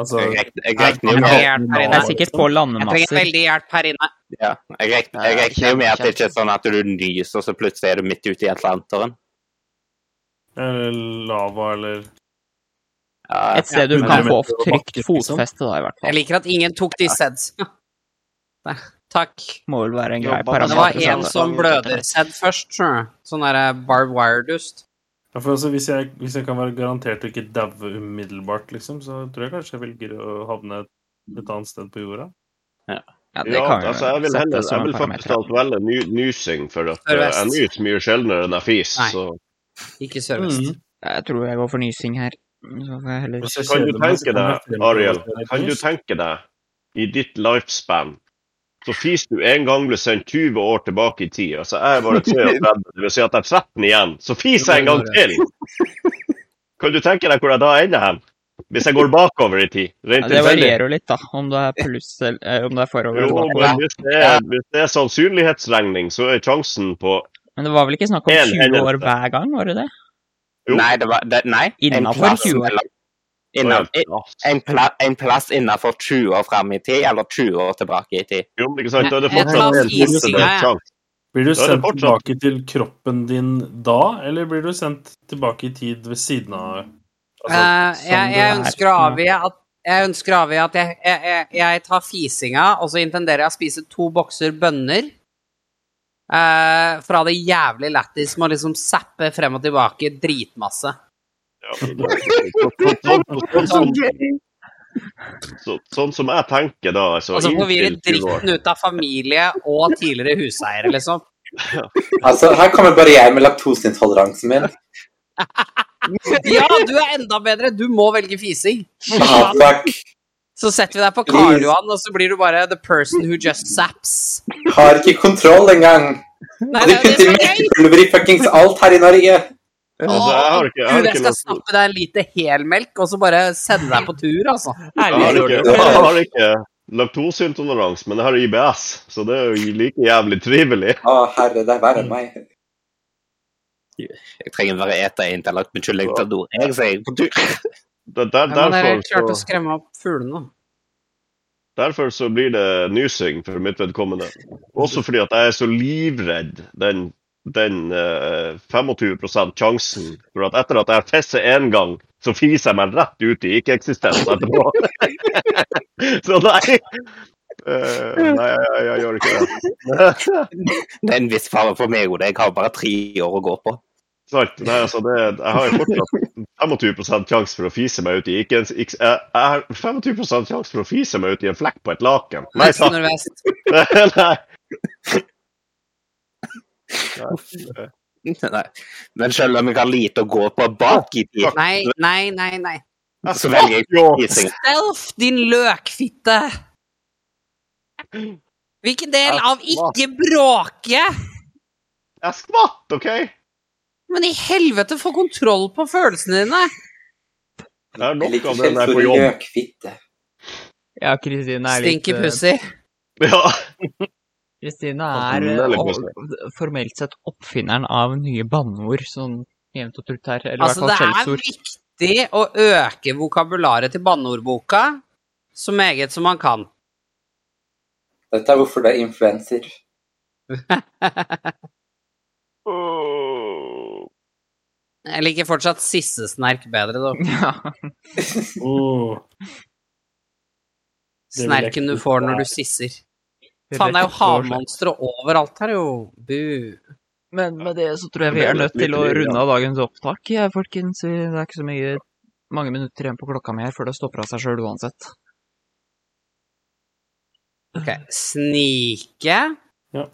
S4: Altså
S1: Jeg rek- jeg
S4: er-
S1: regner jo
S2: Jeg
S1: med
S2: trenger
S1: at
S2: hjelp her
S4: Det
S3: Det
S2: inne.
S3: er sikkert på
S2: Jeg trenger
S3: landemasser.
S2: veldig hjelp her inne.
S1: Ja, jeg, rek jeg
S6: Ja,
S1: regner jo med at det ikke er
S6: kjempe-
S1: sånn at du nyser, og så plutselig er du midt ute i Atlanteren.
S4: Eller lava, eller
S1: Ja,
S3: Et sted du
S4: Ja,
S3: kan
S4: men-
S3: få
S4: men-
S3: trygt
S4: liksom.
S3: fotfeste, da, i hvert
S2: Jeg
S3: fall.
S2: liker at ingen tok dissens. Der. Takk.
S3: Må vel være en grei
S6: Jobba med
S2: Det var
S3: parameter.
S6: en
S2: én
S3: sånn.
S2: eh, som bløder sedd først, skjønner du. Sånn derre Barb Wire-dust.
S4: Ja, Ja, for altså, hvis, jeg, hvis jeg kan være garantert å ikke daue umiddelbart, liksom, så tror jeg kanskje jeg velger å havne et annet sted på jorda.
S1: Ja,
S3: Ja, det
S5: Ja,
S3: kan vi
S5: altså, jeg vil,
S3: sette
S5: heller,
S3: som
S5: jeg
S3: en
S5: vil
S3: parameter,
S5: faktisk
S3: ja.
S5: alt velge ny, nysing, for at eh,
S2: Sørvest.
S5: jeg nyser mye sjeldnere enn jeg fiser.
S2: Nei.
S5: Så
S2: Ikke sørvest.
S3: Jeg tror jeg går for nysing her. Så får jeg heller
S4: Hvis jeg
S5: kan du
S4: kjeder meg, så
S5: tenke
S4: kommer jeg
S5: deg,
S4: frem til
S5: Ariel,
S4: at det er
S5: kan du
S4: nys.
S5: tenke deg i ditt lifespan så fiser du en gang ble sendt 20 år tilbake i tid. Altså, jeg er bare 33, det vil si at jeg er 13 igjen. Så fiser jeg en gang til! Kan du tenke deg hvor jeg da ender hen? Hvis jeg går bakover i tid?
S3: Ja,
S5: Rent
S3: det
S5: tilfeldig?
S3: varierer jo litt, da. Om det er pluss eller eh, om det er forover
S5: Jo,
S3: eller
S5: men
S3: bakover.
S5: hvis det, er, hvis det er sannsynlighetsregning, så er sjansen på
S3: Men det var vel ikke snakk om
S5: En
S3: 20 år
S5: hendelse.
S3: hver gang, var det det?
S5: Jo.
S1: Nei, det var det, Nei. en
S3: Innenfor
S1: plass
S3: 20 år.
S1: mellom-
S5: Å,
S1: Innan,
S5: ja.
S1: en, pla, en plass innenfor 20 år fram i tid, eller 20 år tilbake i tid.
S5: Jo, men ikke sant? Da er det
S2: Jeg
S5: fortsatt
S2: tar
S5: en
S2: fisinga,
S5: posibel
S2: jeg.
S5: sjanse.
S4: Blir du
S5: Da er det
S4: sendt
S5: fortsatt-
S4: tilbake til kroppen din da, eller blir du sendt tilbake i tid ved siden av altså,
S2: Eh, jeg, jeg,
S4: som du-
S2: ønsker å avgi at, jeg ønsker å avgi at jeg, jeg, jeg, jeg tar fisinga, og så intenderer jeg å spise to bokser bønner. eh, fra det jævlig lættis med å liksom zappe frem og tilbake dritmasse.
S5: Ja, men da-
S4: [laughs]
S5: så- så- så- så- Sånn så- sånn som jeg tenker da, altså
S2: Altså forvirre
S5: inntil 20 år
S2: dritten ut av familie og tidligere huseiere, liksom.
S11: Altså, her kommer bare jeg med laktoseintoleransen
S1: [laughs]
S11: min.
S2: Ja, du er enda bedre! Du må velge fising.
S11: Ah, fuck.
S2: Så setter vi deg på Karl
S11: Please.
S2: Johan, og så blir du bare the person who just zaps.
S11: Har ikke kontroll engang.
S2: Nei,
S11: Og
S2: det
S11: de
S2: er jo det
S11: putter
S2: som er gøy!
S11: melkepulver i fuckings alt her i Norge.
S5: Altså, jeg har ikke, jeg har
S2: Gud, jeg
S5: ikke
S2: skal
S5: lagt
S2: snappe deg en lite helmelk, og så bare sende deg på tur, altså.
S5: Jeg har ikke,
S11: det.
S5: jeg har ikke laktoseintolerans, men jeg har IBS, så det er jo like jævlig trivelig.
S11: Å, herre, det er verre enn meg.
S1: Jeg trenger bare ete en intellekt med kylling til do. Jeg sier på tur.
S5: Det, der,
S2: Ja, men dere
S5: derfor,
S2: klarte å
S5: så,
S2: skremme opp fuglene.
S5: derfor så blir det nysing for mitt vedkommende. Også fordi at jeg er så livredd den, den eh, 25 sjansen for at etter at jeg fisser én gang, så fiser jeg meg rett ut i ikke-eksistens etterpå. [laughs] så nei. Eh, nei, jeg, jeg gjør ikke det.
S1: Det er en viss fare for meg òg. Jeg har bare tre år å gå på.
S5: Sant. Nei, altså det, jeg har jo fortsatt 25 sjanse for å fise meg ut i ikke en, ikke, jeg, jeg har 25 sjanse for å fise meg ut i en flekk på et laken. Nei
S2: Mens
S5: takk!
S2: nordvest.
S5: [laughs] Nei.
S1: Nei. Men selv om jeg har lite å gå på bak i tid,
S2: Nei, nei, nei, nei.
S1: så velger jeg fising.
S2: Stealth, din løkfitte! Hvilken del av ikke bråke?
S5: Jeg skvatt, OK? Jeg
S2: Men i helvete, få kontroll på følelsene dine!
S5: har
S11: Jeg
S5: nok
S11: liker
S5: av den der
S11: skjellsordet
S5: på jobb.
S11: løkfitte.
S3: Ja, Kristine er litt
S2: Stinky
S3: eh,
S2: pussy.
S5: Ja.
S3: Kristine
S5: Ja,
S3: er
S5: det
S3: eh,
S5: er litt
S3: og- formelt sett oppfinneren av nye banneord, sånn jevnt og trutt her. Eller i hvert
S2: Altså,
S3: fall
S2: det er
S3: skjellsord.
S2: viktig å øke vokabularet til banneordboka så meget som man kan.
S11: Dette er hvorfor det er influenser.
S5: Åh.
S2: Jeg liker fortsatt sissesnerk bedre, da.
S3: [laughs] Ja.
S4: Åh, Det vil jeg ikke
S2: Snerken du
S4: tro
S2: får
S4: på
S2: når
S4: er-
S2: du sisser. Faen, det er jo havmonstre overalt her, jo. Bu.
S3: Men med det så tror jeg vi
S5: Det
S3: er
S5: er
S3: nødt
S5: litt
S3: til å
S5: liv, ja.
S3: runde av dagens opptak, ja, folkens. Det er ikke så mye, mange minutter igjen på klokka mi her før det stopper av seg sjøl uansett.
S2: Ok, snike.
S4: Ja.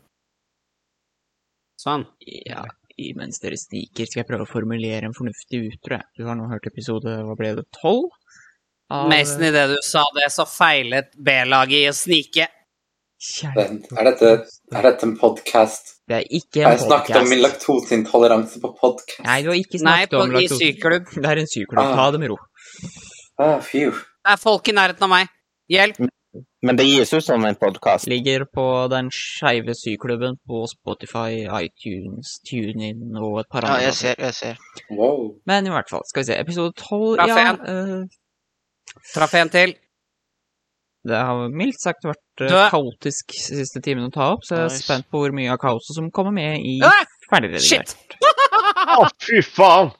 S2: Sånn.
S3: Ja, imens dere sniker, skal jeg prøve å formulere en fornuftig ut, tror jeg. Du har nå hørt episode hva ble det, tolv? Av
S2: Mason, i det du sa det, så feilet B-laget i å snike.
S3: Kjære
S11: Vent, Er dette, er dette en podkast?
S3: Det er ikke
S11: Har
S3: en
S11: jeg snakket om min
S3: podkast.
S11: laktoseintoleranse på podkast?
S3: Nei, du har ikke
S2: Nei,
S3: snakket
S2: på, i
S3: om laktose.
S2: syklubb.
S3: Det er en syklubb. Ta det med ro.
S11: Ah, fy.
S2: Det er folk i nærheten av meg. Hjelp.
S1: Men det gis ut som en podkast.
S3: Ligger på den skeive syklubben på Spotify, iTunes, TuneIn og et par
S6: Ja,
S3: andre.
S6: jeg
S3: plasser.
S6: ser, jeg ser.
S11: Wow.
S3: Men i hvert fall, skal vi se. Episode 12,
S2: Traff
S3: ja.
S2: en.
S3: eh,
S2: Traff en til.
S3: det har mildt sagt vært eh,
S2: Du-
S3: kaotisk siste timen å ta opp, så jeg er
S6: Nice.
S3: spent på hvor mye av kaoset som kommer med i
S2: Ah,
S3: ferdigredigert.
S2: shit!
S5: Å, fy faen!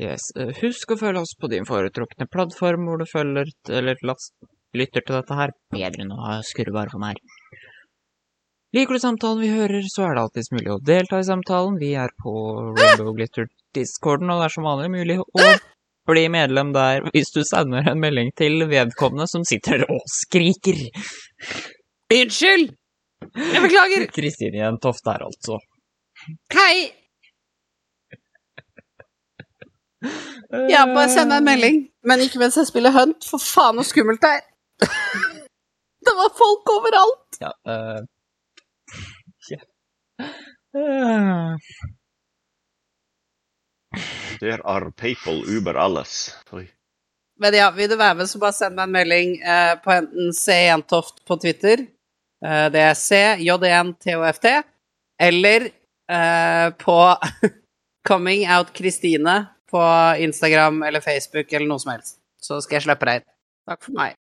S3: Yes. eh, Husk å følge oss på din foretrukne plattform hvor du følger t- eller last, lytter til dette her. Bedre enn å ha skurre bare for meg. Liker du samtalen vi hører, så er det alltids mulig å delta i samtalen. Vi er på Rainbow Glitter-discorden, og det er som vanlig mulig å bli medlem der hvis du sender en melding til vedkommende som sitter og skriker.
S2: Unnskyld! Jeg beklager!
S3: Kristin igjen, Toft der, altså.
S2: Hei! Ja, bare send meg en melding. Men ikke mens jeg spiller Hunt. For faen, så skummelt det er. [laughs] Det var folk overalt.
S3: Ja, eh, ja. Eh,
S5: There are people uber alles. Oi.
S2: Men ja, vil du være med, så bare send meg en melding eh, på enten C1Toft på Twitter, eh, det er E CJN-TOFT, eller eh, på [laughs] Coming Out Kristine på Instagram eller Facebook eller noe som helst. Så skal jeg slippe deg inn. Takk for meg.